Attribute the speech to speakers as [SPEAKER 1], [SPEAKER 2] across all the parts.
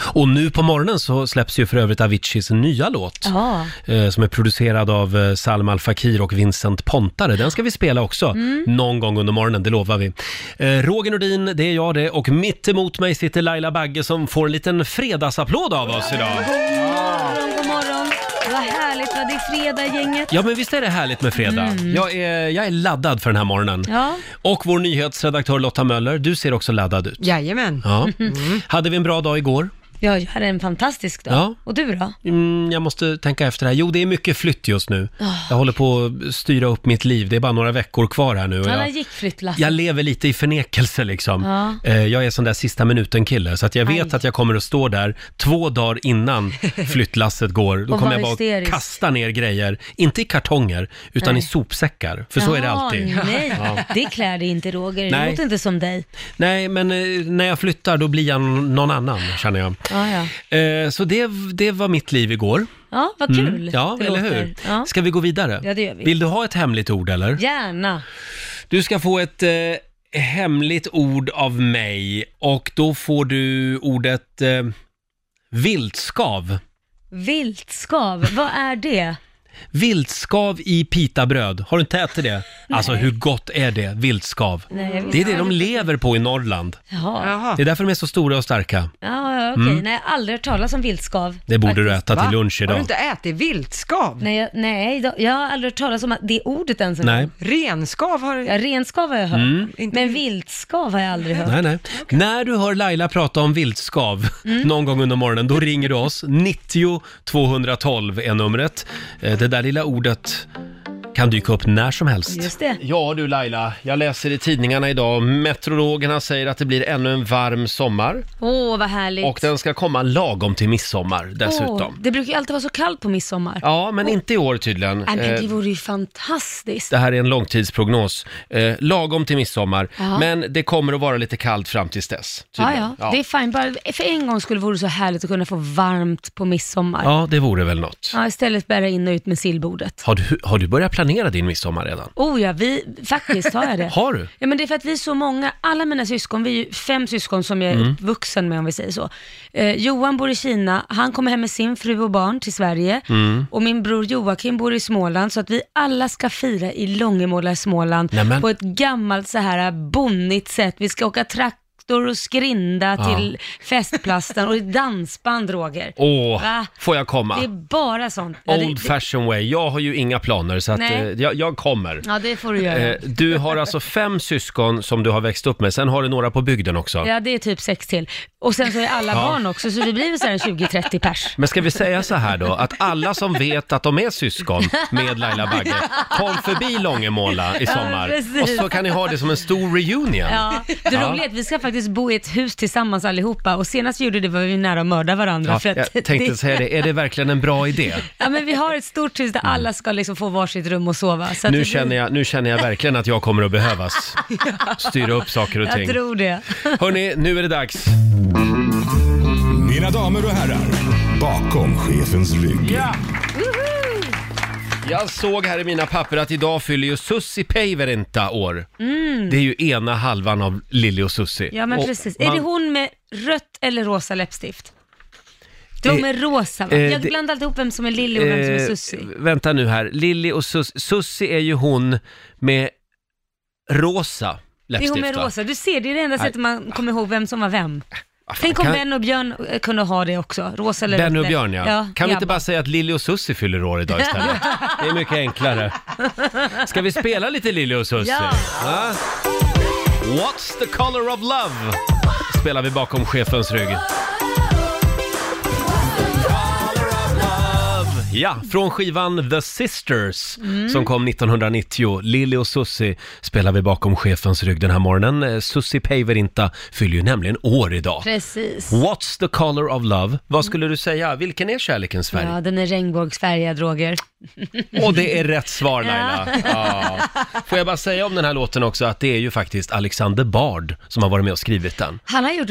[SPEAKER 1] Och nu på morgonen så släpps ju för övrigt Aviciis nya låt.
[SPEAKER 2] Ja.
[SPEAKER 1] eh, Som är producerad av eh, Salma Al Fakir och Vincent Pontare. Den ska vi spela också
[SPEAKER 2] Mm.
[SPEAKER 1] någon gång under morgonen, det lovar vi. Eh, Roger Nordin, det är jag det. Och mitt emot mig sitter Laila Bagge som får en liten fredagsapplåd av oss idag.
[SPEAKER 2] morgon, god morgon. Vad härligt, vad det är fredag gänget.
[SPEAKER 1] Ja, men visst är det härligt med fredag? Jag, är, jag är laddad för den här morgonen.
[SPEAKER 2] Mm. Ja.
[SPEAKER 1] Och vår nyhetsredaktör Lotta Möller, du ser också laddad ut.
[SPEAKER 3] Jajamän.
[SPEAKER 1] Ja. Hade vi en bra dag igår?
[SPEAKER 2] ja, jag hade en fantastisk dag.
[SPEAKER 1] Ja.
[SPEAKER 2] Och du då?
[SPEAKER 1] Mm, jag måste tänka efter här. Jo, det är mycket flytt just nu.
[SPEAKER 2] Ah.
[SPEAKER 1] Jag håller på att styra upp mitt liv. Det är bara några veckor kvar här nu. och
[SPEAKER 2] Alla
[SPEAKER 1] Jag,
[SPEAKER 2] gick flyttlass.
[SPEAKER 1] jag lever lite i förnekelse liksom.
[SPEAKER 2] Ja.
[SPEAKER 1] Eh, Jag är sån där sista minuten-kille, så att jag vet
[SPEAKER 2] Aj.
[SPEAKER 1] att jag kommer att stå där två dagar innan flyttlasset går. Då
[SPEAKER 2] Och
[SPEAKER 1] kommer
[SPEAKER 2] vara
[SPEAKER 1] jag bara
[SPEAKER 2] hysterisk.
[SPEAKER 1] kasta ner grejer, inte i kartonger, utan
[SPEAKER 2] Nej.
[SPEAKER 1] i sopsäckar. För så är det
[SPEAKER 2] Jaha,
[SPEAKER 1] alltid.
[SPEAKER 2] Nej,
[SPEAKER 1] Ja.
[SPEAKER 2] det klär dig inte Roger. Det
[SPEAKER 1] Nej.
[SPEAKER 2] låter inte som dig.
[SPEAKER 1] Nej, men eh, när jag flyttar då blir jag n- någon annan, känner jag.
[SPEAKER 2] Ja, ja.
[SPEAKER 1] Eh, Så det, det var mitt liv igår.
[SPEAKER 2] ja vad kul
[SPEAKER 1] Mm. Ja,
[SPEAKER 2] det
[SPEAKER 1] eller
[SPEAKER 2] låter.
[SPEAKER 1] hur?
[SPEAKER 2] Ja.
[SPEAKER 1] Ska vi gå vidare?
[SPEAKER 2] Ja, det gör vi.
[SPEAKER 1] Vill du ha ett hemligt ord eller?
[SPEAKER 2] Gärna.
[SPEAKER 1] Du ska få ett eh, hemligt ord av mig och då får du ordet eh, viltskav.
[SPEAKER 2] Viltskav, vad är det?
[SPEAKER 1] Viltskav i pitabröd. Har du inte ätit det? Alltså hur gott är det? Viltskav.
[SPEAKER 2] Nej, jag
[SPEAKER 1] Det
[SPEAKER 2] visste-
[SPEAKER 1] är det de lever på i Norrland.
[SPEAKER 2] Jaha.
[SPEAKER 3] Jaha.
[SPEAKER 1] Det är därför de är så stora och starka.
[SPEAKER 2] Ja, ja, okej. Nej, jag har aldrig hört talas om viltskav.
[SPEAKER 1] Mm. Det borde du äta
[SPEAKER 3] Va?
[SPEAKER 1] till lunch
[SPEAKER 3] Har du
[SPEAKER 1] idag.
[SPEAKER 3] inte ätit viltskav?
[SPEAKER 2] Nej, jag, nej, då- jag har aldrig hört talas om att det ordet ens en
[SPEAKER 1] Nej.
[SPEAKER 2] gång.
[SPEAKER 3] Renskav har du...
[SPEAKER 2] Ja, renskav har jag hört,
[SPEAKER 1] Mm.
[SPEAKER 3] Inte
[SPEAKER 2] men
[SPEAKER 3] vilt.
[SPEAKER 2] viltskav har jag aldrig hört.
[SPEAKER 1] Nej, nej. När du hör Laila prata om viltskav
[SPEAKER 2] Mm.
[SPEAKER 1] någon gång under morgonen, då ringer du oss. 90 212 är numret. Eh, Det där lilla ordet kan dyka upp när som helst.
[SPEAKER 2] Just det.
[SPEAKER 1] Ja du Laila, jag läser i tidningarna idag. Meteorologerna säger att det blir ännu en varm sommar
[SPEAKER 2] Åh, vad härligt.
[SPEAKER 1] och den ska komma lagom till midsommar dessutom.
[SPEAKER 2] Åh, det brukar ju alltid vara så kallt på midsommar.
[SPEAKER 1] Ja, men inte i år tydligen.
[SPEAKER 2] Nej,
[SPEAKER 1] Eh,
[SPEAKER 2] men det vore ju fantastiskt.
[SPEAKER 1] Det här är en långtidsprognos. Eh, lagom till midsommar,
[SPEAKER 2] Ja.
[SPEAKER 1] men det kommer att vara lite kallt fram tills dess.
[SPEAKER 2] Ja,
[SPEAKER 1] tydligen.
[SPEAKER 2] ja, det är fint. Bara för en gång skulle vore det så härligt att kunna få varmt på midsommar. Ja.
[SPEAKER 1] Ja, det vore väl något.
[SPEAKER 2] istället bära in och ut med sillbordet.
[SPEAKER 1] Har du, har du börjat planera din midsommar redan?
[SPEAKER 2] Oh ja, vi, faktiskt har jag det.
[SPEAKER 1] Har du?
[SPEAKER 2] Ja, men det är för att vi är så många. Alla mina syskon, vi är ju fem syskon som jag är
[SPEAKER 1] Mm.
[SPEAKER 2] vuxen med om vi säger så. Eh, Johan bor i Kina, han kommer hem med sin fru och barn till Sverige
[SPEAKER 1] Mm.
[SPEAKER 2] och min bror Joakim bor i Småland så att vi alla ska fira i Långemåla i Småland
[SPEAKER 1] Nämen.
[SPEAKER 2] på ett gammalt så här bonnigt sätt. Vi ska åka traktor och skrinda
[SPEAKER 1] Ja.
[SPEAKER 2] till festplatsen och det är dansband Roger.
[SPEAKER 1] Åh,
[SPEAKER 2] Va?
[SPEAKER 1] får jag komma?
[SPEAKER 2] Det är bara sånt. Ja, det,
[SPEAKER 1] Old fashion way. Jag har ju inga planer så att,
[SPEAKER 2] Nej.
[SPEAKER 1] eh, jag, jag kommer.
[SPEAKER 2] ja, det får du göra.
[SPEAKER 1] Eh, Du har alltså fem syskon som du har växt upp med, sen har du några på bygden också.
[SPEAKER 2] Ja, det är typ sex till. Och sen så är alla barn också, så det blir väl så här en 20-30 pers.
[SPEAKER 1] Men ska vi säga så här då, att alla som vet att de är syskon med Laila Bagge, kom förbi Långemåla i sommar.
[SPEAKER 2] precis.
[SPEAKER 1] och så kan ni ha det som en stor reunion.
[SPEAKER 2] Ja, det
[SPEAKER 1] Ja.
[SPEAKER 2] roliga är att vi ska faktiskt bo i ett hus tillsammans allihopa och senast vi gjorde det var vi nära att mörda varandra.
[SPEAKER 1] Ja,
[SPEAKER 2] för att
[SPEAKER 1] jag tänkte säga det, är det verkligen en bra idé?
[SPEAKER 2] ja, men vi har ett stort hus där alla ska liksom få varsitt rum och sova. Så att
[SPEAKER 1] Mm. Nu
[SPEAKER 2] det-
[SPEAKER 1] känner, jag, nu känner jag verkligen att jag kommer att behövas styra upp saker och
[SPEAKER 2] Jag
[SPEAKER 1] ting.
[SPEAKER 2] tror det.
[SPEAKER 1] Hörni, nu är det dags.
[SPEAKER 4] Mina damer och herrar, bakom chefens rygg.
[SPEAKER 1] Jag såg här i mina papper att idag fyller ju Sussi Päivärinta år. Det är ju ena halvan av Lilly och Sussi.
[SPEAKER 2] Mm. Ja, men
[SPEAKER 1] och
[SPEAKER 2] precis.
[SPEAKER 1] man-
[SPEAKER 2] Är det hon med rött eller rosa läppstift? Det var
[SPEAKER 1] Eh,
[SPEAKER 2] med rosa, va?
[SPEAKER 1] eh,
[SPEAKER 2] Jag
[SPEAKER 1] det-
[SPEAKER 2] blandar alltid ihop vem som är Lilly och vem som är Sussi.
[SPEAKER 1] Eh, vänta nu här, Lilly och Sussi. Sussi är ju hon med rosa
[SPEAKER 2] Det är
[SPEAKER 1] läppstift
[SPEAKER 2] hon med
[SPEAKER 1] va?
[SPEAKER 2] rosa. Du ser, det är det enda sättet man kommer ihåg vem som var vem.
[SPEAKER 1] Ah, fan,
[SPEAKER 2] Tänk om
[SPEAKER 1] kan-
[SPEAKER 2] Ben och Björn eh, kunde ha det också. Rosa eller
[SPEAKER 1] Benny
[SPEAKER 2] rött
[SPEAKER 1] och
[SPEAKER 2] lä-
[SPEAKER 1] Björn ja.
[SPEAKER 2] ja
[SPEAKER 1] kan vi inte
[SPEAKER 2] grabbar.
[SPEAKER 1] bara säga att Lilly och Sussi fyller år idag istället? Det är mycket enklare. Ska vi spela lite Lilly och Sussi?
[SPEAKER 2] Ja.
[SPEAKER 1] Va? What's the color of love? Spelar vi bakom chefens rygg. Ja, från skivan The Sisters
[SPEAKER 2] Mm.
[SPEAKER 1] som kom 1990. Lilly och Sussi spelar vi bakom chefens rygg den här morgonen. Eh, Sussi Päivärinta fyller ju nämligen år idag.
[SPEAKER 2] Precis.
[SPEAKER 1] What's the color of love? Vad skulle du säga? Vilken är kärlekens färg?
[SPEAKER 2] Ja, den är regnbågsfärgad, Roger.
[SPEAKER 1] Och det är rätt svar Laila. Ja. Får jag bara säga om den här låten också att det är ju faktiskt Alexander Bard som har varit med och skrivit den.
[SPEAKER 2] Han har gjort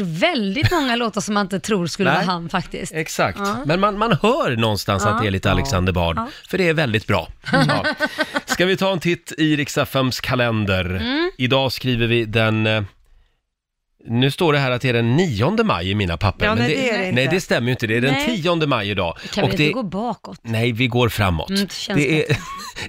[SPEAKER 2] väldigt många låtar som man inte tror skulle
[SPEAKER 1] Nej.
[SPEAKER 2] vara han faktiskt.
[SPEAKER 1] Exakt, men man, man hör någonstans att det är lite Alexander Bard, för det är väldigt bra. Ja. Ska vi ta en titt i Riksaffems kalender? Idag skriver vi den eh, Nu står det här att det är den 9 maj i mina papper.
[SPEAKER 3] Ja,
[SPEAKER 1] men
[SPEAKER 3] nej, det är det
[SPEAKER 1] nej,
[SPEAKER 3] inte.
[SPEAKER 1] det stämmer ju inte. Det är den
[SPEAKER 2] Nej.
[SPEAKER 1] 10 maj idag.
[SPEAKER 2] Kan vi
[SPEAKER 1] det,
[SPEAKER 2] inte gå bakåt?
[SPEAKER 1] Nej, vi går framåt.
[SPEAKER 2] Mm, det känns
[SPEAKER 1] det är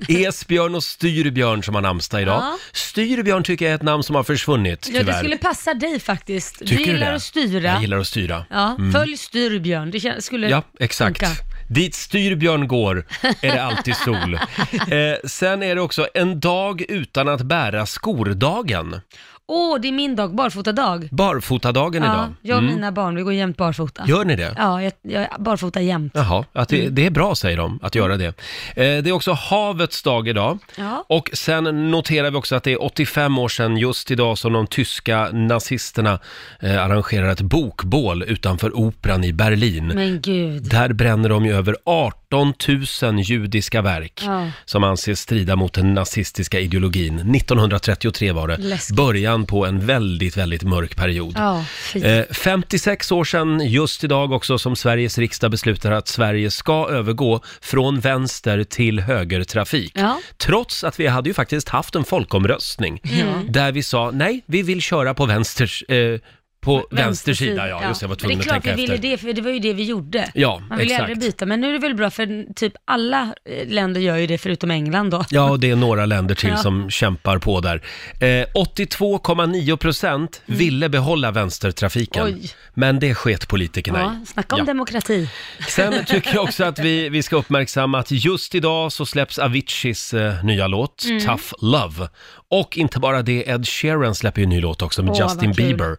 [SPEAKER 1] Esbjörn och Styrbjörn som har namnsdag idag.
[SPEAKER 2] Ja.
[SPEAKER 1] Styrbjörn tycker jag är ett namn som har försvunnit, tyvärr.
[SPEAKER 2] Ja, det skulle passa dig faktiskt.
[SPEAKER 1] Tycker
[SPEAKER 2] du gillar
[SPEAKER 1] det?
[SPEAKER 2] att styra.
[SPEAKER 1] Jag gillar Mm. att styra.
[SPEAKER 2] Ja, följ styrbjörn. Det kän- skulle
[SPEAKER 1] Ja, exakt.
[SPEAKER 2] funka.
[SPEAKER 1] Dit Styrbjörn går är det alltid sol. eh, sen är det också en dag utan att bära skordagen.
[SPEAKER 2] Åh, det är min dag, barfotadag.
[SPEAKER 1] Barfotadagen idag.
[SPEAKER 2] Ja, jag och mina barn, vi går jämt barfota.
[SPEAKER 1] Gör ni det?
[SPEAKER 2] Ja, jag, jag barfota jämt.
[SPEAKER 1] Jaha, att det, det är bra säger de, att göra det. Eh, det är också havets dag idag.
[SPEAKER 2] Ja.
[SPEAKER 1] Och sen noterar vi också att det är 85 år sedan just idag som de tyska nazisterna eh, arrangerar ett bokbål utanför operan i Berlin.
[SPEAKER 2] Men gud.
[SPEAKER 1] Där bränner de ju över 18 000 judiska verk
[SPEAKER 2] Ja.
[SPEAKER 1] som anses strida mot den nazistiska ideologin. 1933 var det.
[SPEAKER 2] Läskigt.
[SPEAKER 1] Början på en väldigt, väldigt mörk period.
[SPEAKER 2] Ja, fy.
[SPEAKER 1] Eh, 56 år sedan, just idag också, som Sveriges riksdag beslutar att Sverige ska övergå från vänster till högertrafik.
[SPEAKER 2] Ja.
[SPEAKER 1] Trots att vi hade ju faktiskt haft en folkomröstning
[SPEAKER 2] Mm.
[SPEAKER 1] där vi sa nej, vi vill köra på vänsters... Eh, på vänster, sida, ja. Just det, jag var tvungen
[SPEAKER 2] Men
[SPEAKER 1] att
[SPEAKER 2] det är klart
[SPEAKER 1] tänka
[SPEAKER 2] vi ville
[SPEAKER 1] efter.
[SPEAKER 2] det, för det var ju det vi gjorde.
[SPEAKER 1] Ja,
[SPEAKER 2] Man vill ju aldrig
[SPEAKER 1] exakt.
[SPEAKER 2] byta, men nu är det väl bra för typ alla eh, länder gör ju det förutom England då.
[SPEAKER 1] Ja, och det är några länder till
[SPEAKER 2] Ja.
[SPEAKER 1] som kämpar på där. Eh, 82,9 procent ville behålla vänstertrafiken.
[SPEAKER 2] Mm. Oj.
[SPEAKER 1] Men det sket politikerna i.
[SPEAKER 2] Ja, snacka om
[SPEAKER 1] Ja.
[SPEAKER 2] demokrati.
[SPEAKER 1] Sen tycker jag också att vi, vi ska uppmärksamma att just idag så släpps Aviciis eh, nya låt,
[SPEAKER 2] Mm.
[SPEAKER 1] Tough Love. Och inte bara det, Ed Sheeran släpper ju en ny låt också med
[SPEAKER 2] Åh,
[SPEAKER 1] Justin
[SPEAKER 2] vad kul.
[SPEAKER 1] Bieber.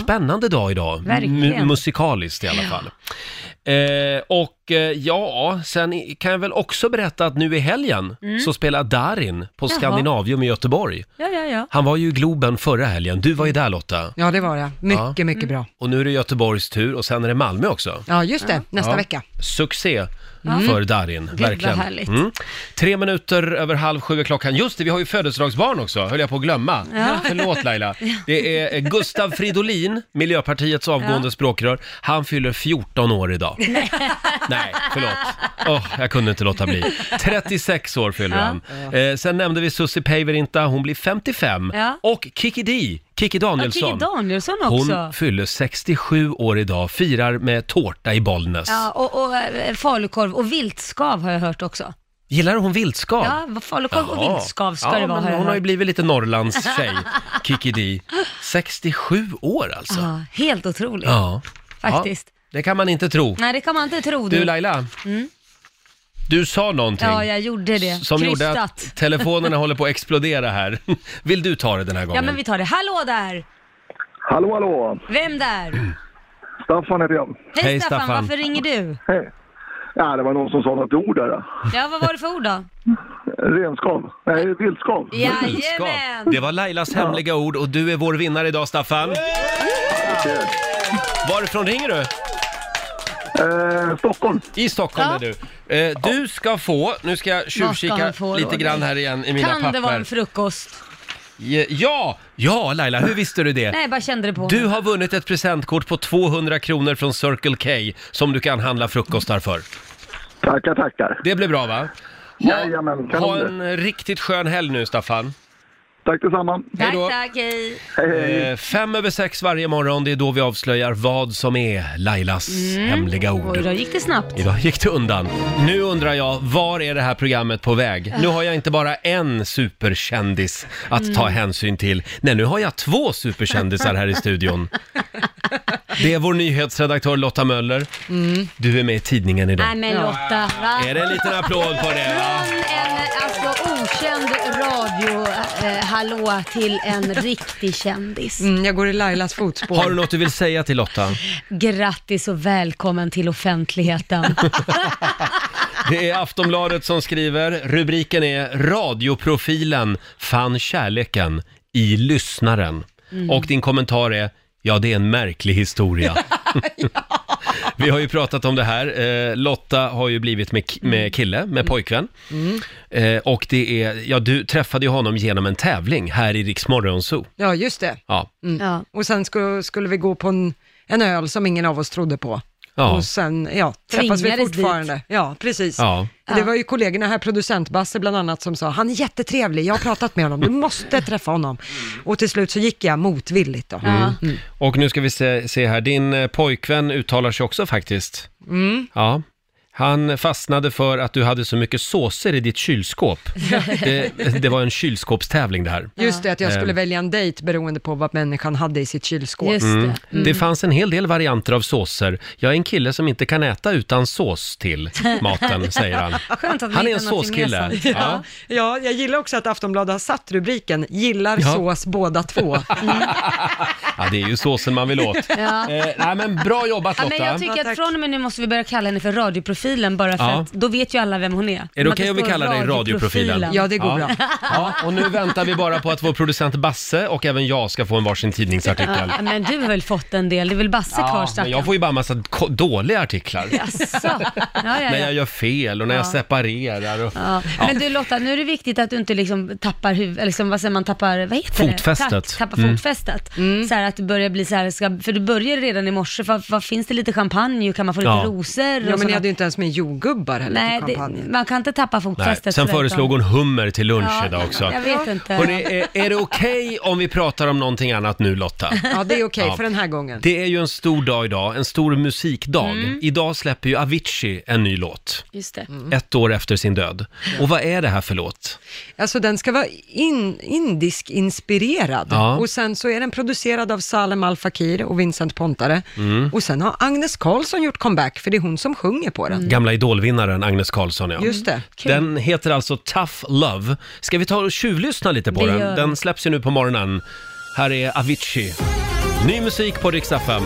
[SPEAKER 1] Spännande dag idag,
[SPEAKER 2] Verkligen.
[SPEAKER 1] Mu- musikaliskt i alla fall. Eh, och eh, ja, sen i- kan jag väl också berätta att nu i helgen så spelar Darin på
[SPEAKER 2] Mm. Jaha.
[SPEAKER 1] Skandinavium i Göteborg.
[SPEAKER 2] Ja, ja, ja.
[SPEAKER 1] Han var ju i Globen förra helgen, du var ju där Lotta.
[SPEAKER 3] Ja, det var jag. Mycket,
[SPEAKER 1] Ja.
[SPEAKER 2] Mm.
[SPEAKER 3] mycket bra.
[SPEAKER 1] Och nu är det Göteborgs tur och sen är det Malmö också.
[SPEAKER 3] Ja, just det. Nästa
[SPEAKER 1] Ja.
[SPEAKER 3] vecka.
[SPEAKER 1] Succé för Darin,
[SPEAKER 2] vad
[SPEAKER 1] verkligen. Mm.
[SPEAKER 2] härligt.
[SPEAKER 1] Tre minuter över halv sju är klockan. Just det, vi har ju födelsedagsbarn också, höll jag på att glömma. Förlåt Laila. Det är eh, Gustav Fridolin, Miljöpartiets avgående språkrör. Han fyller 14 år idag. Nej, förlåt. Åh, jag kunde inte låta bli. 36 år fyller han. Eh, sen nämnde vi Susie Päivärinta, hon blir 55.
[SPEAKER 2] Ja.
[SPEAKER 1] Och Kikki Dee, Kikki Danielsson.
[SPEAKER 2] Kikki Danielsson också.
[SPEAKER 1] Hon fyller 67 år idag, firar med tårta i Bollnäs.
[SPEAKER 2] Ja, och, och eh, falukorv och viltskav har jag hört också.
[SPEAKER 1] Gillar hon viltskav?
[SPEAKER 2] Ja, vad falukorv och
[SPEAKER 1] Jaha.
[SPEAKER 2] viltskav ska
[SPEAKER 1] ja,
[SPEAKER 2] det vara.
[SPEAKER 1] men
[SPEAKER 2] har jag
[SPEAKER 1] Hon har ju
[SPEAKER 2] hört.
[SPEAKER 1] blivit lite Norrlandstjej, Kikki Dee. 67 år alltså.
[SPEAKER 2] ja, helt otroligt
[SPEAKER 1] Ja.
[SPEAKER 2] faktiskt.
[SPEAKER 1] Ja, det kan man inte tro.
[SPEAKER 2] Nej, det kan man inte tro.
[SPEAKER 1] Du Laila, du sa någonting.
[SPEAKER 2] ja, jag gjorde det.
[SPEAKER 1] Som gjorde
[SPEAKER 2] Krystat.
[SPEAKER 1] att telefonerna håller på att explodera här. Vill du ta det den här
[SPEAKER 2] Ja,
[SPEAKER 1] gången?
[SPEAKER 2] men vi tar det. Hallå där!
[SPEAKER 5] Hallå, hallå!
[SPEAKER 2] Vem där?
[SPEAKER 5] Staffan heter jag.
[SPEAKER 2] Hej,
[SPEAKER 1] Hej,
[SPEAKER 2] Staffan.
[SPEAKER 1] Staffan.
[SPEAKER 2] varför ringer du?
[SPEAKER 5] Hej. Ja, det var någon som sa något ord där.
[SPEAKER 2] Ja, vad var det för ord då?
[SPEAKER 5] Renskav. Nej, vildskav.
[SPEAKER 1] Ska.
[SPEAKER 2] Jajamän!
[SPEAKER 1] Det var Lailas hemliga ord och du är vår vinnare idag Staffan. Varifrån ringer du?
[SPEAKER 5] Eh, Stockholm.
[SPEAKER 1] I Stockholm
[SPEAKER 2] Ja.
[SPEAKER 1] är du. Eh, du ska få, nu ska jag tjuvkika
[SPEAKER 2] han få,
[SPEAKER 1] lite
[SPEAKER 2] Roger?
[SPEAKER 1] grann här igen i mina
[SPEAKER 2] Kan
[SPEAKER 1] papper.
[SPEAKER 2] det vara en frukost?
[SPEAKER 1] Ja, ja Laila, hur visste du det?
[SPEAKER 2] Nej, jag bara kände det på
[SPEAKER 1] Du
[SPEAKER 2] mig.
[SPEAKER 1] har vunnit ett presentkort på 200 kronor från Circle K som du kan handla frukostar för.
[SPEAKER 5] Tackar, tackar.
[SPEAKER 1] Det blir bra va?
[SPEAKER 5] Jajamän,
[SPEAKER 1] Ha
[SPEAKER 5] kanon det.
[SPEAKER 1] en riktigt skön helg nu Staffan.
[SPEAKER 5] Tack detsamma.
[SPEAKER 1] Hej
[SPEAKER 2] Tack,
[SPEAKER 1] då.
[SPEAKER 2] tack, hej.
[SPEAKER 5] Hej, hej.
[SPEAKER 1] Eh, Fem över sex varje morgon, det är då vi avslöjar vad som är Lailas
[SPEAKER 2] Mm,
[SPEAKER 1] hemliga
[SPEAKER 2] Oj,
[SPEAKER 1] ord.
[SPEAKER 2] då gick det snabbt.
[SPEAKER 1] Idag gick det undan. Nu undrar jag, var är det här programmet på väg? Nu har jag inte bara en superkändis att ta hänsyn till. Nej, nu har jag två superkändisar här i studion. Det är vår nyhetsredaktör Lotta Möller. Du är med i tidningen
[SPEAKER 2] Nej,
[SPEAKER 1] idag.
[SPEAKER 2] men Lotta, va?
[SPEAKER 1] Är det en liten applåd på det? Va?
[SPEAKER 2] Från en alltså, okänd radio-hallå till en riktig kändis.
[SPEAKER 3] Mm, jag går i Lailas fotspår.
[SPEAKER 1] Har du något du vill säga till Lotta?
[SPEAKER 2] Grattis och välkommen till offentligheten.
[SPEAKER 1] Det är Aftonbladet som skriver. Rubriken är Radioprofilen fann kärleken i lyssnaren. Och din kommentar är Ja, det är en märklig historia. Vi har ju pratat om det här. Eh, Lotta har ju blivit med, ki- med kille, med pojkvän. Eh, och det är, ja, du träffade ju honom genom en tävling här i Rix Morgon Zoo.
[SPEAKER 3] Ja, just det.
[SPEAKER 1] Ja.
[SPEAKER 2] ja.
[SPEAKER 3] Och sen skulle, skulle vi gå på en, en öl som ingen av oss trodde på.
[SPEAKER 1] Ja.
[SPEAKER 3] Och sen, ja, träffas vi
[SPEAKER 2] Tvingades dit.
[SPEAKER 3] fortfarande. Ja, precis.
[SPEAKER 1] Ja.
[SPEAKER 2] Ja.
[SPEAKER 3] Det var ju kollegorna här, producent Basse bland annat, som sa han är jättetrevlig, jag har pratat med honom, du måste träffa honom. Och till slut så gick jag motvilligt då.
[SPEAKER 1] Mm.
[SPEAKER 2] Ja.
[SPEAKER 1] Och nu ska vi se, se här, din eh, pojkvän uttalar sig också faktiskt.
[SPEAKER 2] Mm.
[SPEAKER 1] Ja. Han fastnade för att du hade så mycket såser i ditt kylskåp. Det, det var en kylskåpstävling det här.
[SPEAKER 3] Just det, att jag
[SPEAKER 1] Ehm.
[SPEAKER 3] skulle välja en dejt beroende på vad människan hade i sitt kylskåp.
[SPEAKER 2] Just det.
[SPEAKER 1] Det fanns en hel del varianter av såser. Jag är en kille som inte kan äta utan sås till maten, säger han.
[SPEAKER 2] Skönt att vi
[SPEAKER 1] Han är en
[SPEAKER 2] hittar något
[SPEAKER 1] såskille.
[SPEAKER 2] gemensamt.
[SPEAKER 1] Ja.
[SPEAKER 3] Ja, jag gillar också att Aftonbladet har satt rubriken “Gillar
[SPEAKER 1] Ja.
[SPEAKER 3] sås båda två”.
[SPEAKER 1] ja, det är ju såsen man vill åt.
[SPEAKER 2] Ja.
[SPEAKER 1] Eh, nej, men bra jobbat
[SPEAKER 2] Ja,
[SPEAKER 1] Lotta.
[SPEAKER 2] men jag
[SPEAKER 3] Ja,
[SPEAKER 2] tycker att
[SPEAKER 3] tack.
[SPEAKER 2] från och med nu måste vi börja kalla henne för radioprofilen bara för
[SPEAKER 1] Ja.
[SPEAKER 2] att då vet ju alla vem hon är.
[SPEAKER 1] Är det okej om vi kallar dig radioprofilen?
[SPEAKER 3] Ja, det går
[SPEAKER 1] ja.
[SPEAKER 3] bra.
[SPEAKER 1] Ja, och nu väntar vi bara på att vår producent Basse och även jag ska få en varsin tidningsartikel.
[SPEAKER 2] Ja, men du har väl fått en del? Det är väl Basse kvar
[SPEAKER 1] Ja, men
[SPEAKER 2] stackarn?
[SPEAKER 1] jag får ju bara en massa ko- dåliga artiklar.
[SPEAKER 2] Jaså? Ja, ja,
[SPEAKER 1] När
[SPEAKER 2] ja.
[SPEAKER 1] jag gör fel och när jag
[SPEAKER 2] Ja.
[SPEAKER 1] separerar och...
[SPEAKER 2] Ja. Men du Lotta, nu är det viktigt att du inte liksom tappar huv, eller liksom, vad säger man, tappar, vad heter
[SPEAKER 1] Fotfästet. Mm.
[SPEAKER 2] det? Tack, tappar fotfästet.
[SPEAKER 3] Mm.
[SPEAKER 2] Så här att det börjar bli så här, ska, för du började redan i morse, för, vad finns det lite champagne och kan man få lite
[SPEAKER 1] Ja.
[SPEAKER 2] rosor?
[SPEAKER 3] Ja,
[SPEAKER 2] och
[SPEAKER 3] men ni
[SPEAKER 2] såna-
[SPEAKER 3] hade ju inte ens med jordgubbar heller
[SPEAKER 2] Nej,
[SPEAKER 3] till
[SPEAKER 2] det,
[SPEAKER 3] kampanjen.
[SPEAKER 2] man kan inte tappa
[SPEAKER 1] Nej. Sen
[SPEAKER 2] fotfästet. så vet
[SPEAKER 1] föreslog hon
[SPEAKER 2] de.
[SPEAKER 1] hummer till lunch
[SPEAKER 2] Ja,
[SPEAKER 1] idag också.
[SPEAKER 2] Jag vet inte.
[SPEAKER 1] Hörrni, är, är det okej om vi pratar om någonting annat nu Lotta?
[SPEAKER 3] Ja, det är okej
[SPEAKER 1] Ja.
[SPEAKER 3] för den här gången.
[SPEAKER 1] Det är ju en stor dag idag, en stor musikdag.
[SPEAKER 2] Mm.
[SPEAKER 1] Idag släpper ju Avicii en ny låt,
[SPEAKER 2] Just det.
[SPEAKER 1] ett år efter sin död. Och vad är det här för låt?
[SPEAKER 3] Alltså den ska vara in, indisk-inspirerad
[SPEAKER 1] Ja.
[SPEAKER 3] och sen så är den producerad av Salem Al Fakir och Vincent Pontare.
[SPEAKER 1] Mm.
[SPEAKER 3] Och sen har Agnes Karlsson gjort comeback, för det är hon som sjunger på den.
[SPEAKER 1] Gamla idolvinnaren Agnes Karlsson ja.
[SPEAKER 3] Just det.
[SPEAKER 2] Mm. Kul.
[SPEAKER 1] Den heter alltså Tough Love. Ska vi ta och tjuvlyssna lite på
[SPEAKER 2] Det
[SPEAKER 1] den?
[SPEAKER 2] gör vi.
[SPEAKER 1] Den släpps ju nu på morgonen. Här är Avicii. Ny musik på Rix FM.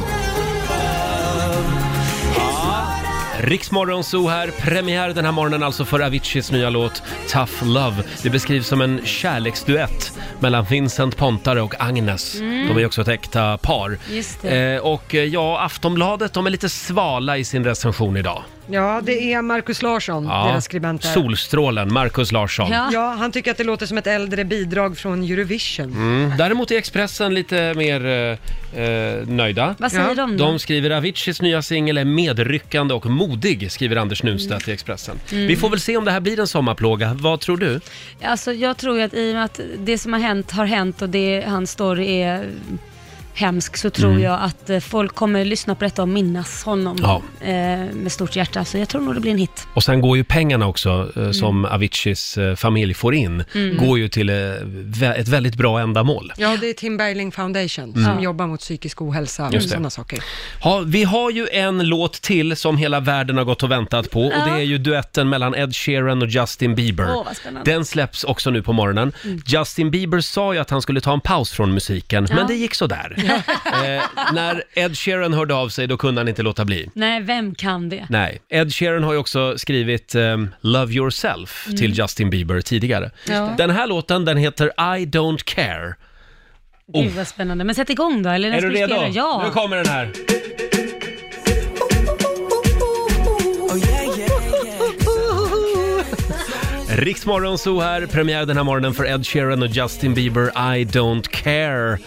[SPEAKER 1] Riksmorgon Zoo här, premiär den här morgonen alltså för Aviciis nya låt Tough Love. Det beskrivs som en kärleksduett mellan Vincent Pontare och Agnes. De är också ett äkta par.
[SPEAKER 2] Mm. Just det.
[SPEAKER 1] Eh, och eh, ja, Aftonbladet, de är lite svala i sin recension idag.
[SPEAKER 3] Ja, det är Markus Larsson, deras skribent där.
[SPEAKER 1] Solstrålen, Markus Larsson.
[SPEAKER 2] Ja.
[SPEAKER 3] Ja, han tycker att det låter som ett äldre bidrag från Eurovision.
[SPEAKER 1] Mm. Däremot är Expressen lite mer eh, eh, nöjda.
[SPEAKER 2] Vad säger
[SPEAKER 3] Ja,
[SPEAKER 2] de då?
[SPEAKER 1] De skriver Aviciis nya singel är medryckande och modig, skriver Anders Nunstedt i Expressen. Vi får väl se om det här blir en sommarplåga. Vad tror du?
[SPEAKER 2] Alltså, jag tror ju att i och med att det som har hänt har hänt och det hans story är hemsk så tror jag att eh, folk kommer lyssna på detta och minnas honom
[SPEAKER 1] Mm. Ja.
[SPEAKER 2] eh, med stort hjärta. Så jag tror nog det blir en hit.
[SPEAKER 1] Och sen går ju pengarna också, eh, som Aviciis eh, familj får in, går ju till eh, vä- ett väldigt bra ändamål.
[SPEAKER 3] Ja, det är Tim Bergling Foundation som jobbar mot psykisk ohälsa och
[SPEAKER 1] Mm. Just det.
[SPEAKER 3] sådana saker.
[SPEAKER 1] Ha, vi har ju en låt till som hela världen har gått och väntat på och det är ju duetten mellan Ed Sheeran och Justin Bieber.
[SPEAKER 2] Åh, vad spännande. Mm.
[SPEAKER 1] Den släpps också nu på morgonen. Justin Bieber sa ju att han skulle ta en paus från musiken, men det gick sådär. eh, när Ed Sheeran hörde av sig, då kunde han inte låta bli.
[SPEAKER 2] Nej, vem kan det?
[SPEAKER 1] Nej, Ed Sheeran har ju också skrivit ehm, “Love Yourself” till Justin Bieber tidigare.
[SPEAKER 2] Mm. Ja.
[SPEAKER 1] Den här låten, den heter “I Don't Care”.
[SPEAKER 2] Gud vad spännande. Men sätt igång då. Eller när
[SPEAKER 1] Oh. Är
[SPEAKER 2] ska
[SPEAKER 1] du
[SPEAKER 2] vi
[SPEAKER 1] redo?
[SPEAKER 2] spela?
[SPEAKER 1] Nu
[SPEAKER 2] Ja.
[SPEAKER 1] kommer den här. Riksmorgon så här, premiär den här morgonen för Ed Sheeran och Justin Bieber, I don't care.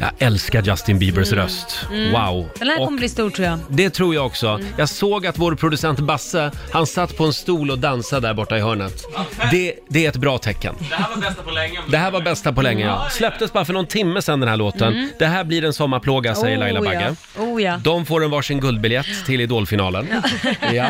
[SPEAKER 1] Jag älskar Justin Biebers röst. Wow.
[SPEAKER 2] Mm. Den här
[SPEAKER 1] Och
[SPEAKER 2] kommer bli stor tror jag.
[SPEAKER 1] det tror jag också.
[SPEAKER 2] Mm.
[SPEAKER 1] Jag såg att vår producent Basse, han satt på en stol och dansade där borta i hörnet. Det, det är ett bra tecken.
[SPEAKER 6] Det här var bästa på länge.
[SPEAKER 1] Det här var bästa på länge. Ja. Släpptes bara för någon timme sedan den här låten. Det här blir en sommarplåga, säger Laila
[SPEAKER 2] Mm. Oh,
[SPEAKER 1] Bagge.
[SPEAKER 2] ja. Oh, ja.
[SPEAKER 1] De får en varsin guldbiljett till Idolfinalen. Ja.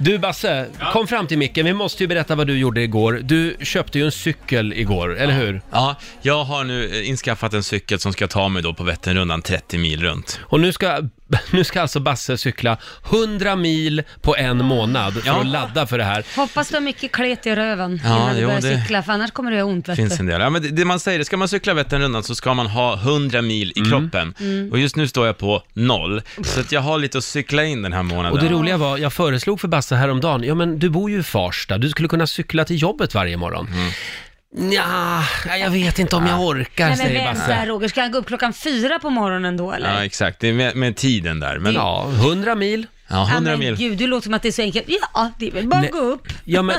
[SPEAKER 1] Du Basse, kom fram till micken. Vi måste ju berätta vad du gjorde igår. Du köpte ju en cykel igår, eller hur?
[SPEAKER 6] Ja, jag har nu eh, inskaffat en cykel som ska ta mig då på Vätternrundan 30 mil runt.
[SPEAKER 1] Och nu ska, nu ska alltså Basse cykla 100 mil på en månad för
[SPEAKER 6] Ja.
[SPEAKER 1] att ladda för det här.
[SPEAKER 2] Hoppas du har mycket klet i röven
[SPEAKER 6] Ja,
[SPEAKER 2] innan du
[SPEAKER 6] jo,
[SPEAKER 2] börjar
[SPEAKER 6] det-
[SPEAKER 2] cykla, för annars kommer du ha ont vet
[SPEAKER 6] finns
[SPEAKER 2] du.
[SPEAKER 6] en del. Ja, men det, det man säger, ska man cykla Vätternrundan så ska man ha 100 mil
[SPEAKER 1] Mm.
[SPEAKER 6] i kroppen. Och just nu står jag på noll, så att jag har lite att cykla in den här månaden.
[SPEAKER 1] Och det roliga var, jag föreslog för Basse häromdagen, ja men du bor ju i Farsta, du skulle kunna cykla till jobbet varje morgon. Nja, Ja, jag vet inte om jag orkar,
[SPEAKER 2] Nej men
[SPEAKER 1] säger
[SPEAKER 2] vänta
[SPEAKER 1] Basse.
[SPEAKER 2] Roger, ska han gå upp klockan fyra på morgonen då eller?
[SPEAKER 6] Ja, exakt. Det är med, med tiden där. Men ja,
[SPEAKER 1] Ja, 100 mil.
[SPEAKER 6] 100
[SPEAKER 2] ja, men
[SPEAKER 6] mil.
[SPEAKER 2] gud, du låter som att det är så enkelt. Ja, det är väl bara
[SPEAKER 1] Nej.
[SPEAKER 2] att gå upp.
[SPEAKER 1] Ja, men,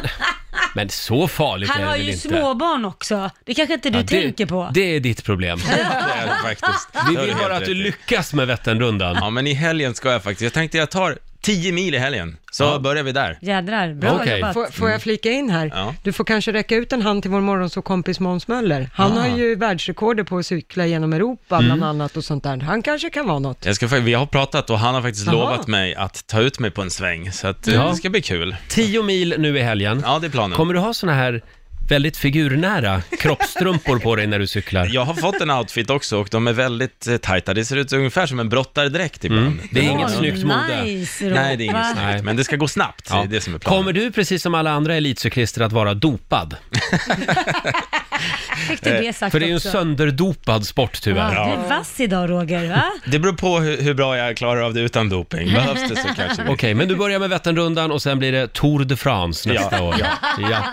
[SPEAKER 1] men så farligt
[SPEAKER 2] Han
[SPEAKER 1] är det
[SPEAKER 2] har
[SPEAKER 1] väl
[SPEAKER 2] ju
[SPEAKER 1] inte?
[SPEAKER 2] småbarn också. Det kanske inte du
[SPEAKER 1] Ja,
[SPEAKER 2] tänker på.
[SPEAKER 1] Det är ditt problem.
[SPEAKER 6] Det är det faktiskt.
[SPEAKER 1] Vi
[SPEAKER 6] Det har
[SPEAKER 1] vill
[SPEAKER 6] helt
[SPEAKER 1] bara att
[SPEAKER 6] rätt
[SPEAKER 1] du
[SPEAKER 6] i.
[SPEAKER 1] lyckas med Vätternrundan.
[SPEAKER 6] Ja, men i helgen ska jag faktiskt. Jag tänkte jag tar 10 mil i helgen, så börjar vi där.
[SPEAKER 2] Jädrar, bra
[SPEAKER 1] Okej.
[SPEAKER 2] jobbat.
[SPEAKER 3] Får, får
[SPEAKER 1] Mm.
[SPEAKER 3] jag flika in här?
[SPEAKER 6] Ja.
[SPEAKER 3] Du får kanske räcka ut en hand till vår morgonsåkompis Måns Möller. Han har ju världsrekordet på att cykla genom Europa
[SPEAKER 1] Mm.
[SPEAKER 3] bland annat och sånt där. Han kanske kan vara något.
[SPEAKER 6] Jag ska, fa- vi har pratat och han har faktiskt
[SPEAKER 3] Jaha.
[SPEAKER 6] lovat mig att ta ut mig på en sväng, så att, eh,
[SPEAKER 1] Ja.
[SPEAKER 6] det ska bli kul.
[SPEAKER 1] Tio mil nu i helgen.
[SPEAKER 6] Ja, det är planen.
[SPEAKER 1] Kommer du ha såna här väldigt figurnära kroppsstrumpor på dig när du cyklar?
[SPEAKER 6] Jag har fått en outfit också och de är väldigt eh, tajta. Det ser ut ungefär som en brottardräkt ibland.
[SPEAKER 1] Mm. Det är
[SPEAKER 2] Oj,
[SPEAKER 1] inget snyggt mode.
[SPEAKER 2] nice, Robert.
[SPEAKER 6] Nej, det är inget
[SPEAKER 2] Va?
[SPEAKER 1] Nej.
[SPEAKER 6] snyggt, men det ska gå snabbt. Det
[SPEAKER 1] Ja.
[SPEAKER 6] är det som är planen.
[SPEAKER 1] Kommer du precis som alla andra elitcyklister att vara dopad?
[SPEAKER 2] Fick du det sagt
[SPEAKER 1] Eh, För det är ju en
[SPEAKER 2] också?
[SPEAKER 1] sönderdopad sport tyvärr.
[SPEAKER 2] Ja, Du är vass idag Roger, va?
[SPEAKER 6] Det beror på hur, hur bra jag klarar av det utan doping. Behövs det så kanske
[SPEAKER 1] Okej,
[SPEAKER 6] vi...
[SPEAKER 1] men du börjar med Vätternrundan och sen blir det Tour de France nästa
[SPEAKER 6] Ja,
[SPEAKER 1] år. Ja.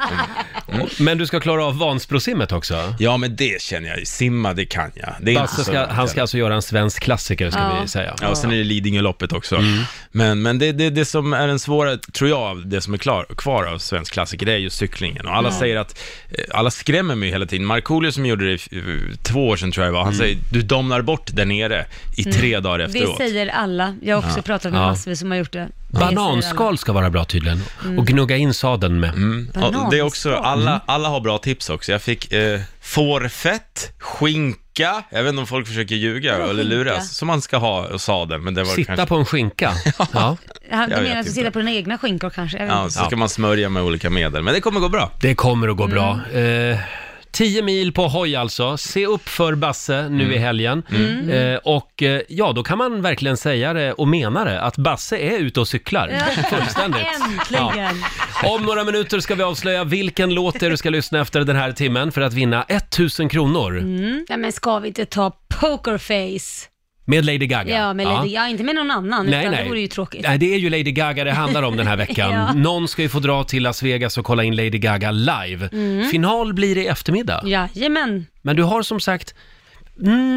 [SPEAKER 1] Men du ska klara av Vansbrosimmet också.
[SPEAKER 6] Ja, men det känner jag ju. Simma, det kan jag. Det är
[SPEAKER 1] Basse
[SPEAKER 6] så
[SPEAKER 1] ska,
[SPEAKER 6] lätt.
[SPEAKER 1] han ska alltså göra en svensk klassiker ska
[SPEAKER 2] Ja.
[SPEAKER 1] vi säga.
[SPEAKER 6] Ja, och sen är det Lidingöloppet också. Men, men det, det, det som är den svåra, tror jag, av det som är klar, kvar av svensk klassiker, det är ju cyklingen. Och alla säger att, eh, alla skrämmer mig hela tiden. Markoolio som gjorde det i, eh, två år sedan tror jag det var, han säger du domnar bort där nere i tre dagar
[SPEAKER 2] Det
[SPEAKER 6] efteråt.
[SPEAKER 2] säger alla. Jag har också pratat med
[SPEAKER 1] Ja.
[SPEAKER 2] massvis som har gjort det. Det säger alla.
[SPEAKER 1] Bananskal ska vara bra tydligen.
[SPEAKER 2] Mm.
[SPEAKER 1] Och gnugga in sadeln med.
[SPEAKER 6] Mm. Ja, det är också,
[SPEAKER 2] Bananskal.
[SPEAKER 6] alla, alla har bra tips också. Jag fick eh, fårfett, skinka, jag vet inte om folk försöker ljuga
[SPEAKER 2] Vadå
[SPEAKER 6] eller
[SPEAKER 2] skinka?
[SPEAKER 6] luras, som man ska ha och sadeln, men det var
[SPEAKER 1] Sitta
[SPEAKER 6] kanske...
[SPEAKER 1] på en skinka. Ja.
[SPEAKER 2] Han,
[SPEAKER 6] Jag
[SPEAKER 2] du
[SPEAKER 6] vet
[SPEAKER 2] menar att du
[SPEAKER 6] inte.
[SPEAKER 2] sitter på dina egna skinkor kanske? Jag vet
[SPEAKER 6] Ja,
[SPEAKER 2] inte.
[SPEAKER 6] så ska man smörja med olika medel, men det kommer gå bra.
[SPEAKER 1] Det kommer att gå bra.
[SPEAKER 2] Mm.
[SPEAKER 1] Eh, 10 mil på hoj alltså. Se upp för Basse nu i helgen.
[SPEAKER 2] Mm.
[SPEAKER 1] Eh, och eh, ja, då kan man verkligen säga det och mena det, att Basse är ute och cyklar. Fullständigt.
[SPEAKER 2] Äntligen!
[SPEAKER 1] Om några minuter ska vi avslöja vilken låt det är du ska lyssna efter den här timmen för att vinna 1000 kronor
[SPEAKER 2] Ja, Mm. men ska vi inte ta pokerface?
[SPEAKER 1] med Lady Gaga.
[SPEAKER 2] Ja, men Lady, ja. inte med någon annan, utan det vore ju tråkigt.
[SPEAKER 1] Nej, det är ju Lady Gaga det handlar om den här veckan.
[SPEAKER 2] Ja.
[SPEAKER 1] Någon ska ju få dra till Las Vegas och kolla in Lady Gaga live.
[SPEAKER 2] Mm.
[SPEAKER 1] Final blir det i eftermiddag.
[SPEAKER 2] Jajamän,
[SPEAKER 1] Men du har som sagt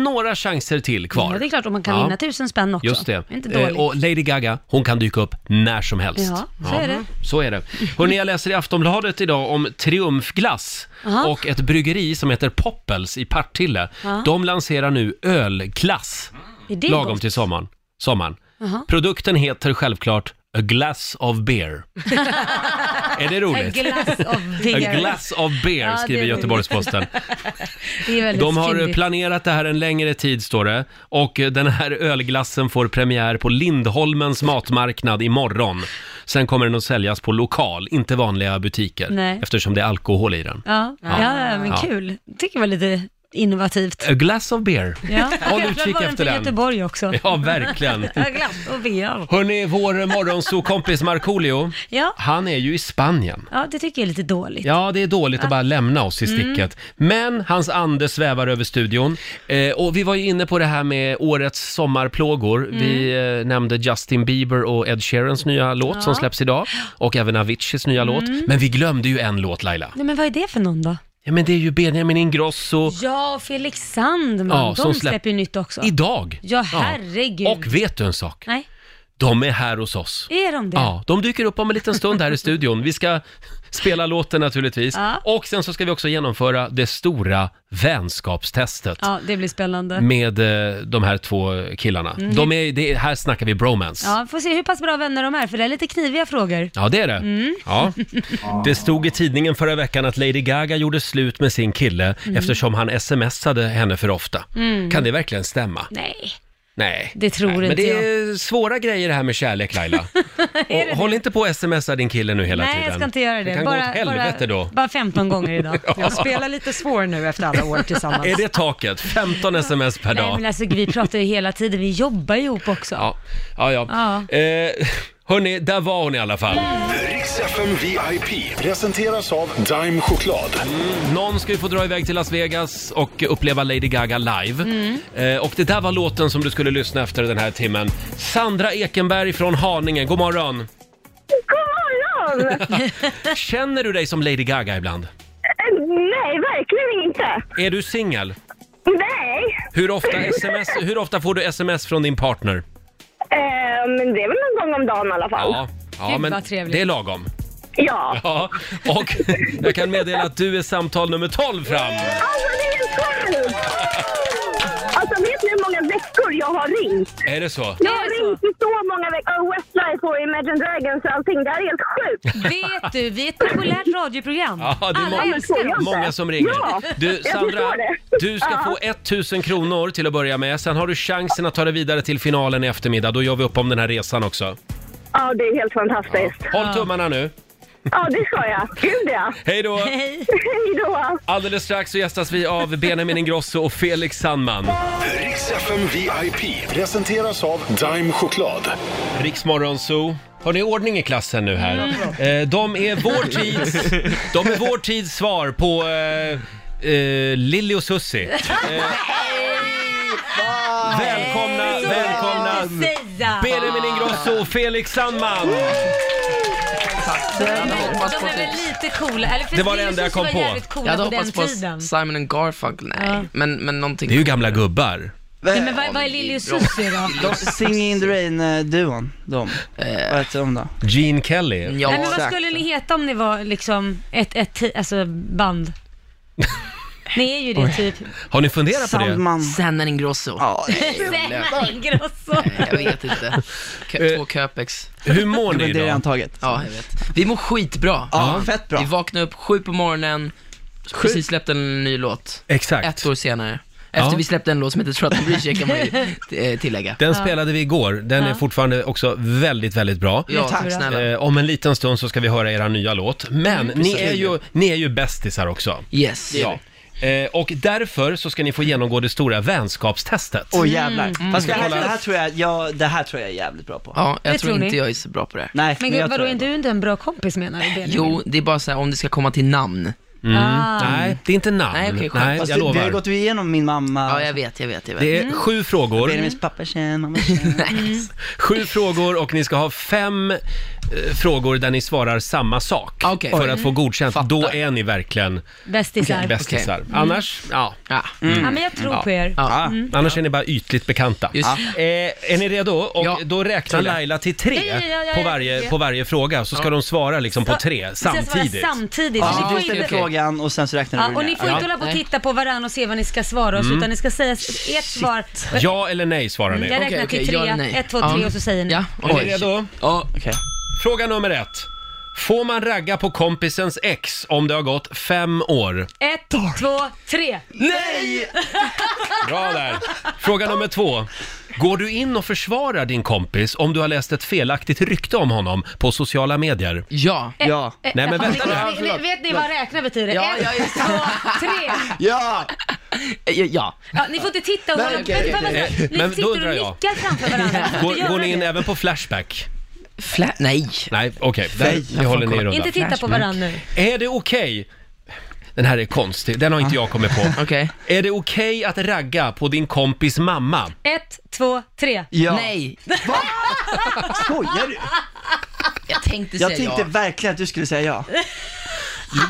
[SPEAKER 1] några chanser till kvar.
[SPEAKER 2] ja, det är klart om man kan
[SPEAKER 1] Ja.
[SPEAKER 2] vinna tusen spänn också.
[SPEAKER 1] Just det.
[SPEAKER 2] Inte
[SPEAKER 1] Eh,
[SPEAKER 2] dåligt.
[SPEAKER 1] Och Lady Gaga, hon kan dyka upp när som helst.
[SPEAKER 2] Ja, så är det.
[SPEAKER 1] Så är det. Hörrni, jag läser i Aftonbladet idag om Triumfglass
[SPEAKER 2] Aha.
[SPEAKER 1] och ett bryggeri som heter Poppels i Partille. De lanserar nu ölglass
[SPEAKER 2] Är det
[SPEAKER 1] lagom
[SPEAKER 2] gott?
[SPEAKER 1] till sommaren. sommaren. Produkten heter självklart A Glass of Beer. är det
[SPEAKER 2] A
[SPEAKER 1] roligt?
[SPEAKER 2] glass of
[SPEAKER 1] A
[SPEAKER 2] beer.
[SPEAKER 1] glass of beer,
[SPEAKER 2] Ja, det
[SPEAKER 1] skriver
[SPEAKER 2] är roligt.
[SPEAKER 1] Göteborgs-Posten.
[SPEAKER 2] Det är väldigt
[SPEAKER 1] De har eh,
[SPEAKER 2] fyndigt.
[SPEAKER 1] planerat det här en längre tid, står det. Och eh, den här ölglassen får premiär på Lindholmens matmarknad imorgon. Sen kommer den att säljas på lokal, inte vanliga butiker,
[SPEAKER 2] Nej.
[SPEAKER 1] eftersom det är alkohol i den.
[SPEAKER 2] Ja, ja, ja, men
[SPEAKER 1] Ja.
[SPEAKER 2] kul. Tycker det var lite innovativt.
[SPEAKER 1] A glass of beer.
[SPEAKER 2] Ja.
[SPEAKER 1] Håll
[SPEAKER 2] Jäklar,
[SPEAKER 1] utkik
[SPEAKER 2] var
[SPEAKER 1] efter
[SPEAKER 2] till
[SPEAKER 1] den.
[SPEAKER 2] Göteborg också.
[SPEAKER 1] Ja, verkligen.
[SPEAKER 2] Ja, glass och beer.
[SPEAKER 1] Hörni, vår morgonsokompis Markoolio,
[SPEAKER 2] Ja.
[SPEAKER 1] han är ju i Spanien.
[SPEAKER 2] ja, det tycker jag är lite dåligt.
[SPEAKER 1] Ja, det är dåligt att bara lämna oss i
[SPEAKER 2] Mm.
[SPEAKER 1] sticket. Men hans ande svävar över studion. Eh, och vi var ju inne på det här med årets sommarplågor.
[SPEAKER 2] Mm.
[SPEAKER 1] Vi eh, nämnde Justin Bieber och Ed Sheerans nya låt som släpps idag. Och även Aviciis nya
[SPEAKER 2] Mm.
[SPEAKER 1] låt. Men vi glömde ju en låt, Laila.
[SPEAKER 2] Nej, men vad är det för någon då?
[SPEAKER 1] Ja, men det är ju Benjamin Ingrosso
[SPEAKER 2] Ja, Felix Sandman.
[SPEAKER 1] Ja, som
[SPEAKER 2] de
[SPEAKER 1] släpp-
[SPEAKER 2] släpper ju nytt också.
[SPEAKER 1] idag.
[SPEAKER 2] Ja, herregud.
[SPEAKER 1] Och vet du en sak?
[SPEAKER 2] Nej,
[SPEAKER 1] De är här hos oss.
[SPEAKER 2] är de det?
[SPEAKER 1] Ja, de dyker upp om en liten stund här i studion. Vi ska spela låten naturligtvis.
[SPEAKER 2] Ja.
[SPEAKER 1] Och sen så ska vi också genomföra det stora vänskapstestet.
[SPEAKER 2] Ja, det blir spännande.
[SPEAKER 1] med eh, de här två killarna. De är, det, är- här snackar vi bromance. Ja.
[SPEAKER 2] Ja, får se hur pass bra vänner de är, för det är lite kniviga frågor.
[SPEAKER 1] det är det. Ja. Det stod i tidningen förra veckan att Lady Gaga gjorde slut med sin kille eftersom han smsade henne för ofta. Kan det verkligen stämma?
[SPEAKER 2] Nej,
[SPEAKER 1] Nej.
[SPEAKER 2] det tror
[SPEAKER 1] Men
[SPEAKER 2] inte
[SPEAKER 1] det
[SPEAKER 2] jag.
[SPEAKER 1] är svåra grejer det här med kärlek Laila. Och, håll inte på och smsa din kille nu hela
[SPEAKER 2] Nej,
[SPEAKER 1] tiden.
[SPEAKER 2] jag ska inte göra det.
[SPEAKER 1] Det kan gå åt helvete
[SPEAKER 2] bara,
[SPEAKER 1] då.
[SPEAKER 2] Bara 15 gånger idag.
[SPEAKER 3] Jag spelar lite svår nu efter alla år tillsammans.
[SPEAKER 1] Är det taket? 15 sms per
[SPEAKER 2] Nej,
[SPEAKER 1] dag.
[SPEAKER 2] men alltså vi pratar ju hela tiden, vi jobbar ju ihop också.
[SPEAKER 1] Ja, ja. ja.
[SPEAKER 2] Ja.
[SPEAKER 1] Eh, hörni, där var hon i alla fall.
[SPEAKER 4] Riks FM VIP presenteras av Dime Choklad.
[SPEAKER 1] Mm. Någon ska ju få dra iväg till Las Vegas och uppleva Lady Gaga live.
[SPEAKER 2] Mm.
[SPEAKER 1] Eh, och det där var låten som du skulle lyssna efter den här timmen. Sandra Ekenberg från Haninge, god morgon.
[SPEAKER 7] God morgon!
[SPEAKER 1] Känner du dig som Lady Gaga ibland?
[SPEAKER 7] Eh, Nej, verkligen inte.
[SPEAKER 1] Är du singel?
[SPEAKER 7] Nej.
[SPEAKER 1] Hur ofta, sms, hur ofta får du sms från din
[SPEAKER 2] Oh.
[SPEAKER 1] partner?
[SPEAKER 7] Eh, men det är väl någon gång om dagen i alla fall.
[SPEAKER 1] Ja, ja
[SPEAKER 2] Gud,
[SPEAKER 1] men
[SPEAKER 2] vad trevligt.
[SPEAKER 1] det är lagom.
[SPEAKER 7] Ja.
[SPEAKER 1] Ja, och jag kan meddela att du är samtal nummer 12 fram.
[SPEAKER 7] Alltså, det är helt sjukt! Att Alltså, vet ni hur många veckor jag har ringt?
[SPEAKER 1] Är det så?
[SPEAKER 7] Jag har
[SPEAKER 2] Är det så?
[SPEAKER 7] ringt i så många veckor. Och Westlife och Imagine Dragons och allting. Det här är helt sjukt.
[SPEAKER 2] Vet du, vi är ett populärt radioprogram.
[SPEAKER 1] Ja, det är
[SPEAKER 2] Alla
[SPEAKER 1] många-
[SPEAKER 2] älskar oss.
[SPEAKER 1] Många som ringer.
[SPEAKER 7] Ja,
[SPEAKER 1] Du,
[SPEAKER 7] jag
[SPEAKER 1] Sandra,
[SPEAKER 7] förstår det.
[SPEAKER 1] du ska få 1000 kronor till att börja med. Sen har du chansen att ta dig vidare till finalen i eftermiddag. Då gör vi upp om den här resan också.
[SPEAKER 7] Ja, det är helt fantastiskt.
[SPEAKER 1] Håll tummarna nu.
[SPEAKER 7] Ja, det ska jag. Gud ja.
[SPEAKER 1] Hej då!
[SPEAKER 2] Hej.
[SPEAKER 7] Hej då.
[SPEAKER 1] Alldeles strax så gästas vi av Benjamin Ingrosso och Felix Sandman.
[SPEAKER 4] Riks FM VIP presenteras av Dime Choklad.
[SPEAKER 1] Riksmorgon Zoo. Har ni ordning i klassen nu här? Eh, de, är vår tids, de är vår tids svar på eh, eh, Lilly och Susie. Eh, välkomna,
[SPEAKER 2] Så kan
[SPEAKER 1] välkomna!
[SPEAKER 2] man inte säga.
[SPEAKER 1] Benjamin Ingrosso och Felix Sandman!
[SPEAKER 8] Jag hade hoppats
[SPEAKER 2] De
[SPEAKER 8] på
[SPEAKER 2] är väl
[SPEAKER 8] typ...
[SPEAKER 2] lite coola? Eller för
[SPEAKER 1] Det var det
[SPEAKER 2] Lille
[SPEAKER 1] enda jag
[SPEAKER 2] Susie
[SPEAKER 1] kom på.
[SPEAKER 2] var jävligt
[SPEAKER 8] Jag
[SPEAKER 2] coola
[SPEAKER 8] hade
[SPEAKER 2] på den
[SPEAKER 8] hoppats på
[SPEAKER 2] tiden.
[SPEAKER 8] Simon and Garfunkel, nej.
[SPEAKER 2] Ja.
[SPEAKER 8] Men, men någonting...
[SPEAKER 1] Det är ju gamla gubbar.
[SPEAKER 2] Nej, men vad, vad är Lili och Susie då?
[SPEAKER 9] Singing in the rain-duon, de.
[SPEAKER 8] Eh,
[SPEAKER 9] Vad heter de då?
[SPEAKER 1] Gene Kelly.
[SPEAKER 8] Ja,
[SPEAKER 2] Nej, men vad
[SPEAKER 8] exakt.
[SPEAKER 2] skulle ni heta om ni var liksom ett, ett ti- alltså band? ni är ju det typ.
[SPEAKER 1] Har ni funderat på det?
[SPEAKER 9] Sandman.
[SPEAKER 8] Sandman Ingrosso.
[SPEAKER 9] Ja,
[SPEAKER 2] Selma Ingrosso.
[SPEAKER 8] Jag vet inte.
[SPEAKER 9] Eh.
[SPEAKER 8] Kö- Två Köpex.
[SPEAKER 1] Hur mår ni
[SPEAKER 9] men det är redan
[SPEAKER 1] idag?
[SPEAKER 9] taget.
[SPEAKER 8] Ja, jag vet. Vi mår skitbra.
[SPEAKER 9] Ja, fett bra.
[SPEAKER 8] Vi vaknade upp sju på morgonen, precis släppte en ny låt.
[SPEAKER 1] Exakt.
[SPEAKER 8] Ett år senare. Efter
[SPEAKER 1] Ja.
[SPEAKER 8] vi släppte en låt som heter Trött and Breach, kan man ju eh, tillägga.
[SPEAKER 1] Den spelade vi igår. Den är fortfarande också väldigt, väldigt bra.
[SPEAKER 8] Ja,
[SPEAKER 9] tack.
[SPEAKER 8] tack snälla.
[SPEAKER 1] Eh, om en liten stund så ska vi höra era nya låt. Men ni, är ju, ni är ju bästisar också.
[SPEAKER 8] Yes.
[SPEAKER 1] Ja. Eh, och därför så ska ni få genomgå det stora vänskapstestet.
[SPEAKER 9] Åh jävlar.
[SPEAKER 2] Mm.
[SPEAKER 9] Fast det här,
[SPEAKER 1] Kolla.
[SPEAKER 9] det, här tror jag, ja, det här tror jag är jävligt bra på.
[SPEAKER 8] Ja, jag
[SPEAKER 2] Det
[SPEAKER 8] tror
[SPEAKER 2] tror
[SPEAKER 8] inte
[SPEAKER 2] ni.
[SPEAKER 8] jag är så bra på det här.
[SPEAKER 9] Nej,
[SPEAKER 2] Men
[SPEAKER 9] jag
[SPEAKER 2] gud, vadå,
[SPEAKER 9] tror
[SPEAKER 2] är
[SPEAKER 9] jag
[SPEAKER 2] inte du inte en bra kompis menar du Benjamin?
[SPEAKER 8] Jo, det är bara så här om det ska komma till namn.
[SPEAKER 2] Ah.
[SPEAKER 1] Mm. Nej, det är inte namn.
[SPEAKER 8] Nej, okej, skönt.
[SPEAKER 1] Nej
[SPEAKER 9] Fast
[SPEAKER 1] jag
[SPEAKER 9] vi- vi har
[SPEAKER 1] lovar.
[SPEAKER 9] ju gått igenom min mamma.
[SPEAKER 8] Ja, jag vet, jag vet, jag vet.
[SPEAKER 1] Det är sju frågor.
[SPEAKER 9] Benjamins pappa tjena, mamma tjena.
[SPEAKER 2] Mm.
[SPEAKER 1] Sju frågor och ni ska ha fem eh, frågor där ni svarar samma sak
[SPEAKER 8] Okej.
[SPEAKER 1] för
[SPEAKER 8] Oj.
[SPEAKER 1] att få godkänt.
[SPEAKER 8] Fattar.
[SPEAKER 1] Då är ni verkligen
[SPEAKER 2] Bästisar.
[SPEAKER 1] bästisar. Annars, ja,
[SPEAKER 8] Ja.
[SPEAKER 9] Mm.
[SPEAKER 8] Mm.
[SPEAKER 2] Ja, men jag
[SPEAKER 1] Mm.
[SPEAKER 2] tror på er.
[SPEAKER 9] Ah.
[SPEAKER 8] Ja.
[SPEAKER 1] annars är ni bara ytligt bekanta.
[SPEAKER 8] Just.
[SPEAKER 1] Eh, är ni redo? Och
[SPEAKER 8] Ja.
[SPEAKER 1] då räknar
[SPEAKER 8] Kul.
[SPEAKER 1] Laila till tre
[SPEAKER 2] Ja, ja, ja, ja,
[SPEAKER 1] på,
[SPEAKER 2] ja,
[SPEAKER 1] varje,
[SPEAKER 2] ja.
[SPEAKER 1] på varje fråga, så ska de svara liksom på
[SPEAKER 2] Ja,
[SPEAKER 1] tre
[SPEAKER 2] vi ska svara
[SPEAKER 1] samtidigt.
[SPEAKER 2] Samtidigt.
[SPEAKER 9] Ja,
[SPEAKER 2] ni
[SPEAKER 9] du
[SPEAKER 2] får
[SPEAKER 9] ställer
[SPEAKER 2] inte,
[SPEAKER 8] okej.
[SPEAKER 9] frågan och sen så räknar du
[SPEAKER 2] ja,
[SPEAKER 9] hur
[SPEAKER 2] och
[SPEAKER 9] den
[SPEAKER 2] ni
[SPEAKER 9] är.
[SPEAKER 2] får inte hålla på och titta på varandra och se vad ni ska svara
[SPEAKER 1] Mm.
[SPEAKER 2] oss, utan ni ska säga s- ert svar.
[SPEAKER 1] Ja eller nej svarar ni.
[SPEAKER 2] Jag räknar
[SPEAKER 8] Okej, okej,
[SPEAKER 2] till
[SPEAKER 8] ja,
[SPEAKER 2] tre,
[SPEAKER 8] nej.
[SPEAKER 2] ett, två,
[SPEAKER 8] Ja.
[SPEAKER 2] tre och så säger ni.
[SPEAKER 8] Ja,
[SPEAKER 1] Är ni
[SPEAKER 8] oj.
[SPEAKER 1] redo?
[SPEAKER 8] Ja,
[SPEAKER 9] Okej.
[SPEAKER 1] Fråga nummer ett. Får man ragga på kompisens ex om det har gått fem år?
[SPEAKER 2] Ett, två, tre.
[SPEAKER 1] Bra där. Fråga nummer två. Går du in och försvarar din kompis om du har läst ett felaktigt rykte om honom på sociala medier?
[SPEAKER 8] ja.
[SPEAKER 9] Ja.
[SPEAKER 2] Eh,
[SPEAKER 1] Nej, men
[SPEAKER 2] ja,
[SPEAKER 1] vänta nu.
[SPEAKER 2] ni- ni- ni- Vet ni vad räkna betyder?
[SPEAKER 8] Ja,
[SPEAKER 2] ett,
[SPEAKER 8] ja, just det.
[SPEAKER 2] två, tre.
[SPEAKER 9] Ja!
[SPEAKER 8] Ja, ja.
[SPEAKER 2] Ja, ni får inte titta och hålla på.
[SPEAKER 8] okej,
[SPEAKER 2] Vänta, vänta, vänta. Ni
[SPEAKER 1] Men då
[SPEAKER 2] sitter och
[SPEAKER 1] undrar jag.
[SPEAKER 2] nickar framför varandra. Ni får inte
[SPEAKER 1] Går, går
[SPEAKER 2] göra
[SPEAKER 1] ni in
[SPEAKER 2] det.
[SPEAKER 1] även på Flashback?
[SPEAKER 8] Fla- nej.
[SPEAKER 1] Nej, okej. Där- Vi håller ner undan.
[SPEAKER 2] Inte titta på varandra nu.
[SPEAKER 1] Är det okej? Den här är konstig, den har inte jag kommit på.
[SPEAKER 8] Okej.
[SPEAKER 1] Är det okej att ragga på din kompis mamma?
[SPEAKER 2] Ett, två, tre.
[SPEAKER 9] ja.
[SPEAKER 8] Nej,
[SPEAKER 9] Skojar du?
[SPEAKER 8] jag tänkte säga
[SPEAKER 9] Jag tänkte verkligen att du skulle säga ja.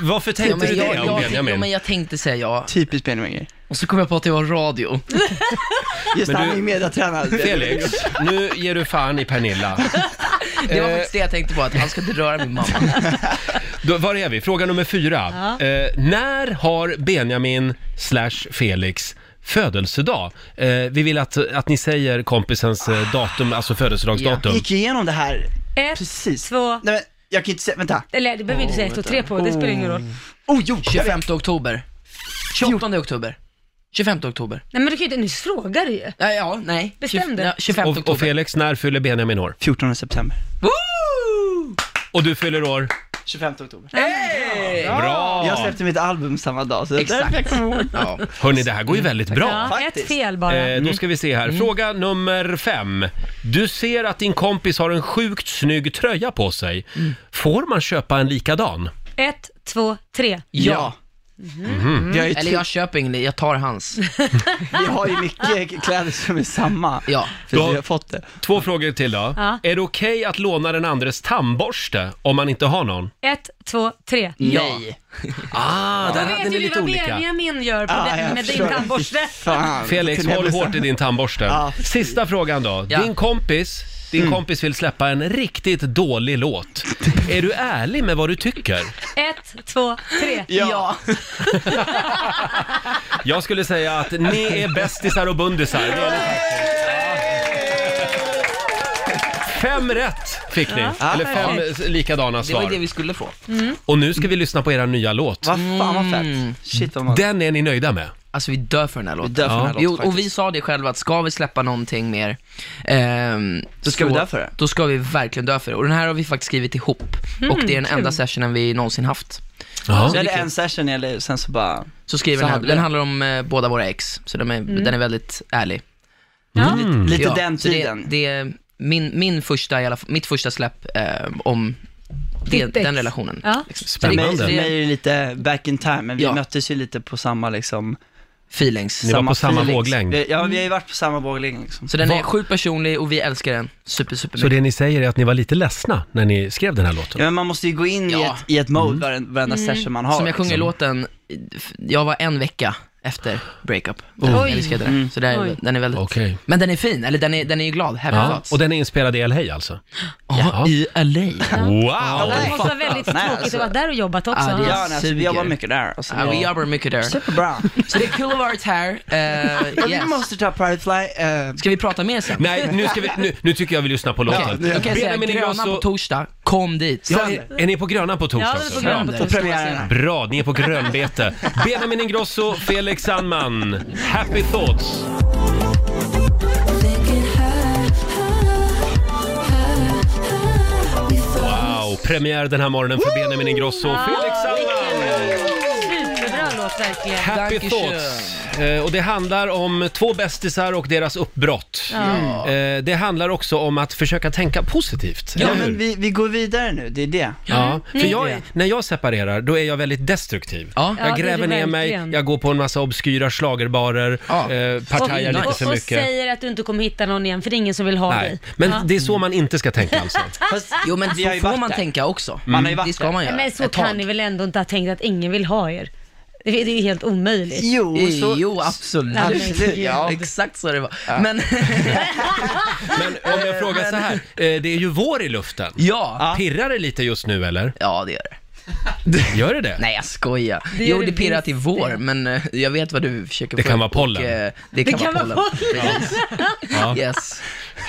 [SPEAKER 1] Varför
[SPEAKER 8] ja. Ja,
[SPEAKER 1] tänkte
[SPEAKER 8] men
[SPEAKER 1] du
[SPEAKER 8] jag,
[SPEAKER 1] det om
[SPEAKER 8] jag, jag, ja, men
[SPEAKER 1] Benjamin?
[SPEAKER 8] jag tänkte säga ja.
[SPEAKER 9] Typiskt Benjamin.
[SPEAKER 8] Och så kom jag på att det var radio.
[SPEAKER 9] Just
[SPEAKER 1] Men
[SPEAKER 9] det, han
[SPEAKER 1] du-
[SPEAKER 9] är ju mediatränad.
[SPEAKER 1] Felix, nu ger du fan i Pernilla.
[SPEAKER 8] Det var
[SPEAKER 1] eh,
[SPEAKER 8] faktiskt det jag tänkte på, att han ska inte röra min mamma.
[SPEAKER 1] Då, var är vi? Fråga nummer fyra. Eh, när har Benjamin slash Felix födelsedag? Eh, vi vill att, att ni säger kompisens eh, datum, alltså
[SPEAKER 9] Jag
[SPEAKER 1] födelsedagsdatum.
[SPEAKER 9] gick ju igenom det här
[SPEAKER 2] Ett,
[SPEAKER 9] precis.
[SPEAKER 2] två,
[SPEAKER 9] Nej men, jag kan inte säga, vänta.
[SPEAKER 2] eller det behöver vi inte säga ett, två, tre på, det spelar ingen roll.
[SPEAKER 9] Oh jo!
[SPEAKER 8] 25 oktober. 28 oktober. 25 oktober.
[SPEAKER 2] Nej men du kan ju inte, nu frågar du ju.
[SPEAKER 8] Ja, ja nej.
[SPEAKER 2] Bestäm
[SPEAKER 8] Tjugo-
[SPEAKER 2] dig.
[SPEAKER 8] ja, 25
[SPEAKER 1] Och, och
[SPEAKER 8] oktober.
[SPEAKER 1] Felix, när fyller Benjamin år?
[SPEAKER 9] 14 september.
[SPEAKER 8] Woo!
[SPEAKER 1] Och du fyller år?
[SPEAKER 9] 25 oktober. Jag
[SPEAKER 1] Bra!
[SPEAKER 9] släppte mitt album samma dag, så Exakt. därför jag kommer ihåg.
[SPEAKER 8] Ja.
[SPEAKER 1] Hörni, det här går ju väldigt bra.
[SPEAKER 2] Ja, Mm. ett
[SPEAKER 9] faktiskt.
[SPEAKER 2] fel bara.
[SPEAKER 1] Eh, då ska vi se här. Fråga nummer fem. Du ser att din kompis har en sjukt snygg tröja på sig.
[SPEAKER 2] Mm.
[SPEAKER 1] Får man köpa en likadan?
[SPEAKER 2] Ett, två, tre.
[SPEAKER 9] Ja. Vi, har ju
[SPEAKER 8] Mhm. Eller jag köper ingen, jag tar hans.
[SPEAKER 9] vi har ju mycket kläder som är samma.
[SPEAKER 8] Ja.
[SPEAKER 9] För
[SPEAKER 1] Då-
[SPEAKER 9] vi har fått det.
[SPEAKER 1] Två frågor till då.
[SPEAKER 2] Ja.
[SPEAKER 1] Är det okej att låna den andres tandborste om man inte har någon?
[SPEAKER 2] Ett, två, tre.
[SPEAKER 8] Nej.
[SPEAKER 1] Ah, där
[SPEAKER 2] Då
[SPEAKER 1] hade
[SPEAKER 2] vet
[SPEAKER 1] ni
[SPEAKER 2] ju du
[SPEAKER 1] lite
[SPEAKER 2] vad
[SPEAKER 1] olika.
[SPEAKER 2] Benjamin gör på
[SPEAKER 9] Ah,
[SPEAKER 2] den,
[SPEAKER 9] jag
[SPEAKER 2] med din
[SPEAKER 9] förstår.
[SPEAKER 2] tandborste.
[SPEAKER 9] Fan.
[SPEAKER 1] Felix,
[SPEAKER 9] Kunde jag
[SPEAKER 1] håll
[SPEAKER 9] bestämma?
[SPEAKER 1] hårt i din tandborste.
[SPEAKER 9] Ja. Mm.
[SPEAKER 1] Sista frågan då.
[SPEAKER 8] Ja.
[SPEAKER 1] Din kompis, din kompis vill släppa en riktigt dålig låt. Är du ärlig med vad du tycker?
[SPEAKER 2] Ett, två, tre.
[SPEAKER 9] Ja.
[SPEAKER 1] Jag skulle säga att ni är bästisar och bundisar. Det är ni faktiskt. Fem rätt fick ni, eller fem likadana
[SPEAKER 8] Det var ju
[SPEAKER 1] svar.
[SPEAKER 8] det vi skulle få.
[SPEAKER 1] Och nu ska vi lyssna på era nya låt.
[SPEAKER 9] Vad fan vad fett. Shit vad man...
[SPEAKER 1] Den är ni nöjda med?
[SPEAKER 8] Mm. Alltså vi dör för den här låten.
[SPEAKER 9] dör för den här
[SPEAKER 8] Jo,
[SPEAKER 9] låten,
[SPEAKER 8] och vi
[SPEAKER 9] faktiskt.
[SPEAKER 8] sa det själva att ska vi släppa någonting mer, ehm,
[SPEAKER 9] Då ska vi dö för det. Mm,
[SPEAKER 8] Då ska vi verkligen dö för det. Och den här har vi faktiskt skrivit ihop. och det är den enda sessionen vi någonsin haft.
[SPEAKER 1] Ja.
[SPEAKER 9] Så är det en session eller sen så bara...
[SPEAKER 8] Så skriver
[SPEAKER 9] Så
[SPEAKER 8] den här,
[SPEAKER 9] hade vi. Mm.
[SPEAKER 8] den handlar om eh, båda våra ex, så den är, den är väldigt ärlig.
[SPEAKER 2] Ja.
[SPEAKER 1] Mm.
[SPEAKER 9] Lite
[SPEAKER 8] Ja,
[SPEAKER 9] den
[SPEAKER 8] så det-
[SPEAKER 9] tiden.
[SPEAKER 8] Det är min, min första, i alla, fall- mitt första släpp eh, om det,
[SPEAKER 2] Ditt ex.
[SPEAKER 8] den relationen.
[SPEAKER 2] Ja.
[SPEAKER 8] Liksom. Så
[SPEAKER 9] För
[SPEAKER 8] det-
[SPEAKER 9] mig,
[SPEAKER 1] Spännande.
[SPEAKER 9] för mig
[SPEAKER 8] det-
[SPEAKER 9] är det lite back in time, men vi
[SPEAKER 8] Ja.
[SPEAKER 9] möttes ju lite på samma liksom...
[SPEAKER 8] Feelings. Mm.
[SPEAKER 1] Ni var på samma
[SPEAKER 9] feelings.
[SPEAKER 1] våglängd.
[SPEAKER 9] Vi- Ja, vi har ju varit på samma våglängd liksom.
[SPEAKER 8] Så den är
[SPEAKER 1] Vad-
[SPEAKER 8] sjukt personlig och vi älskar den super, super
[SPEAKER 1] Så
[SPEAKER 8] mycket.
[SPEAKER 1] det ni säger är att ni var lite ledsna när ni skrev den här låten?
[SPEAKER 9] Ja, men man måste ju gå in i
[SPEAKER 8] Ja. Mm.
[SPEAKER 9] ett, i ett mode varenda, varenda session man har.
[SPEAKER 8] Som jag sjunger i
[SPEAKER 9] liksom.
[SPEAKER 8] låten, jag var en vecka efter breakup.
[SPEAKER 9] Mm.
[SPEAKER 2] Oj.
[SPEAKER 8] Jag älskade den. Så det är,
[SPEAKER 2] Oj.
[SPEAKER 8] den är väldigt...
[SPEAKER 1] Okej.
[SPEAKER 8] Men den är fin, eller den är, den är ju glad. Happy
[SPEAKER 1] Ja.
[SPEAKER 8] thoughts.
[SPEAKER 1] Och den är inspelad i LA alltså?
[SPEAKER 8] Ja, i LA.
[SPEAKER 1] Wow!
[SPEAKER 2] Det måste vara väldigt
[SPEAKER 9] Nej,
[SPEAKER 2] tråkigt
[SPEAKER 9] alltså.
[SPEAKER 2] att vara där och jobbat också.
[SPEAKER 8] Ja, det är-
[SPEAKER 9] Ja, nej, alltså, vi
[SPEAKER 8] Suger.
[SPEAKER 9] jobbar mycket där. Alltså,
[SPEAKER 8] Ja, vi jobbar mycket där.
[SPEAKER 9] Superbra.
[SPEAKER 8] Så det är cool of art här.
[SPEAKER 9] Ja,
[SPEAKER 8] Eh,
[SPEAKER 9] Vi
[SPEAKER 8] yes.
[SPEAKER 9] måste ta Pirate Fly. eh,
[SPEAKER 8] Ska vi prata mer sen?
[SPEAKER 1] Nej, nu, ska vi, nu, nu tycker jag vi lyssnar på
[SPEAKER 8] Okej,
[SPEAKER 1] låten.
[SPEAKER 8] Då kan jag säga Grönan på torsdag, kom dit.
[SPEAKER 1] Ja, är, är ni på Grönan på torsdag?
[SPEAKER 2] Ja,
[SPEAKER 1] alltså?
[SPEAKER 2] det är på grund
[SPEAKER 8] Bra.
[SPEAKER 2] på
[SPEAKER 9] på
[SPEAKER 2] torsdag.
[SPEAKER 9] premiären.
[SPEAKER 1] Bra, ni är på grönbete. Benjamin Ingrosso, Felix Sandman, Happy Thoughts. Wow, premiär den här morgonen för Benjamin Ingrosso och Felix Sandman.
[SPEAKER 2] Superbra låt verkligen.
[SPEAKER 1] Happy
[SPEAKER 8] Dankeschön.
[SPEAKER 1] Thoughts. Eh, Och det handlar om två bästisar och deras uppbrott. Eh, Det handlar också om att försöka tänka positivt,
[SPEAKER 9] Ja,
[SPEAKER 1] eller hur?
[SPEAKER 9] men vi, vi går vidare nu, det är det.
[SPEAKER 1] Ja, för jag,
[SPEAKER 9] Mm.
[SPEAKER 1] när jag separerar, då är jag väldigt destruktiv.
[SPEAKER 8] Ja.
[SPEAKER 2] Ja,
[SPEAKER 1] Jag
[SPEAKER 2] det är
[SPEAKER 1] gräver
[SPEAKER 2] du
[SPEAKER 1] ner mig,
[SPEAKER 2] verkligen.
[SPEAKER 1] jag går på en massa obskyra schlagerbarer,
[SPEAKER 8] Ja.
[SPEAKER 1] eh, partajar
[SPEAKER 2] och,
[SPEAKER 1] lite
[SPEAKER 2] och,
[SPEAKER 1] för
[SPEAKER 2] och
[SPEAKER 1] mycket.
[SPEAKER 2] säger att du inte kommer hitta någon igen, för det är ingen som vill ha
[SPEAKER 1] Nej,
[SPEAKER 2] dig.
[SPEAKER 1] men
[SPEAKER 2] ja.
[SPEAKER 1] det är så man inte ska tänka alltså.
[SPEAKER 9] Fast
[SPEAKER 8] Jo men
[SPEAKER 9] vi har ju
[SPEAKER 8] så får
[SPEAKER 9] varit
[SPEAKER 8] man
[SPEAKER 9] där.
[SPEAKER 8] tänka också. Mm.
[SPEAKER 9] Man har ju varit
[SPEAKER 8] det ska man göra.
[SPEAKER 2] Men så
[SPEAKER 8] Ett tag.
[SPEAKER 2] kan ni väl ändå inte ha tänkt att ingen vill ha er? Det det är ju helt omöjligt.
[SPEAKER 9] Jo, så...
[SPEAKER 8] Jo, absolut.
[SPEAKER 2] Nej, men gud.
[SPEAKER 8] Ja, exakt så det var. Men,
[SPEAKER 1] Men om jag frågar så här, eh, det är ju vår i luften.
[SPEAKER 8] ja.
[SPEAKER 1] Pirrar det lite just nu eller?
[SPEAKER 8] Ja, det gör det.
[SPEAKER 1] Gör det det?
[SPEAKER 8] Nej, jag skojar.
[SPEAKER 2] Det
[SPEAKER 8] jo,
[SPEAKER 2] gör
[SPEAKER 8] det
[SPEAKER 2] det
[SPEAKER 8] pirrar
[SPEAKER 2] visst
[SPEAKER 8] till vår, men eh, jag vet vad du försöker
[SPEAKER 1] Det
[SPEAKER 8] få
[SPEAKER 1] kan
[SPEAKER 8] upp
[SPEAKER 1] vara pollen.
[SPEAKER 8] och, eh, det kan vara pollen. Precis.
[SPEAKER 1] Ja.
[SPEAKER 8] Yes.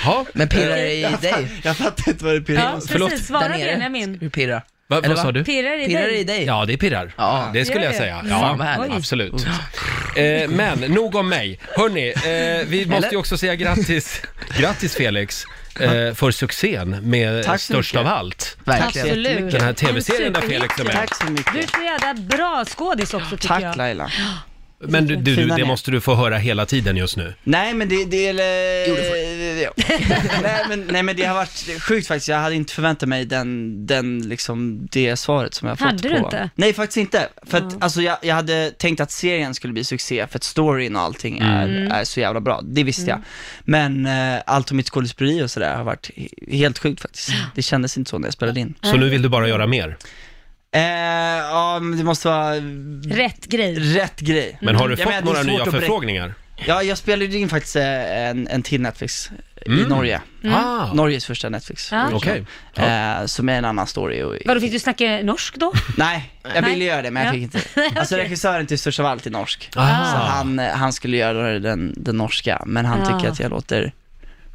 [SPEAKER 1] Ja.
[SPEAKER 8] Men pirrar det i dig?
[SPEAKER 9] Jag fattar inte vad det pirrar
[SPEAKER 2] Ja,
[SPEAKER 9] ja.
[SPEAKER 1] förlåt.
[SPEAKER 2] precis.
[SPEAKER 8] Där
[SPEAKER 2] Svara
[SPEAKER 8] nere?
[SPEAKER 2] Benjamin.
[SPEAKER 8] Du pirrar.
[SPEAKER 1] Va,
[SPEAKER 8] Eller
[SPEAKER 1] vad
[SPEAKER 8] va?
[SPEAKER 1] sa du?
[SPEAKER 2] Pirrar i
[SPEAKER 8] Pirrar det
[SPEAKER 2] dig?
[SPEAKER 8] i dig?
[SPEAKER 1] Ja, det pirrar.
[SPEAKER 8] Ja.
[SPEAKER 1] Det skulle
[SPEAKER 2] Gör
[SPEAKER 1] jag
[SPEAKER 2] det?
[SPEAKER 1] säga.
[SPEAKER 8] Fan, vad
[SPEAKER 1] Ja,
[SPEAKER 8] härligt.
[SPEAKER 1] absolut.
[SPEAKER 9] Mm.
[SPEAKER 1] Eh, men nog om mig. Hörni, eh, vi måste ju också säga grattis, grattis Felix, eh, för succén med
[SPEAKER 9] Tack så
[SPEAKER 1] Störst av
[SPEAKER 9] mycket.
[SPEAKER 1] allt.
[SPEAKER 8] Verkligen.
[SPEAKER 2] Absolut.
[SPEAKER 1] Den här tv-serien där
[SPEAKER 2] En
[SPEAKER 1] Felix är med.
[SPEAKER 9] Tack så
[SPEAKER 2] Du är
[SPEAKER 9] mycket.
[SPEAKER 2] så jävla bra skådis också tycker
[SPEAKER 9] Tack
[SPEAKER 2] jag.
[SPEAKER 9] Laila.
[SPEAKER 1] Men du, du,
[SPEAKER 9] Fina
[SPEAKER 1] det
[SPEAKER 9] ni.
[SPEAKER 1] måste du få höra hela tiden just nu.
[SPEAKER 9] Nej men det, det eller... nej, men, nej men det har varit sjukt faktiskt, jag hade inte förväntat mig den, den liksom, det svaret som jag fått
[SPEAKER 2] Hade
[SPEAKER 9] på.
[SPEAKER 2] du inte?
[SPEAKER 9] Nej faktiskt inte, för att alltså jag, jag hade tänkt att serien skulle bli succé för att storyn och allting
[SPEAKER 2] Mm.
[SPEAKER 9] är, är så jävla bra, det visste jag. Men eh, allt om mitt skådespeleri och sådär har varit he- helt sjukt faktiskt. Det kändes inte så när jag spelade in.
[SPEAKER 1] Så nu vill du bara göra mer.
[SPEAKER 9] Eh, ja men det måste vara
[SPEAKER 2] Rätt grej.
[SPEAKER 9] rätt grej.
[SPEAKER 1] Men har du
[SPEAKER 9] Jag menar,
[SPEAKER 1] fått
[SPEAKER 9] det är
[SPEAKER 1] några
[SPEAKER 9] svårt
[SPEAKER 1] nya
[SPEAKER 9] att berätta.
[SPEAKER 1] förfrågningar?
[SPEAKER 9] Ja, jag spelade in faktiskt eh, en, en till Netflix eh, i Norge.
[SPEAKER 1] Ah,
[SPEAKER 9] Norges första Netflix.
[SPEAKER 2] Ja.
[SPEAKER 1] okej.
[SPEAKER 9] Eh, som är en annan story. Och...
[SPEAKER 2] Vadå, fick du snacka norsk då?
[SPEAKER 9] Nej, jag
[SPEAKER 2] Nej.
[SPEAKER 9] ville göra det men jag
[SPEAKER 2] Ja.
[SPEAKER 9] fick inte. Alltså regissören till Störst av allt är norsk. Så
[SPEAKER 1] Ah.
[SPEAKER 9] han, eh, han skulle göra den, den norska, men han
[SPEAKER 2] Ah.
[SPEAKER 9] tycker att jag låter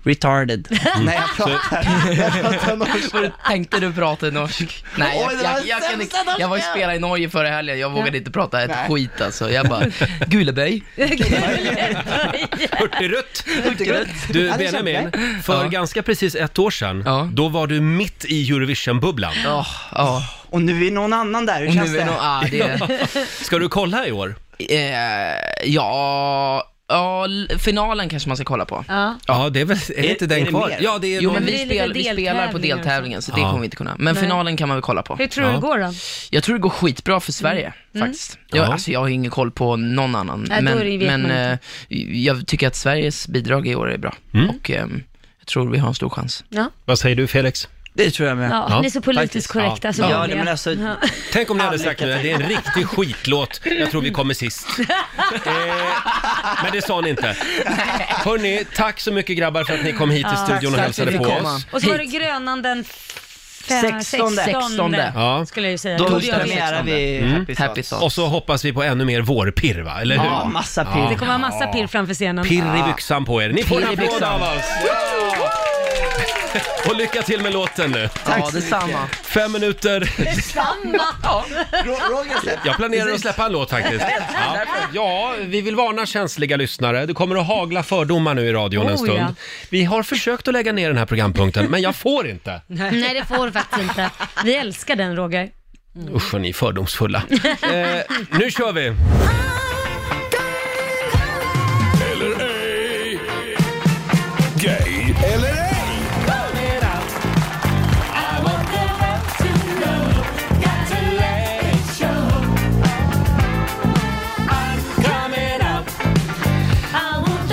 [SPEAKER 9] retarded när jag pratar. jag pratar norska.
[SPEAKER 8] För Mm. tänkte du prata norsk? Nej, jag,
[SPEAKER 9] Oj, det
[SPEAKER 8] jag,
[SPEAKER 9] var
[SPEAKER 8] jag,
[SPEAKER 9] den
[SPEAKER 8] kan
[SPEAKER 9] sämsta
[SPEAKER 8] inte- jag var ju
[SPEAKER 9] norskan.
[SPEAKER 8] spelade i Norge förra helgen, jag vågade inte prata ett skit alltså. Jag bara, Guleböj.
[SPEAKER 1] Hurtigrutt!
[SPEAKER 9] Ja,
[SPEAKER 1] Du
[SPEAKER 9] det känner
[SPEAKER 1] Benjamin, för
[SPEAKER 8] Ja.
[SPEAKER 1] ganska precis ett år sedan,
[SPEAKER 8] Ja.
[SPEAKER 1] då var du mitt i Eurovision-bubblan.
[SPEAKER 8] Ja, ja.
[SPEAKER 9] Och nu är någon annan där, hur
[SPEAKER 8] Och
[SPEAKER 9] känns
[SPEAKER 8] nu är
[SPEAKER 9] det?
[SPEAKER 8] nog, ah, det,
[SPEAKER 1] Ska du kolla i år?
[SPEAKER 8] eh, ja, ja, l- finalen kanske man ska kolla på.
[SPEAKER 2] Ja.
[SPEAKER 1] Ja, det är väl, är det inte
[SPEAKER 9] är
[SPEAKER 1] den
[SPEAKER 9] det
[SPEAKER 1] kvar?
[SPEAKER 9] mer?
[SPEAKER 1] Ja, det är
[SPEAKER 8] Jo
[SPEAKER 1] någon-
[SPEAKER 8] men
[SPEAKER 2] det
[SPEAKER 8] vi,
[SPEAKER 2] är lite
[SPEAKER 8] spel, vi spelar på
[SPEAKER 2] deltävlingar och
[SPEAKER 8] deltävlingen så det
[SPEAKER 1] Ja.
[SPEAKER 8] kommer vi inte kunna. Men finalen kan man väl kolla på.
[SPEAKER 2] Hur tror du det går då?
[SPEAKER 8] Jag tror det går skitbra för Sverige faktiskt. Jag,
[SPEAKER 1] Ja.
[SPEAKER 8] alltså, jag har ingen koll på någon annan.
[SPEAKER 2] Mm. Nej, då är det-
[SPEAKER 8] men
[SPEAKER 2] vet
[SPEAKER 8] men
[SPEAKER 2] man
[SPEAKER 8] eh, jag tycker att Sveriges bidrag i år är bra.
[SPEAKER 1] Mm.
[SPEAKER 8] Och ehm, jag tror vi har en stor chans.
[SPEAKER 2] Ja.
[SPEAKER 1] Vad säger du Felix?
[SPEAKER 9] Det tror jag med.
[SPEAKER 2] Ja,
[SPEAKER 1] Ja,
[SPEAKER 2] ni är så politiskt
[SPEAKER 9] faktiskt.
[SPEAKER 2] korrekta. så
[SPEAKER 9] Ja,
[SPEAKER 2] dåliga.
[SPEAKER 9] nej, men alltså-
[SPEAKER 1] Tänk om ni hade sagt nu, det är en riktig skitlåt, jag tror vi kommer sist. Eh, men det sa ni inte. Hörni, tack så mycket grabbar för att ni kom hit till studion och
[SPEAKER 8] tack
[SPEAKER 1] hälsade
[SPEAKER 8] för att
[SPEAKER 1] på
[SPEAKER 8] vi fick komma.
[SPEAKER 1] oss.
[SPEAKER 2] Och så var det Grönan den f- Fem,
[SPEAKER 9] Sextonde.
[SPEAKER 2] sextonde.
[SPEAKER 1] Ja.
[SPEAKER 2] Skulle jag ju säga.
[SPEAKER 9] Då
[SPEAKER 2] Det kommer att
[SPEAKER 9] premiärar vi Happy Thoughts.
[SPEAKER 8] liksom Mm. Happy Thoughts.
[SPEAKER 1] Och så hoppas vi på ännu mer vårpirr va, eller hur?
[SPEAKER 9] Ja, massa pirr.
[SPEAKER 2] Det kommer vara massa pirr framför scenen.
[SPEAKER 1] Pirr i byxan på er. Ni får en
[SPEAKER 8] Pirr i
[SPEAKER 1] applåd
[SPEAKER 8] byxan.
[SPEAKER 1] av oss. Och lycka till med låten nu.
[SPEAKER 8] Ja, detsamma.
[SPEAKER 1] Fem minuter.
[SPEAKER 9] Ro- Roger släpp.
[SPEAKER 1] Jag planerar att släppa en låt faktiskt. Ja. ja, vi vill varna känsliga lyssnare. Det kommer att hagla fördomar nu i radion en
[SPEAKER 2] Oh,
[SPEAKER 1] stund.
[SPEAKER 2] ja.
[SPEAKER 1] Vi har försökt att lägga ner den här programpunkten, men jag får inte.
[SPEAKER 2] Nej, det får du faktiskt inte. Vi älskar den, Roger.
[SPEAKER 1] Usch vad ni är fördomsfulla. Eh, nu kör vi!
[SPEAKER 4] Eller ej. Gay eller ej.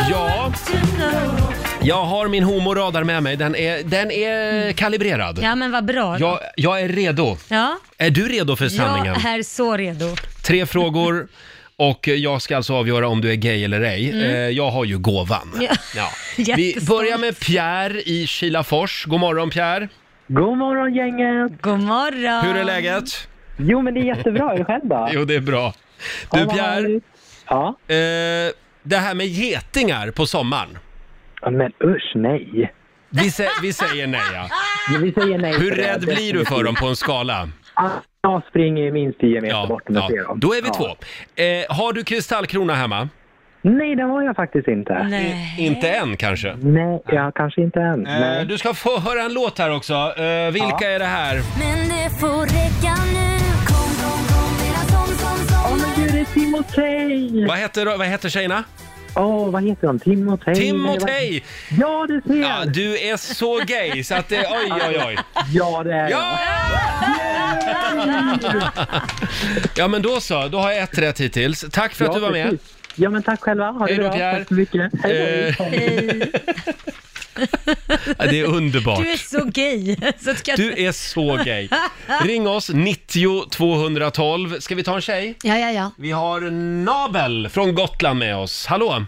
[SPEAKER 1] Ja, jag har min homoradar med mig. Den är, den är kalibrerad.
[SPEAKER 2] Ja, men vad bra.
[SPEAKER 1] Jag, jag är redo.
[SPEAKER 2] Ja,
[SPEAKER 1] Är du redo för
[SPEAKER 2] jag
[SPEAKER 1] sanningen?
[SPEAKER 2] är så redo.
[SPEAKER 1] Tre frågor och jag ska alltså avgöra om du är gay eller ej. Eh, Jag har ju gåvan.
[SPEAKER 2] Mm. Ja.
[SPEAKER 1] Ja. Vi
[SPEAKER 2] Jättestolt.
[SPEAKER 1] börjar med Pierre i Kilafors. God morgon Pierre!
[SPEAKER 10] God morgon gänget!
[SPEAKER 2] God morgon.
[SPEAKER 1] Hur är läget?
[SPEAKER 10] Jo men det är jättebra, är det själv då?
[SPEAKER 1] Jo, det är bra. Du Pierre,
[SPEAKER 10] Ja?
[SPEAKER 1] eh, det här med getingar på sommaren.
[SPEAKER 10] Ja, Men usch, nej.
[SPEAKER 1] Vi, sä vi säger nej ja.
[SPEAKER 10] Ja, Vi säger nej.
[SPEAKER 1] Hur
[SPEAKER 10] till det.
[SPEAKER 1] rädd blir du för dem på en skala?
[SPEAKER 10] Ja, Jag springer minst 10 meter bort om jag ser dem.
[SPEAKER 1] Då är vi
[SPEAKER 10] Ja.
[SPEAKER 1] två. Eh, har du kristallkrona hemma?
[SPEAKER 10] Nej, det har jag faktiskt inte. Nej,
[SPEAKER 2] Nej.
[SPEAKER 1] Inte än kanske?
[SPEAKER 10] ja, kanske inte än.
[SPEAKER 1] Eh,
[SPEAKER 10] Nej.
[SPEAKER 1] du ska få höra en låt här också. Eh, vilka är det här?
[SPEAKER 7] Men det får räcka nu. Kom, kom, kom, mera som, som, som.
[SPEAKER 10] Åh men gud, det är Timotej!
[SPEAKER 1] Vad heter, vad heter tjejerna?
[SPEAKER 10] Åh, vad heter de? Timotej?
[SPEAKER 1] Timotej!
[SPEAKER 10] Nej, vad- Ja, du ser!
[SPEAKER 1] Ja,
[SPEAKER 10] Ja,
[SPEAKER 1] du är så gay så att det... Oj, oj, oj.
[SPEAKER 10] det är
[SPEAKER 1] Ja! Ja, men då så. Då har jag ett rätt hittills. Tack för
[SPEAKER 10] jag.
[SPEAKER 1] att du var med.
[SPEAKER 10] precis. Ja, men tack själva. Ha det
[SPEAKER 1] Hej då,
[SPEAKER 10] bra.
[SPEAKER 1] Pierre.
[SPEAKER 10] Tack så mycket. Hej då.
[SPEAKER 1] Eh, ja, det är underbart.
[SPEAKER 2] Du är så gay. Så att jag...
[SPEAKER 1] Du är så gay. Ring oss, 90 212. Ska vi ta en tjej?
[SPEAKER 2] Ja, ja, ja.
[SPEAKER 1] Vi har Nabel från Gotland med oss. Hallå!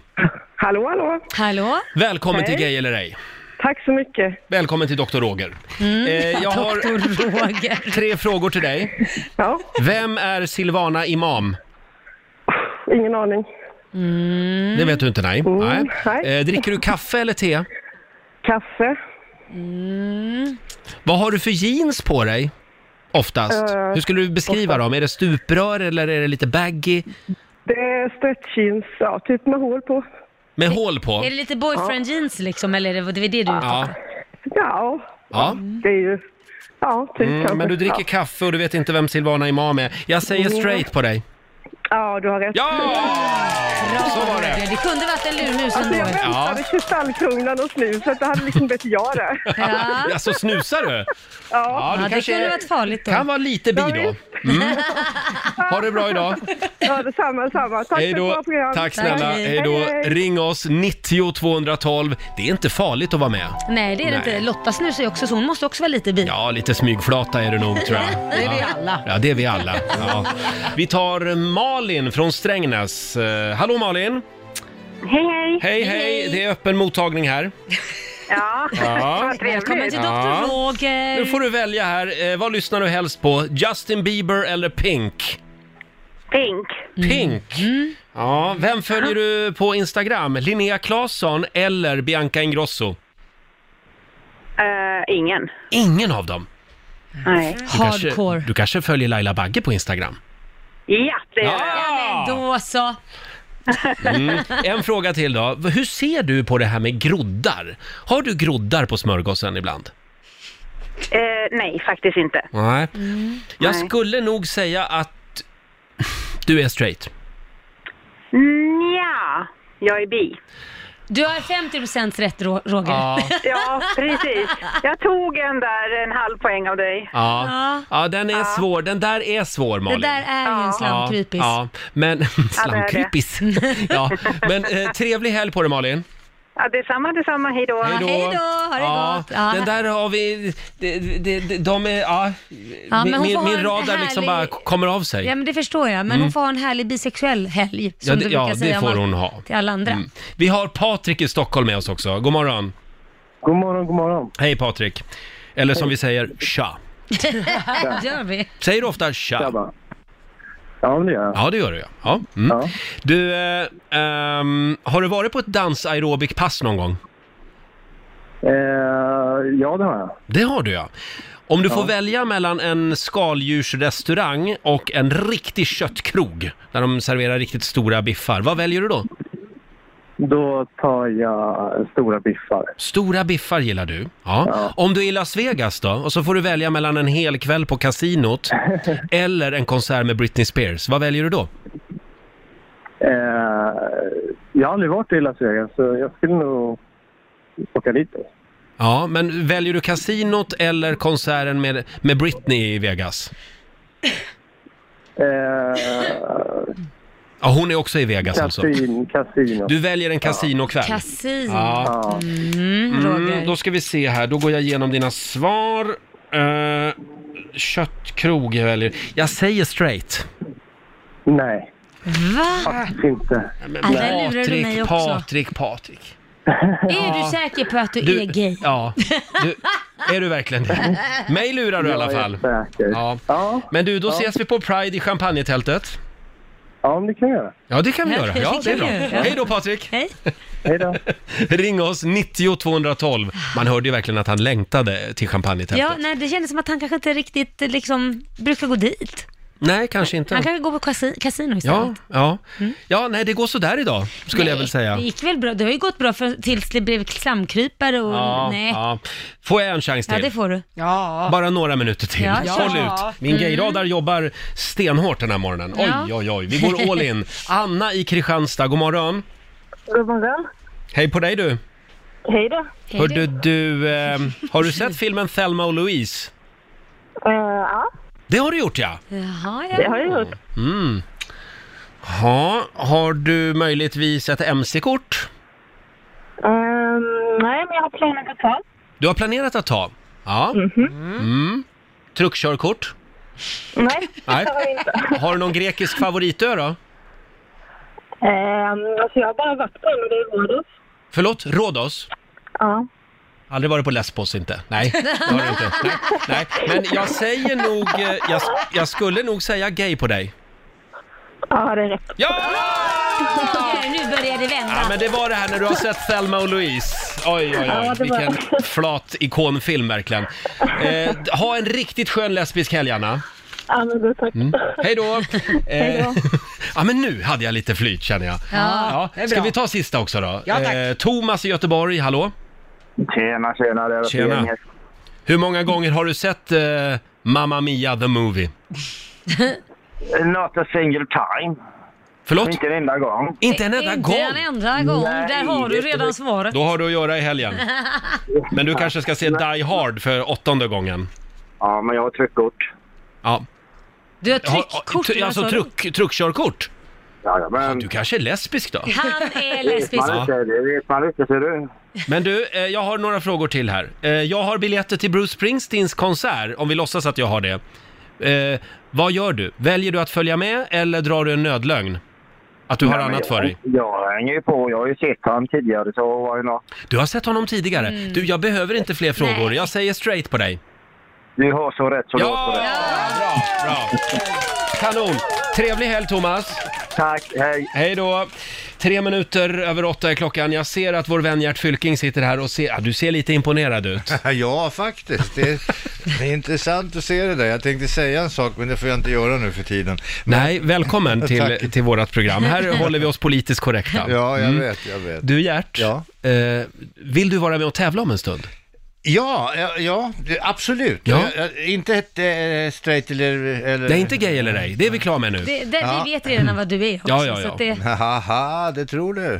[SPEAKER 10] Hallå, hallå.
[SPEAKER 2] Hallå?
[SPEAKER 1] Välkommen till Gay eller ej.
[SPEAKER 10] Tack så mycket.
[SPEAKER 1] Välkommen till Dr. Roger. Eh, jag har
[SPEAKER 2] Mm. Doktor Roger.
[SPEAKER 1] tre frågor till dig.
[SPEAKER 10] Ja,
[SPEAKER 1] Vem är Silvana Imam?
[SPEAKER 10] ingen aning.
[SPEAKER 1] Det
[SPEAKER 2] Mm.
[SPEAKER 1] vet du inte, nej. nej.
[SPEAKER 10] Mm, nej.
[SPEAKER 1] Eh, dricker du kaffe eller te?
[SPEAKER 10] Kaffe?
[SPEAKER 1] Vad har du för jeans på dig? Oftast.
[SPEAKER 10] Eh.
[SPEAKER 1] Hur skulle du beskriva dem? Är det stuprör eller är det lite baggy?
[SPEAKER 10] Det är stretch jeans, ja, typ med hål på.
[SPEAKER 1] Med hål på?
[SPEAKER 2] Är det lite boyfriend jeans liksom, eller är det det, är det du är ute
[SPEAKER 1] Ja.
[SPEAKER 2] efter?
[SPEAKER 10] Ja,
[SPEAKER 1] ja. Mm,
[SPEAKER 10] det är ju... Ja, typ kanske.
[SPEAKER 1] Men du dricker
[SPEAKER 10] ja. Mm.
[SPEAKER 1] kaffe och du vet inte vem Silvana Imam är. Jag säger straight på dig.
[SPEAKER 10] ja, du har rätt.
[SPEAKER 1] Ja! Så var det.
[SPEAKER 2] Det kunde varit en lurmus
[SPEAKER 10] Alltså, jag
[SPEAKER 2] ändå.
[SPEAKER 10] väntade kristallkronan och snuset. Det hade liksom blivit jag det.
[SPEAKER 2] Ja.
[SPEAKER 1] Alltså snusar du? Ja,
[SPEAKER 2] Ja, det kunde varit farligt då.
[SPEAKER 1] kan vara lite bi då. Mm. Ha det bra idag.
[SPEAKER 10] Ja, detsamma, detsamma. Tack
[SPEAKER 1] Hej
[SPEAKER 10] för ett
[SPEAKER 1] då.
[SPEAKER 10] bra program.
[SPEAKER 1] Tack snälla.
[SPEAKER 2] Hej.
[SPEAKER 1] Hej då.
[SPEAKER 10] Hej, hej.
[SPEAKER 1] Ring oss, 90 212. Det är inte farligt att vara med.
[SPEAKER 2] Nej, det är det
[SPEAKER 1] Nej.
[SPEAKER 2] inte. Lotta snusar ju också, så hon måste också vara lite bi.
[SPEAKER 1] Ja, lite smygflata är det nog tror jag.
[SPEAKER 3] Det är vi alla.
[SPEAKER 1] Ja, det är vi alla. Ja. Vi tar Malin från Strängnäs. Eh, Hallå Malin!
[SPEAKER 7] Hej, hej.
[SPEAKER 1] Hej, hej! Det är öppen mottagning här.
[SPEAKER 7] Ja,
[SPEAKER 1] Ja.
[SPEAKER 7] vad trevligt.
[SPEAKER 2] Välkommen till
[SPEAKER 1] Ja.
[SPEAKER 2] Dr. Roger.
[SPEAKER 1] Nu får du välja här. Eh, Vad lyssnar du helst på? Justin Bieber eller Pink?
[SPEAKER 7] Pink.
[SPEAKER 1] Pink! Ja, vem följer du på Instagram? Linnea Claesson eller Bianca Ingrosso?
[SPEAKER 7] Eh, ingen.
[SPEAKER 1] Ingen av dem.
[SPEAKER 7] Nej.
[SPEAKER 1] Du kanske,
[SPEAKER 2] Hardcore.
[SPEAKER 1] du kanske följer Laila Bagge på Instagram?
[SPEAKER 7] Ja, det är det.
[SPEAKER 1] Ja!
[SPEAKER 2] Då så.
[SPEAKER 1] En fråga till då. Hur ser du på det här med groddar? Har du groddar på smörgåsen ibland?
[SPEAKER 7] Eh, nej, faktiskt inte.
[SPEAKER 1] Nej. Mm. Jag
[SPEAKER 7] Nej.
[SPEAKER 1] skulle nog säga att du är straight.
[SPEAKER 7] Nja, jag är bi.
[SPEAKER 2] Du har 50% rätt, Ro- Roger.
[SPEAKER 7] Ja, precis. Jag tog en där, en halv poäng av dig.
[SPEAKER 1] Ja. ja, den är svår. Den där är svår,
[SPEAKER 2] Det
[SPEAKER 1] Malin.
[SPEAKER 2] där är ju en slamkrypis.
[SPEAKER 1] Ja, ja. men...
[SPEAKER 7] det.
[SPEAKER 1] Slamkrypis. ja, men eh, trevlig helg på dig, Malin.
[SPEAKER 7] Ja, detsamma, detsamma. Hej då.
[SPEAKER 2] hej då. Ha det
[SPEAKER 1] ja,
[SPEAKER 2] gott. Ja.
[SPEAKER 1] Den där har vi... De, de, de, de är... Ja,
[SPEAKER 2] men
[SPEAKER 1] min
[SPEAKER 2] hon får
[SPEAKER 1] min,
[SPEAKER 2] ha
[SPEAKER 1] min
[SPEAKER 2] en
[SPEAKER 1] radar
[SPEAKER 2] härlig-
[SPEAKER 1] liksom bara k- kommer av sig.
[SPEAKER 2] Ja, men det förstår jag. Men hon får ha en härlig bisexuell helg, som
[SPEAKER 1] Mm. Ja, det-
[SPEAKER 2] du brukar
[SPEAKER 1] ja, det
[SPEAKER 2] säga om
[SPEAKER 1] får
[SPEAKER 2] allt-
[SPEAKER 1] hon ha.
[SPEAKER 2] till alla andra.
[SPEAKER 1] Mm. Vi har Patrik i Stockholm med oss också. God morgon.
[SPEAKER 10] God morgon, god morgon.
[SPEAKER 1] Hej Patrik. Eller som vi säger, tja.
[SPEAKER 2] det gör vi.
[SPEAKER 1] Säger du ofta tja?
[SPEAKER 5] Ja, men det gör jag.
[SPEAKER 1] Ja, det gör du ja. ja. Mm.
[SPEAKER 5] Ja.
[SPEAKER 1] Du, eh, ehm, har du varit på ett dansaerobikpass någon gång?
[SPEAKER 5] Eh, ja, det har jag.
[SPEAKER 1] Det har du ja. Om du får välja mellan en skaldjursrestaurang och en riktig köttkrog, där de serverar riktigt stora biffar, vad väljer du då?
[SPEAKER 5] Då tar jag stora biffar.
[SPEAKER 1] Stora biffar gillar du. Ja. Om du är i Las Vegas då, och så får du välja mellan en hel kväll på kasinot eller en konsert med Britney Spears, vad väljer du då?
[SPEAKER 5] Eh, jag har aldrig varit i Las Vegas, så jag skulle nog åka dit. då.
[SPEAKER 1] Ja, men väljer du kasinot eller konserten med, med Britney i Vegas?
[SPEAKER 5] Eh,
[SPEAKER 1] Ja, hon är också i Vegas alltså.
[SPEAKER 5] kasin, kasino.
[SPEAKER 1] Du väljer en kasinokväll.
[SPEAKER 2] Kasin.
[SPEAKER 1] Ja.
[SPEAKER 5] Ja.
[SPEAKER 2] Mm, Roger.
[SPEAKER 1] Mm, då ska vi se här, då går jag igenom dina svar. Eh, köttkrog jag väljer. Jag säger straight.
[SPEAKER 5] Nej,
[SPEAKER 2] Va?
[SPEAKER 5] faktiskt inte.
[SPEAKER 2] Ja, där lurar du mig
[SPEAKER 1] Patrik,
[SPEAKER 2] också.
[SPEAKER 1] Patrik, Patrik.
[SPEAKER 2] Är du säker på att du, är gay?
[SPEAKER 1] Ja, du, är du verkligen det? Mig lurar du i alla
[SPEAKER 5] Jag är
[SPEAKER 1] fall.
[SPEAKER 5] Säker.
[SPEAKER 1] Ja.
[SPEAKER 5] Ja.
[SPEAKER 1] Men du, då ses vi på Pride i champagnetältet.
[SPEAKER 5] ja, men det kan jag göra.
[SPEAKER 1] Ja, det kan vi
[SPEAKER 2] Ja,
[SPEAKER 1] göra.
[SPEAKER 2] det
[SPEAKER 1] Ja,
[SPEAKER 2] kan
[SPEAKER 1] det är
[SPEAKER 2] vi
[SPEAKER 1] bra.
[SPEAKER 2] göra.
[SPEAKER 1] Hej då Patrik!
[SPEAKER 2] Hej.
[SPEAKER 5] Hej då.
[SPEAKER 1] Ring oss, 90 212. Man hörde ju verkligen att han längtade till
[SPEAKER 2] Ja,
[SPEAKER 1] champagnetältet.
[SPEAKER 2] nej, det kändes som att han kanske inte riktigt eh, liksom, brukar gå dit.
[SPEAKER 1] Nej, kanske
[SPEAKER 2] Han
[SPEAKER 1] inte.
[SPEAKER 2] kanske går på kasi- kasino
[SPEAKER 1] Ja,
[SPEAKER 2] istället.
[SPEAKER 1] ja. Ja, nej, det går sådär idag, skulle jag
[SPEAKER 2] Mm. Nej,
[SPEAKER 1] väl säga.
[SPEAKER 2] Det gick väl bra. Det har ju gått bra för, tills det blev slamkrypare och
[SPEAKER 1] Ja,
[SPEAKER 2] nej. Ja,
[SPEAKER 1] ja. Får jag en chans till?
[SPEAKER 2] det får du.
[SPEAKER 3] Ja.
[SPEAKER 1] Bara några minuter till.
[SPEAKER 2] Ja, Mm.
[SPEAKER 1] Håll
[SPEAKER 3] ja.
[SPEAKER 1] ut. Min gayradar jobbar stenhårt den här morgonen. Oj,
[SPEAKER 2] Ja.
[SPEAKER 1] oj, oj. Vi går all in. Anna i Kristianstad, god morgon.
[SPEAKER 10] God morgon.
[SPEAKER 1] Hej på dig du.
[SPEAKER 10] Hej då.
[SPEAKER 1] Hörde du, eh, har du sett filmen Thelma och Louise?
[SPEAKER 10] Eh, ja,
[SPEAKER 1] Det har du gjort ja.
[SPEAKER 2] Jaha,
[SPEAKER 10] det
[SPEAKER 2] ja.
[SPEAKER 10] har jag gjort.
[SPEAKER 1] Ja, har du möjligtvis ett MC-kort?
[SPEAKER 10] Ehm, nej, men jag har planer på att ta.
[SPEAKER 1] Du har planerat att ta? Ja. Mm. Truckkörkort?
[SPEAKER 10] Mhm. Nej,
[SPEAKER 1] Nej.
[SPEAKER 10] det har jag inte.
[SPEAKER 1] Har du någon grekisk favoritö då?
[SPEAKER 10] Ehm, alltså jag har bara varit på en och det är Rhodos.
[SPEAKER 1] Förlåt, Rhodos?
[SPEAKER 10] Ja.
[SPEAKER 1] Aldrig varit på Lesbos inte. Nej, det har du inte. Nej, nej. Men jag säger nog, eh, jag, jag skulle nog säga gay på dig.
[SPEAKER 10] ja, det är rätt.
[SPEAKER 1] Ja!
[SPEAKER 2] Roger, nu börjar det vända.
[SPEAKER 1] Ja, men det var det här när du har sett Thelma och Louise. Oj, oj, oj.
[SPEAKER 10] Ja, det var-
[SPEAKER 1] Vilken flat ikonfilm verkligen. Eh, ha en riktigt skön lesbisk helg, Anna. Mm.
[SPEAKER 10] Ja, men då tack.
[SPEAKER 1] Hej då! Eh,
[SPEAKER 10] Hej då.
[SPEAKER 1] ja, men nu hade jag lite flyt känner jag. Ja,
[SPEAKER 3] det är
[SPEAKER 1] ska
[SPEAKER 3] bra.
[SPEAKER 1] vi ta sista också då? Eh,
[SPEAKER 3] Ja, tack.
[SPEAKER 1] Thomas i Göteborg, hallå?
[SPEAKER 5] Tjena, tjena. Det är
[SPEAKER 1] Tjena.
[SPEAKER 5] gänget.
[SPEAKER 1] Hur många gånger har du sett eh, Mamma Mia the Movie?
[SPEAKER 5] Not a single time.
[SPEAKER 1] Förlåt?
[SPEAKER 5] Inte en enda gång.
[SPEAKER 1] Inte en enda
[SPEAKER 2] Inte
[SPEAKER 1] gång!
[SPEAKER 2] en enda gång.
[SPEAKER 5] Nej,
[SPEAKER 2] Där har du
[SPEAKER 5] det är
[SPEAKER 2] redan svaret.
[SPEAKER 1] Då har du att göra i helgen. Men du kanske ska se Die Hard för åttonde gången.
[SPEAKER 5] Ja, men jag har tryckkort.
[SPEAKER 1] Ja.
[SPEAKER 2] Du har
[SPEAKER 1] Har-
[SPEAKER 2] tryckkort.
[SPEAKER 1] tr-
[SPEAKER 2] du har
[SPEAKER 1] alltså
[SPEAKER 2] svarat.
[SPEAKER 1] truck, truckkörkort?
[SPEAKER 5] Jajamän.
[SPEAKER 1] Du kanske är lesbisk då?
[SPEAKER 2] Han är lesbisk.
[SPEAKER 5] Man inte, det vet man inte, ser du.
[SPEAKER 1] Men du, eh, jag har några frågor till här. Eh, jag har biljetter till Bruce Springsteens konsert, om vi låtsas att jag har det. Eh, vad gör du? Väljer du att följa med eller drar du en nödlögn? Att du har
[SPEAKER 5] Nej, men
[SPEAKER 1] annat för
[SPEAKER 5] jag-
[SPEAKER 1] dig?
[SPEAKER 5] Jag hänger ju på. Jag har ju sett han tidigare, så var ju något.
[SPEAKER 1] Du har sett honom tidigare.
[SPEAKER 2] Mm.
[SPEAKER 1] Du, jag behöver inte fler frågor. Jag säger straight på dig.
[SPEAKER 5] Du har så rätt så du har
[SPEAKER 1] Ja!
[SPEAKER 5] så rätt.
[SPEAKER 1] Bra, bra. Kanon! Trevlig helg Thomas!
[SPEAKER 5] Tack, hej.
[SPEAKER 1] Hej då! Tre minuter över åtta är klockan. Jag ser att vår vän Gert Fylking sitter här och ser... Ja, du ser lite imponerad ut.
[SPEAKER 11] Ja, faktiskt. Det är, det är intressant att se det där. Jag tänkte säga en sak, men det får jag inte göra nu för tiden. Men,
[SPEAKER 1] Nej, välkommen till,
[SPEAKER 11] Tack.
[SPEAKER 1] till vårt program. Här håller vi oss politiskt korrekta.
[SPEAKER 11] Ja, jag
[SPEAKER 1] Mm.
[SPEAKER 11] vet, jag vet.
[SPEAKER 1] Du Gert,
[SPEAKER 11] Ja.
[SPEAKER 1] eh, vill du vara med och tävla om en stund?
[SPEAKER 11] Ja, ja, ja det- absolut.
[SPEAKER 1] Ja.
[SPEAKER 11] Jag- jag- inte ett eh, straight eller... eller...
[SPEAKER 1] Det är inte gay eller ej, det är vi klara med nu.
[SPEAKER 2] Det, det,
[SPEAKER 11] Ja.
[SPEAKER 2] Vi vet redan vad du är också.
[SPEAKER 1] Ja, ja,
[SPEAKER 2] Så
[SPEAKER 1] ja.
[SPEAKER 2] att det,
[SPEAKER 11] Haha, det tror du.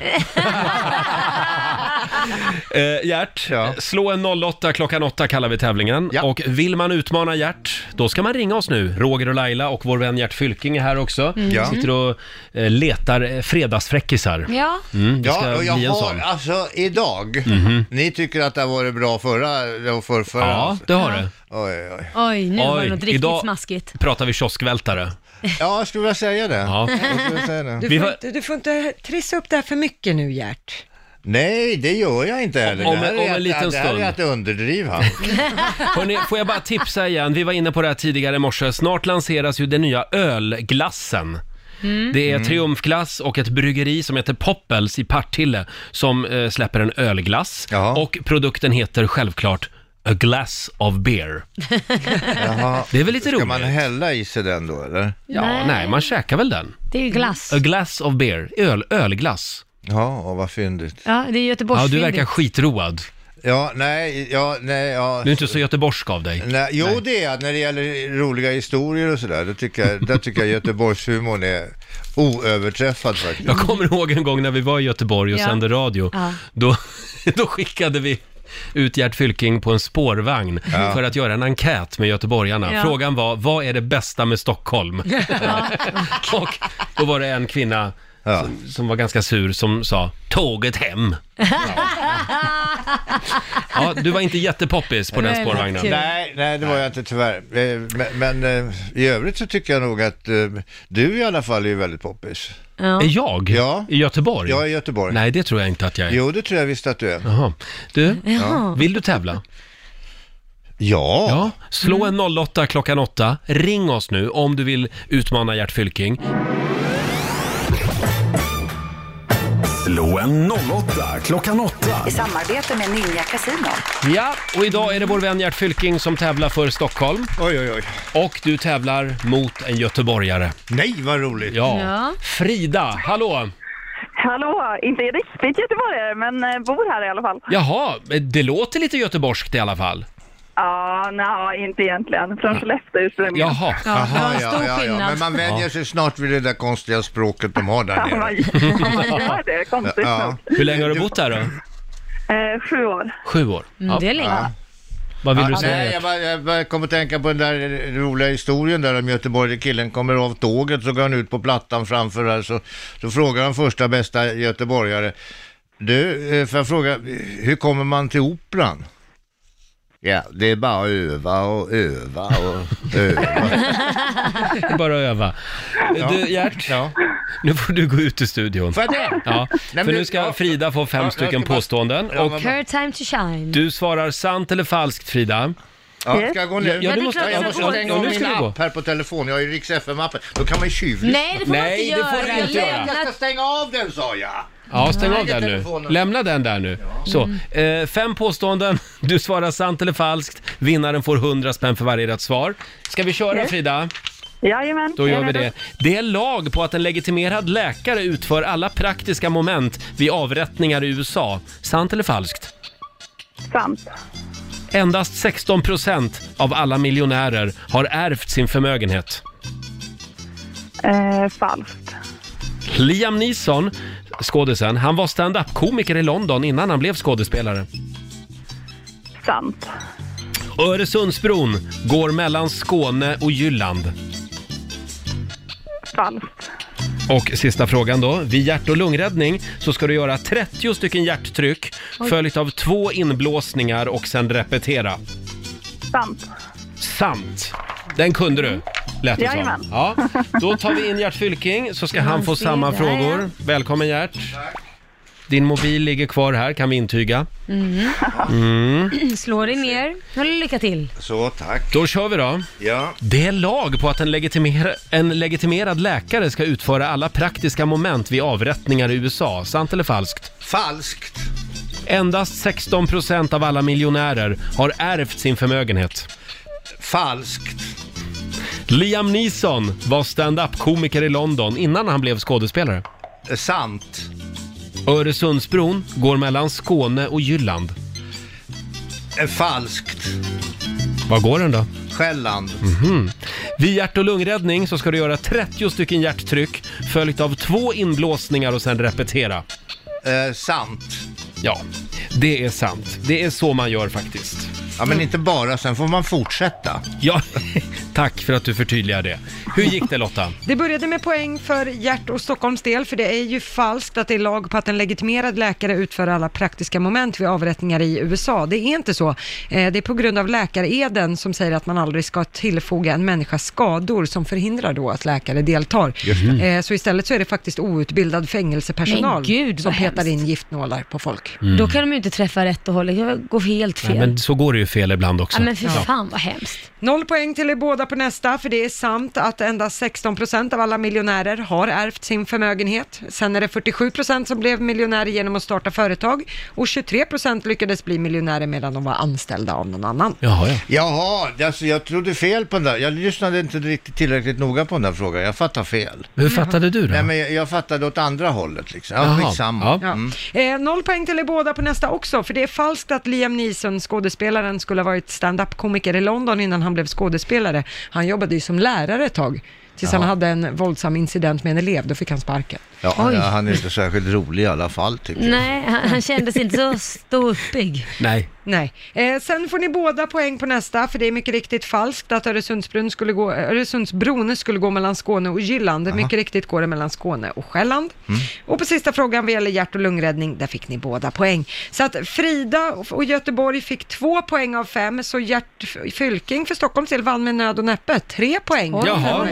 [SPEAKER 1] Eh, Gert,
[SPEAKER 11] Ja.
[SPEAKER 1] eh, slå en 08 klockan 8 kallar vi tävlingen.
[SPEAKER 11] Ja.
[SPEAKER 1] Och vill man utmana Gert, då ska man ringa oss nu. Roger och Laila och vår vän Gert Fylking är här också.
[SPEAKER 11] Mm. Ja.
[SPEAKER 1] Sitter och eh, letar eh, fredagsfräckisar.
[SPEAKER 2] ja.
[SPEAKER 1] Mm, det ska
[SPEAKER 11] Ja, och jag
[SPEAKER 1] bli en
[SPEAKER 11] har,
[SPEAKER 1] sån.
[SPEAKER 11] alltså idag, ni tycker att det har varit bra förra, det var för, förra.
[SPEAKER 1] Ja, det har du.
[SPEAKER 11] Oj, oj.
[SPEAKER 2] Oj, nu var
[SPEAKER 1] Oj,
[SPEAKER 2] det något riktigt
[SPEAKER 1] idag-
[SPEAKER 2] smaskigt.
[SPEAKER 1] Pratar vi kioskvältare?
[SPEAKER 11] Ja, jag skulle vilja säga det.
[SPEAKER 1] Ja.
[SPEAKER 11] Jag skulle vilja säga det.
[SPEAKER 3] Du
[SPEAKER 1] Vi
[SPEAKER 3] får,
[SPEAKER 1] var-
[SPEAKER 3] inte, du får inte trissa upp det här för mycket nu Gert.
[SPEAKER 11] Nej, det gör jag inte heller.
[SPEAKER 1] Om-
[SPEAKER 11] det här
[SPEAKER 1] om
[SPEAKER 11] är
[SPEAKER 1] en
[SPEAKER 11] att-
[SPEAKER 1] liten
[SPEAKER 11] Det här
[SPEAKER 1] stund.
[SPEAKER 11] är att underdriva.
[SPEAKER 1] Hörrni, får jag bara tipsa igen? Vi var inne på det här tidigare i morse. Snart lanseras ju den nya ölglassen.
[SPEAKER 12] Mm.
[SPEAKER 1] Det är
[SPEAKER 12] Mm.
[SPEAKER 1] Triumfglass och ett bryggeri som heter Poppels i Partille som eh, släpper en ölglass. Och produkten heter självklart A Glass of Beer. Det är väl lite roligt? Ska man
[SPEAKER 11] hälla i sig den då eller?
[SPEAKER 1] Ja,
[SPEAKER 2] Nej.
[SPEAKER 1] nej, man käkar väl den.
[SPEAKER 2] Det är ju glass.
[SPEAKER 1] A glass of beer, öl, ölglass.
[SPEAKER 11] Ja, vad fyndigt.
[SPEAKER 2] Ja, det är
[SPEAKER 1] Ja, du
[SPEAKER 2] Göteborgsfyndigt.
[SPEAKER 1] verkar skitroad.
[SPEAKER 11] Ja, nej, ja, nej, ja.
[SPEAKER 1] Du är inte så göteborgsk av dig.
[SPEAKER 11] Nej, jo, det är jag. När det gäller roliga historier och sådär, då tycker jag, där tycker jag Göteborgshumorn är oöverträffad faktiskt.
[SPEAKER 1] Jag kommer ihåg en gång när vi var i Göteborg och
[SPEAKER 11] Mm. Ja.
[SPEAKER 1] sände radio.
[SPEAKER 11] Ja.
[SPEAKER 1] Då, då skickade vi ut Gert Fylking på en spårvagn
[SPEAKER 12] Ja.
[SPEAKER 1] för att göra en enkät med göteborgarna.
[SPEAKER 12] Ja.
[SPEAKER 1] Frågan var, vad är det bästa med Stockholm? och då var det en kvinna som, som var ganska sur som sa, tåget hem. Ja, du var inte jättepoppis på den spårvagnen.
[SPEAKER 11] Nej, nej, det var jag inte tyvärr. Eh, Men, men eh, i övrigt så tycker jag nog att eh, du i alla fall är ju väldigt poppis.
[SPEAKER 2] Ja.
[SPEAKER 1] Är jag?
[SPEAKER 11] Ja.
[SPEAKER 1] I Göteborg?
[SPEAKER 11] Ja, i Göteborg.
[SPEAKER 1] Nej, det tror jag inte att jag är.
[SPEAKER 11] Jo, det tror jag visst att du är.
[SPEAKER 1] Jaha. Du,
[SPEAKER 11] Ja.
[SPEAKER 1] vill du tävla?
[SPEAKER 11] Ja. Mm.
[SPEAKER 1] Slå en 08 klockan 8. Ring oss nu om du vill utmana Gert Fylking.
[SPEAKER 4] Slå en 08 klockan 8.
[SPEAKER 13] I samarbete med Ninja Casino.
[SPEAKER 1] Ja, och idag är det vår vän Gert Fylking som tävlar för Stockholm.
[SPEAKER 11] Oj, oj, oj.
[SPEAKER 1] Och du tävlar mot en göteborgare.
[SPEAKER 11] Nej, vad roligt!
[SPEAKER 1] Ja.
[SPEAKER 10] Ja.
[SPEAKER 1] Frida, hallå!
[SPEAKER 10] Hallå, inte riktigt göteborgare men eh, bor här i alla fall.
[SPEAKER 1] Jaha, det låter lite göteborgskt i alla fall.
[SPEAKER 10] Ja, nej, inte egentligen. Från Skellefteå ursprungligen.
[SPEAKER 1] Jaha.
[SPEAKER 11] Jaha, Men man vänjer sig snart vid det där konstiga språket de har där nere.
[SPEAKER 10] Man gör det, konstigt nog.
[SPEAKER 1] Hur länge har du bott här då?
[SPEAKER 10] Eh, sju år.
[SPEAKER 1] Sju år.
[SPEAKER 10] Mm, det är länge.
[SPEAKER 1] Vad vill du
[SPEAKER 11] Ja,
[SPEAKER 1] säga?
[SPEAKER 11] Nej, jag, bara, jag bara kom att tänka på den där roliga historien där om Göteborg. där Killen kommer av tåget så går han ut på plattan framför där så, så frågar han första bästa göteborgare. Du, eh, får jag fråga, hur kommer man till Operan? Ja, det är bara att öva och öva och öva.
[SPEAKER 1] Det är bara att öva. Du, Gert, nu får du gå ut ur studion.
[SPEAKER 11] Får jag det?
[SPEAKER 1] Ja,
[SPEAKER 2] men
[SPEAKER 1] för
[SPEAKER 2] du-
[SPEAKER 1] nu ska Frida få fem
[SPEAKER 2] Ja, jag ska
[SPEAKER 1] stycken
[SPEAKER 2] bara-
[SPEAKER 1] påståenden. Och
[SPEAKER 2] Her time to shine.
[SPEAKER 1] du svarar sant eller falskt, Frida.
[SPEAKER 11] Ja, ska jag gå nu?
[SPEAKER 1] Ja, du
[SPEAKER 2] det är
[SPEAKER 1] måste,
[SPEAKER 2] klart
[SPEAKER 1] jag
[SPEAKER 2] jag
[SPEAKER 1] måste
[SPEAKER 2] går.
[SPEAKER 1] stänga
[SPEAKER 2] Ja,
[SPEAKER 1] av
[SPEAKER 2] nu
[SPEAKER 1] min
[SPEAKER 2] ska du gå.
[SPEAKER 1] app.
[SPEAKER 11] Här på telefon, jag har ju Rix FM-appen. Då kan man ju tjuvlyssna.
[SPEAKER 2] Nej, det får man
[SPEAKER 1] Nej,
[SPEAKER 2] inte
[SPEAKER 1] det
[SPEAKER 2] göra.
[SPEAKER 1] får du inte göra.
[SPEAKER 11] Jag ska stänga av den sa jag!
[SPEAKER 1] Ja, stäng
[SPEAKER 11] Mm. Nej,
[SPEAKER 1] av
[SPEAKER 11] det är
[SPEAKER 1] den nu.
[SPEAKER 11] telefonen.
[SPEAKER 1] Lämna den där nu. Så, eh, fem påståenden. Du svarar sant eller falskt. Vinnaren får 100 spänn för varje rätt svar. Ska vi köra,
[SPEAKER 11] Mm.
[SPEAKER 10] Yes.
[SPEAKER 1] Frida?
[SPEAKER 10] Jajamän.
[SPEAKER 1] Då gör
[SPEAKER 10] Jajamän.
[SPEAKER 1] vi det. Det är lag på att en legitimerad läkare utför alla praktiska moment vid avrättningar i USA. Sant eller falskt?
[SPEAKER 10] Sant.
[SPEAKER 1] Endast 16 procent av alla miljonärer har ärvt sin förmögenhet.
[SPEAKER 10] Eh, falskt.
[SPEAKER 1] Liam Neeson, skådisen, han var stand-up-komiker i London innan han blev skådespelare.
[SPEAKER 10] Sant.
[SPEAKER 1] Öresundsbron går mellan Skåne och Jylland.
[SPEAKER 10] Falskt.
[SPEAKER 1] Och sista frågan då. Vid hjärt och lungräddning så ska du göra 30 stycken hjärttryck
[SPEAKER 10] Oj.
[SPEAKER 1] följt av två inblåsningar och sen repetera.
[SPEAKER 10] Sant.
[SPEAKER 1] Sant! Den kunde du, lät det
[SPEAKER 10] Jajamän.
[SPEAKER 1] som. Ja. Då tar vi in Gert Fylking så ska han få
[SPEAKER 2] Han ser
[SPEAKER 1] samma
[SPEAKER 2] där,
[SPEAKER 1] frågor. Välkommen Gert! Din mobil ligger kvar här, kan vi intyga.
[SPEAKER 2] Mm.
[SPEAKER 1] Mm.
[SPEAKER 2] Slå dig ner. Nu lycka till.
[SPEAKER 11] Så, tack.
[SPEAKER 1] Då kör vi då.
[SPEAKER 11] Ja.
[SPEAKER 1] Det är lag på att en, legitimera, en legitimerad läkare ska utföra alla praktiska moment vid avrättningar i USA. Sant eller falskt?
[SPEAKER 11] Falskt.
[SPEAKER 1] Endast 16 procent av alla miljonärer har ärvt sin förmögenhet.
[SPEAKER 11] Falskt.
[SPEAKER 1] Liam Neeson var stand-up-komiker i London innan han blev skådespelare.
[SPEAKER 11] Eh, Sant.
[SPEAKER 1] Öresundsbron går mellan Skåne och Jylland.
[SPEAKER 11] Eh, Falskt.
[SPEAKER 1] Var går den då?
[SPEAKER 11] Själland.
[SPEAKER 1] Mhm. Vid hjärt och lungräddning så ska du göra 30 stycken hjärttryck följt av två inblåsningar och sen repetera.
[SPEAKER 11] Eh, sant.
[SPEAKER 1] Ja, det är sant. Det är så man gör faktiskt.
[SPEAKER 11] Ja, men inte bara. Sen får man fortsätta.
[SPEAKER 1] Ja, Tack för att du förtydligar det. Hur gick det Lotta?
[SPEAKER 3] Det började med poäng för Hjärt och Stockholms del, för det är ju falskt att det är lag på att en legitimerad läkare utför alla praktiska moment vid avrättningar i USA. Det är inte så. Eh, Det är på grund av läkareden som säger att man aldrig ska tillfoga en människa skador som förhindrar då att läkare deltar.
[SPEAKER 12] Just det.
[SPEAKER 3] Eh, Så istället så är det faktiskt outbildad fängelsepersonal
[SPEAKER 2] Men gud,
[SPEAKER 3] som
[SPEAKER 2] vad
[SPEAKER 3] petar
[SPEAKER 2] hemskt.
[SPEAKER 3] in giftnålar på folk.
[SPEAKER 1] Mm.
[SPEAKER 2] Då kan de ju inte träffa rätt och hållet, det går helt fel.
[SPEAKER 1] Nej, men så går det ju fel ibland också.
[SPEAKER 2] Ja, men för
[SPEAKER 1] Ja.
[SPEAKER 2] fan vad hemskt.
[SPEAKER 3] Noll poäng till er båda på nästa, för det är sant att endast 16% av alla miljonärer har ärvt sin förmögenhet. Sen är det 47% som blev miljonärer genom att starta företag och 23% lyckades bli miljonärer medan de var anställda av någon annan.
[SPEAKER 1] Jaha, ja.
[SPEAKER 11] Jaha, alltså jag trodde fel på den där. Jag lyssnade inte riktigt tillräckligt noga på den där frågan. Jag fattade fel.
[SPEAKER 1] Hur fattade du då?
[SPEAKER 11] Nej, men jag, jag fattade åt andra hållet liksom.
[SPEAKER 1] Jaha,
[SPEAKER 11] Ja, skitsamma.
[SPEAKER 1] ja.
[SPEAKER 11] Mm.
[SPEAKER 3] Eh, noll poäng till er båda på nästa också, för det är falskt att Liam Neeson, skådespelaren, skulle ha varit stand-up-komiker i London innan han blev skådespelare. Han jobbade ju som lärare ett tag, tills
[SPEAKER 11] Ja.
[SPEAKER 3] han hade en våldsam incident med en elev, då fick han sparken.
[SPEAKER 11] Ja,
[SPEAKER 2] Oj.
[SPEAKER 11] ja, han är inte särskilt rolig i alla fall tycker jag.
[SPEAKER 2] Nej, han, han kändes inte så ståuppig.
[SPEAKER 1] Nej.
[SPEAKER 3] Nej. Eh, sen får ni båda poäng på nästa, för det är mycket riktigt falskt att Öresundsbron skulle gå, Öresundsbron skulle gå mellan Skåne och Jylland. Mycket riktigt går det mellan Skåne och Själland. Och på sista frågan vad gäller hjärt och lungräddning, där fick ni båda poäng. Så att Frida och Göteborg fick två poäng av fem, så Gert Fylking för Stockholms del vann med nöd och näppe, tre poäng.
[SPEAKER 1] Jaha.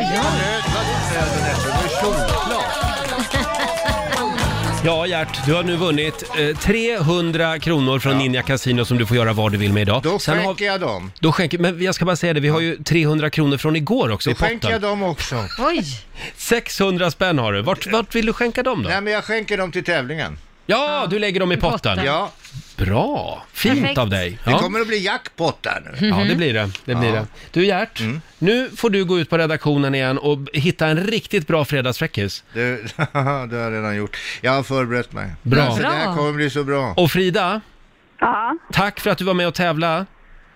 [SPEAKER 1] Ja, Gert, du har nu vunnit eh, 300 kronor från Ninja Casino som du får göra vad du vill med idag. Då
[SPEAKER 11] skänker jag dem.
[SPEAKER 1] Då skänker, men jag ska bara säga det, vi har ju 300 kronor från igår också i
[SPEAKER 11] Då skänker jag
[SPEAKER 1] potten.
[SPEAKER 11] dem också.
[SPEAKER 2] Oj!
[SPEAKER 1] 600 spänn har du. Vart, vart vill du skänka dem då?
[SPEAKER 11] Nej, men jag skänker dem till tävlingen.
[SPEAKER 1] Ja, du lägger dem i potten.
[SPEAKER 11] Ja.
[SPEAKER 1] Bra! Fint
[SPEAKER 11] Perfekt.
[SPEAKER 1] av dig.
[SPEAKER 11] Det kommer att bli jackpot där nu.
[SPEAKER 1] Ja, det blir det. det, blir
[SPEAKER 11] Ja. Mm.
[SPEAKER 1] det. Du Gert, nu får du gå ut på redaktionen igen och hitta en riktigt bra fredagsfräckis.
[SPEAKER 11] Du, det har jag redan gjort. Jag har förberett mig.
[SPEAKER 1] Bra.
[SPEAKER 11] Alltså, det
[SPEAKER 1] Bra.
[SPEAKER 11] här kommer bli så bra.
[SPEAKER 1] Och Frida,
[SPEAKER 10] Ja.
[SPEAKER 1] tack för att du var med och tävlade.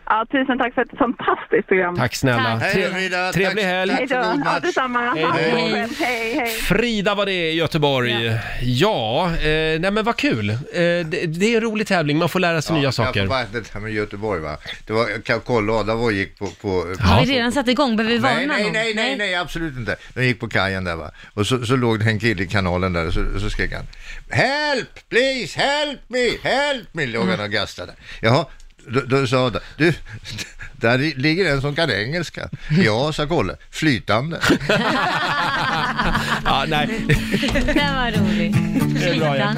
[SPEAKER 10] ja, tusen tack för ett fantastiskt program.
[SPEAKER 1] Tack snälla. Tack. Tre- trevlig helg.
[SPEAKER 10] Hej då. Ja, detsamma.
[SPEAKER 1] Hej
[SPEAKER 10] Ha det
[SPEAKER 1] då.
[SPEAKER 10] bra själv. Hej, hej.
[SPEAKER 1] Frida var det i Göteborg. Ja, eh, nej men vad kul. Eh, det, det är en rolig tävling, man får lära sig nya
[SPEAKER 11] Jag får
[SPEAKER 1] saker.
[SPEAKER 11] bara det här med Göteborg va. Det var, jag kan kolla, Adam gick på... på
[SPEAKER 2] Har vi redan satt igång? Behöver vi varna
[SPEAKER 11] Nej, nej,
[SPEAKER 2] någon?
[SPEAKER 11] nej, nej, nej, absolut inte. De gick på kajen där va. Och så, så låg det en kille i kanalen där och så, så skrek han Help, please, help me, help me, låg
[SPEAKER 1] Mm.
[SPEAKER 11] han och gastade. Jaha, då, då sa han du, där ligger en som kan engelska. Ja, sa Kolle, flytande.
[SPEAKER 1] Ja, nej.
[SPEAKER 2] Den var rolig.
[SPEAKER 1] Det är bra, ja.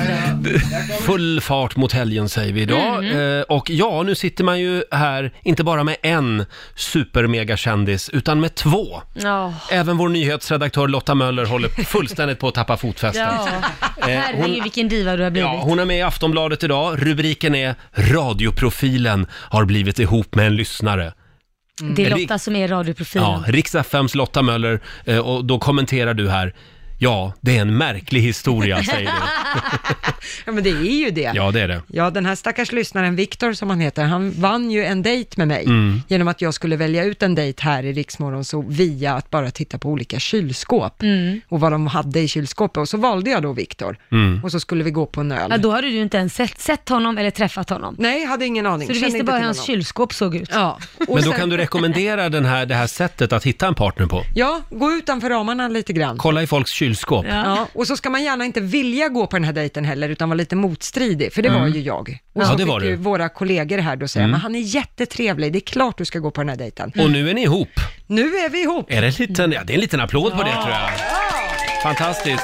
[SPEAKER 1] Full fart mot helgen säger vi idag. Eh, och ja, nu sitter man ju här, inte bara med en supermegakändis, utan med två.
[SPEAKER 2] Ja.
[SPEAKER 1] Även vår nyhetsredaktör Lotta Möller håller fullständigt på att tappa fotfästet.
[SPEAKER 2] Ja. Herregud,
[SPEAKER 1] Eh, hon-
[SPEAKER 2] vilken diva du har blivit.
[SPEAKER 1] Ja, hon är med i Aftonbladet idag. Rubriken är “Radioprofilen har blivit ihop med en lyssnare”.
[SPEAKER 2] Det är
[SPEAKER 1] Rik-
[SPEAKER 2] Lotta som är radioprofilen.
[SPEAKER 1] Mm. Ja, Rix FMs Lotta Möller eh, och då kommenterar du här “Ja, det är en märklig historia” säger du.
[SPEAKER 3] Ja, men det är ju det.
[SPEAKER 1] Ja, det är det.
[SPEAKER 3] Ja, den här stackars lyssnaren Viktor som han heter, han vann ju en dejt med mig
[SPEAKER 1] Mm.
[SPEAKER 3] genom att jag skulle välja ut en dejt här i Riksmorgon så via att bara titta på olika kylskåp och vad de hade i kylskåpet. Och så valde jag då Viktor
[SPEAKER 2] Mm.
[SPEAKER 3] och så skulle vi gå på en öl.
[SPEAKER 2] Ja, då hade du ju inte ens sett, sett honom eller träffat honom.
[SPEAKER 3] Nej, jag hade ingen aning.
[SPEAKER 2] Så du
[SPEAKER 3] Kände
[SPEAKER 2] visste
[SPEAKER 3] inte
[SPEAKER 2] bara hur
[SPEAKER 3] till
[SPEAKER 2] hans
[SPEAKER 3] honom.
[SPEAKER 2] kylskåp såg ut.
[SPEAKER 3] Ja. Och
[SPEAKER 1] Men då
[SPEAKER 3] sen-
[SPEAKER 1] kan du rekommendera den här, det här sättet att hitta en partner på.
[SPEAKER 3] Ja, gå utanför ramarna lite grann.
[SPEAKER 1] Kolla i folks kylskåp.
[SPEAKER 3] Ja. och så ska man gärna inte vilja gå på den här dejten heller, utan vara lite motstridig, för det var
[SPEAKER 1] Mm.
[SPEAKER 3] ju jag. Och
[SPEAKER 1] Ja,
[SPEAKER 3] så
[SPEAKER 1] det var
[SPEAKER 3] fick ju
[SPEAKER 1] du.
[SPEAKER 3] våra kollegor här då säga,
[SPEAKER 1] Mm.
[SPEAKER 3] men han är jättetrevlig, det är klart du ska gå på den här dejten.
[SPEAKER 1] Och nu är ni ihop.
[SPEAKER 3] Nu är vi ihop.
[SPEAKER 1] Är det, en liten, ja, det är en liten applåd på det tror jag. Fantastiskt.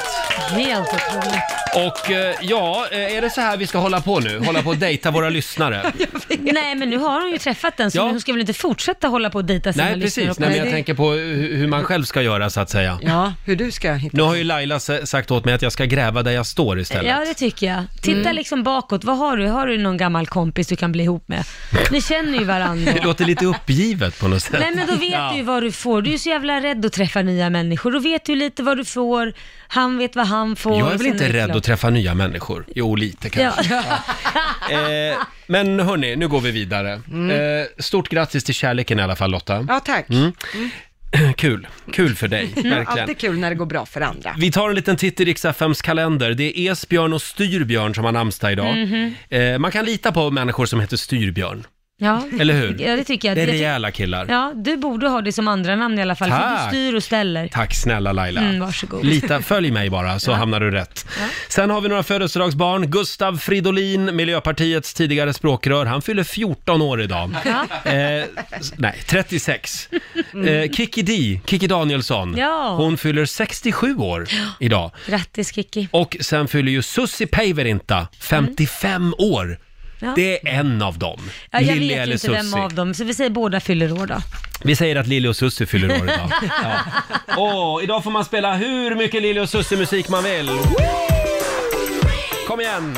[SPEAKER 2] Helt otroligt.
[SPEAKER 1] Och eh, ja, eh, är det så här vi ska hålla på nu? Hålla på och dejta våra lyssnare?
[SPEAKER 2] Nej, men nu har hon ju träffat den, så
[SPEAKER 1] Ja.
[SPEAKER 2] hon ska väl inte fortsätta hålla på och dejta sina
[SPEAKER 1] Nej,
[SPEAKER 2] lyssnare
[SPEAKER 1] precis.
[SPEAKER 2] och- Mm.
[SPEAKER 1] Nej, men jag tänker på hu- hur man själv ska göra så att säga.
[SPEAKER 3] Ja, hur du ska hitta...
[SPEAKER 1] Nu har ju Laila s- sagt åt mig att jag ska gräva där jag Mm. står istället.
[SPEAKER 2] Ja, det tycker jag. Titta liksom bakåt. Vad har du? Har du någon gammal kompis du kan bli ihop med? Ni känner ju varandra.
[SPEAKER 1] Det låter lite uppgivet på något sätt.
[SPEAKER 2] Nej men då vet
[SPEAKER 1] Ja.
[SPEAKER 2] du ju vad du får. Du är ju så jävla rädd att träffa nya människor. Då vet du lite vad du får. Han vet vad han får.
[SPEAKER 1] Jag är väl
[SPEAKER 2] Sen
[SPEAKER 1] inte
[SPEAKER 2] det
[SPEAKER 1] rädd
[SPEAKER 2] klart.
[SPEAKER 1] att träffa nya människor? Jo, lite
[SPEAKER 2] Ja.
[SPEAKER 1] kanske. Eh, men hörni, nu går vi vidare.
[SPEAKER 2] Mm.
[SPEAKER 1] Eh, stort grattis till kärleken i alla fall Lotta.
[SPEAKER 3] Ja, tack.
[SPEAKER 1] Mm. Kul, kul för dig,
[SPEAKER 2] Mm.
[SPEAKER 1] verkligen.
[SPEAKER 3] Alltid kul när det går bra för andra.
[SPEAKER 1] Vi tar en liten titt i riks FMs kalender. Det är Esbjörn och Styrbjörn som har namnsdag idag.
[SPEAKER 3] Mhm.
[SPEAKER 1] Eh, man kan lita på människor som heter Styrbjörn.
[SPEAKER 2] Ja.
[SPEAKER 1] Eller hur?
[SPEAKER 2] Ja, det tycker jag.
[SPEAKER 1] Det är
[SPEAKER 2] Jag ty-
[SPEAKER 1] rejäla killar.
[SPEAKER 2] Ja, du borde ha det som andra namn i alla fall, för
[SPEAKER 1] Tack.
[SPEAKER 2] du styr och ställer.
[SPEAKER 1] Tack snälla Laila.
[SPEAKER 2] Mm, varsågod.
[SPEAKER 1] Lita, följ mig bara så hamnar du rätt. Sen har vi några födelsedagsbarn. Gustav Fridolin, Miljöpartiets tidigare språkrör. Han fyller 14 år idag.
[SPEAKER 2] Ja.
[SPEAKER 1] Eh, s- nej, 36. Eh,
[SPEAKER 2] Mm.
[SPEAKER 1] Kikki Dee, Kikki Danielsson.
[SPEAKER 2] Ja.
[SPEAKER 1] Hon fyller 67 år idag.
[SPEAKER 2] Grattis Kiki.
[SPEAKER 1] Och sen fyller ju Sussi Päivärinta 55 år.
[SPEAKER 2] Mm. Ja.
[SPEAKER 1] Det är en av dem.
[SPEAKER 2] Ja, jag
[SPEAKER 1] Lilly
[SPEAKER 2] vet ju
[SPEAKER 1] eller
[SPEAKER 2] inte
[SPEAKER 1] Sussi.
[SPEAKER 2] vem av dem, så vi säger båda fyller år då.
[SPEAKER 1] Vi säger att Lili och Sussi fyller år idag. Ja. Åh, idag får man spela hur mycket Lili och Sussi-musik man vill. Kom igen!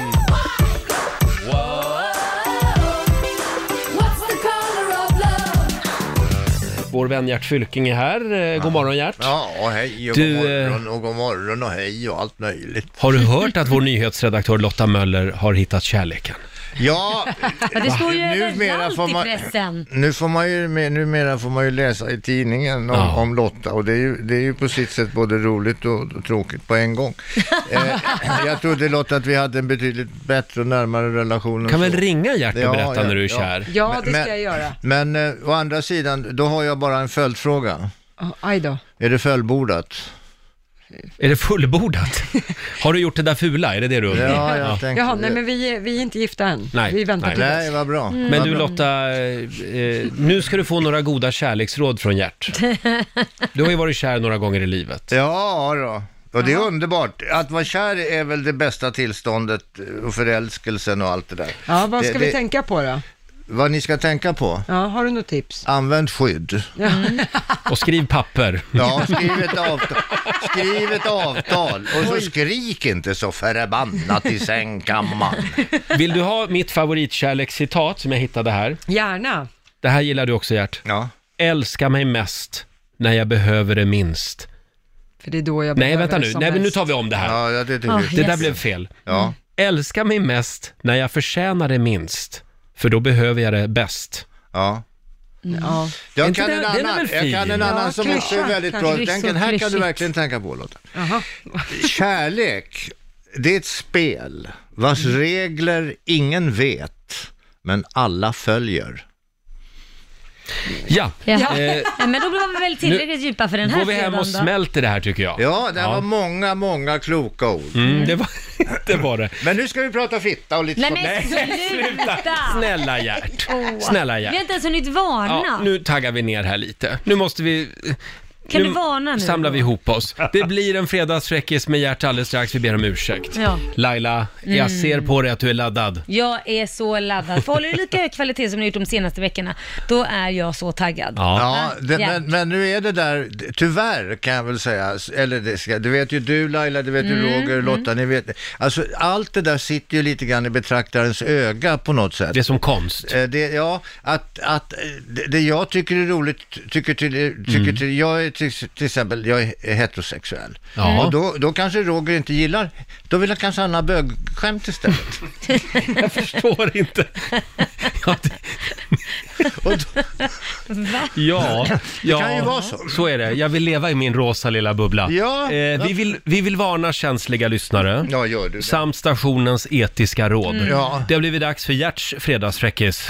[SPEAKER 1] Vår vän Gert Fylking är här. Eh, God morgon Gert.
[SPEAKER 11] Ja, och hej och
[SPEAKER 1] Du,
[SPEAKER 11] god
[SPEAKER 1] eh,
[SPEAKER 11] morgon och god morgon och hej och allt möjligt.
[SPEAKER 1] Har du hört att vår nyhetsredaktör Lotta Möller har hittat kärleken?
[SPEAKER 11] Ja,
[SPEAKER 2] Ja, det står ju
[SPEAKER 11] Numera
[SPEAKER 2] överallt
[SPEAKER 11] får man-
[SPEAKER 2] i pressen.
[SPEAKER 11] nu får man ju, numera får man ju läsa i tidningen om, om Lotta och det är, ju, det är ju på sitt sätt både roligt och, och tråkigt på en gång. eh, jag trodde Lotta att vi hade en betydligt bättre och närmare relation. än
[SPEAKER 1] Kan väl
[SPEAKER 11] så.
[SPEAKER 1] ringa Gert och berätta när du är kär.
[SPEAKER 3] Ja, det
[SPEAKER 11] Men-
[SPEAKER 3] ska jag göra.
[SPEAKER 11] Men eh, å andra sidan, då har jag bara en följdfråga.
[SPEAKER 3] Ja, Aj då.
[SPEAKER 11] Är det fullbordat?
[SPEAKER 1] Är det fullbordat? Har du gjort det där fula? Är det det du undrar?
[SPEAKER 11] Ja, jag tänkte
[SPEAKER 3] Mm. Jaha, nej men vi, är- vi är inte gifta än.
[SPEAKER 1] Nej,
[SPEAKER 3] vi väntar
[SPEAKER 1] nej.
[SPEAKER 3] till
[SPEAKER 1] Nej,
[SPEAKER 3] dess.
[SPEAKER 11] vad bra.
[SPEAKER 3] Mm.
[SPEAKER 1] Men du Lotta, eh, eh, nu ska du få några goda kärleksråd från Gert. Du har ju varit kär några gånger i livet.
[SPEAKER 11] Ja då. Och det är underbart. Att vara kär är väl det bästa tillståndet och förälskelsen och allt det där.
[SPEAKER 3] Ja, vad ska
[SPEAKER 11] det,
[SPEAKER 3] vi
[SPEAKER 11] det-
[SPEAKER 3] tänka på då?
[SPEAKER 11] Vad ni ska tänka på?
[SPEAKER 3] Ja, har du något tips?
[SPEAKER 11] Använd skydd.
[SPEAKER 1] Och skriv papper.
[SPEAKER 11] Ja, skriv ett avtal. Skriv ett avtal. Och så skrik inte så förbannat i sängkammaren.
[SPEAKER 1] Vill du ha mitt favoritkärlekscitat som jag hittade här?
[SPEAKER 3] Gärna.
[SPEAKER 1] Det här gillar du också Gert.
[SPEAKER 11] Ja.
[SPEAKER 1] Älska mig mest när jag behöver det minst.
[SPEAKER 3] För det är då jag
[SPEAKER 1] Nej,
[SPEAKER 3] behöver
[SPEAKER 1] vänta
[SPEAKER 3] det
[SPEAKER 1] nu.
[SPEAKER 3] som
[SPEAKER 1] Nej, men nu
[SPEAKER 3] mest.
[SPEAKER 1] tar vi om det här.
[SPEAKER 11] det,
[SPEAKER 3] jag. Ah,
[SPEAKER 1] där
[SPEAKER 3] yes.
[SPEAKER 1] blev fel.
[SPEAKER 11] Ja.
[SPEAKER 1] Älska mig mest när jag förtjänar det minst, för då behöver jag det bäst.
[SPEAKER 11] Ja.
[SPEAKER 3] Mm. Ja.
[SPEAKER 1] Är
[SPEAKER 11] Jag
[SPEAKER 1] inte
[SPEAKER 11] kan,
[SPEAKER 1] det-
[SPEAKER 11] en
[SPEAKER 1] den är
[SPEAKER 11] annan,
[SPEAKER 1] väl
[SPEAKER 11] jag kan
[SPEAKER 1] fin?
[SPEAKER 11] en annan
[SPEAKER 1] Ja,
[SPEAKER 11] som
[SPEAKER 1] klyscha.
[SPEAKER 11] också är väldigt bra.
[SPEAKER 1] Kanske
[SPEAKER 11] Den,
[SPEAKER 1] så
[SPEAKER 11] den här kan du
[SPEAKER 1] klyschigt.
[SPEAKER 11] verkligen tänka på Lotta. Kärlek, det är ett spel vars regler ingen vet, men alla följer.
[SPEAKER 1] Ja,
[SPEAKER 2] Jaha.
[SPEAKER 1] Eh,
[SPEAKER 2] Ja, men då var vi väl tillräckligt djupa för den här
[SPEAKER 1] går vi hem och
[SPEAKER 2] fredagen då.
[SPEAKER 1] smälter det här tycker jag.
[SPEAKER 11] Ja, det var många, många kloka ord.
[SPEAKER 1] Mm, det, var, det var det.
[SPEAKER 11] Men nu ska vi prata fitta och lite
[SPEAKER 2] Nej
[SPEAKER 11] sånt.
[SPEAKER 2] men sluta!
[SPEAKER 1] Snälla Gert.
[SPEAKER 2] Ah. Åh.
[SPEAKER 1] Snälla Gert.
[SPEAKER 2] Vi har inte ens hunnit
[SPEAKER 1] Ja,
[SPEAKER 2] varna.
[SPEAKER 1] nu taggar vi ner här lite. Nu måste vi... eh,
[SPEAKER 2] Kan du varna nu?
[SPEAKER 1] samlar vi ihop oss. Det blir en fredagsfräckis med Gert alldeles strax. Vi ber om ursäkt.
[SPEAKER 2] Ja.
[SPEAKER 1] Laila, jag
[SPEAKER 2] Mm.
[SPEAKER 1] ser på dig att du är laddad.
[SPEAKER 2] Jag är så laddad. För håller du lika hög kvalitet som du gjort de senaste veckorna, då är jag så taggad.
[SPEAKER 11] Ja, det,
[SPEAKER 2] Ja.
[SPEAKER 11] men, men nu är det där, tyvärr kan jag väl säga, eller det, ska, det vet ju du Laila, det vet ju
[SPEAKER 2] Mm,
[SPEAKER 11] Roger och Lotta, ni vet, alltså allt det där sitter ju lite grann i betraktarens öga på något sätt. Det
[SPEAKER 1] är som konst.
[SPEAKER 11] Det, ja, att, att eh, det, det jag tycker är roligt, tycker till, tycker till jag är till, till exempel, jag är heterosexuell.
[SPEAKER 1] Ja.
[SPEAKER 11] Och då, då kanske Roger inte gillar, då vill han kanske ha några bögskämt istället.
[SPEAKER 1] jag förstår inte.
[SPEAKER 2] Va?
[SPEAKER 1] Ja,
[SPEAKER 11] Det
[SPEAKER 1] ja,
[SPEAKER 11] kan ju vara så.
[SPEAKER 1] Så är det. Jag vill leva i min rosa lilla bubbla.
[SPEAKER 11] Ja.
[SPEAKER 1] Eh, vi, vill, vi vill varna känsliga lyssnare.
[SPEAKER 11] Ja, gör du det.
[SPEAKER 1] Samt stationens etiska råd.
[SPEAKER 11] Mm. Ja.
[SPEAKER 1] Det har blivit dags för Gerts fredagsfräckis.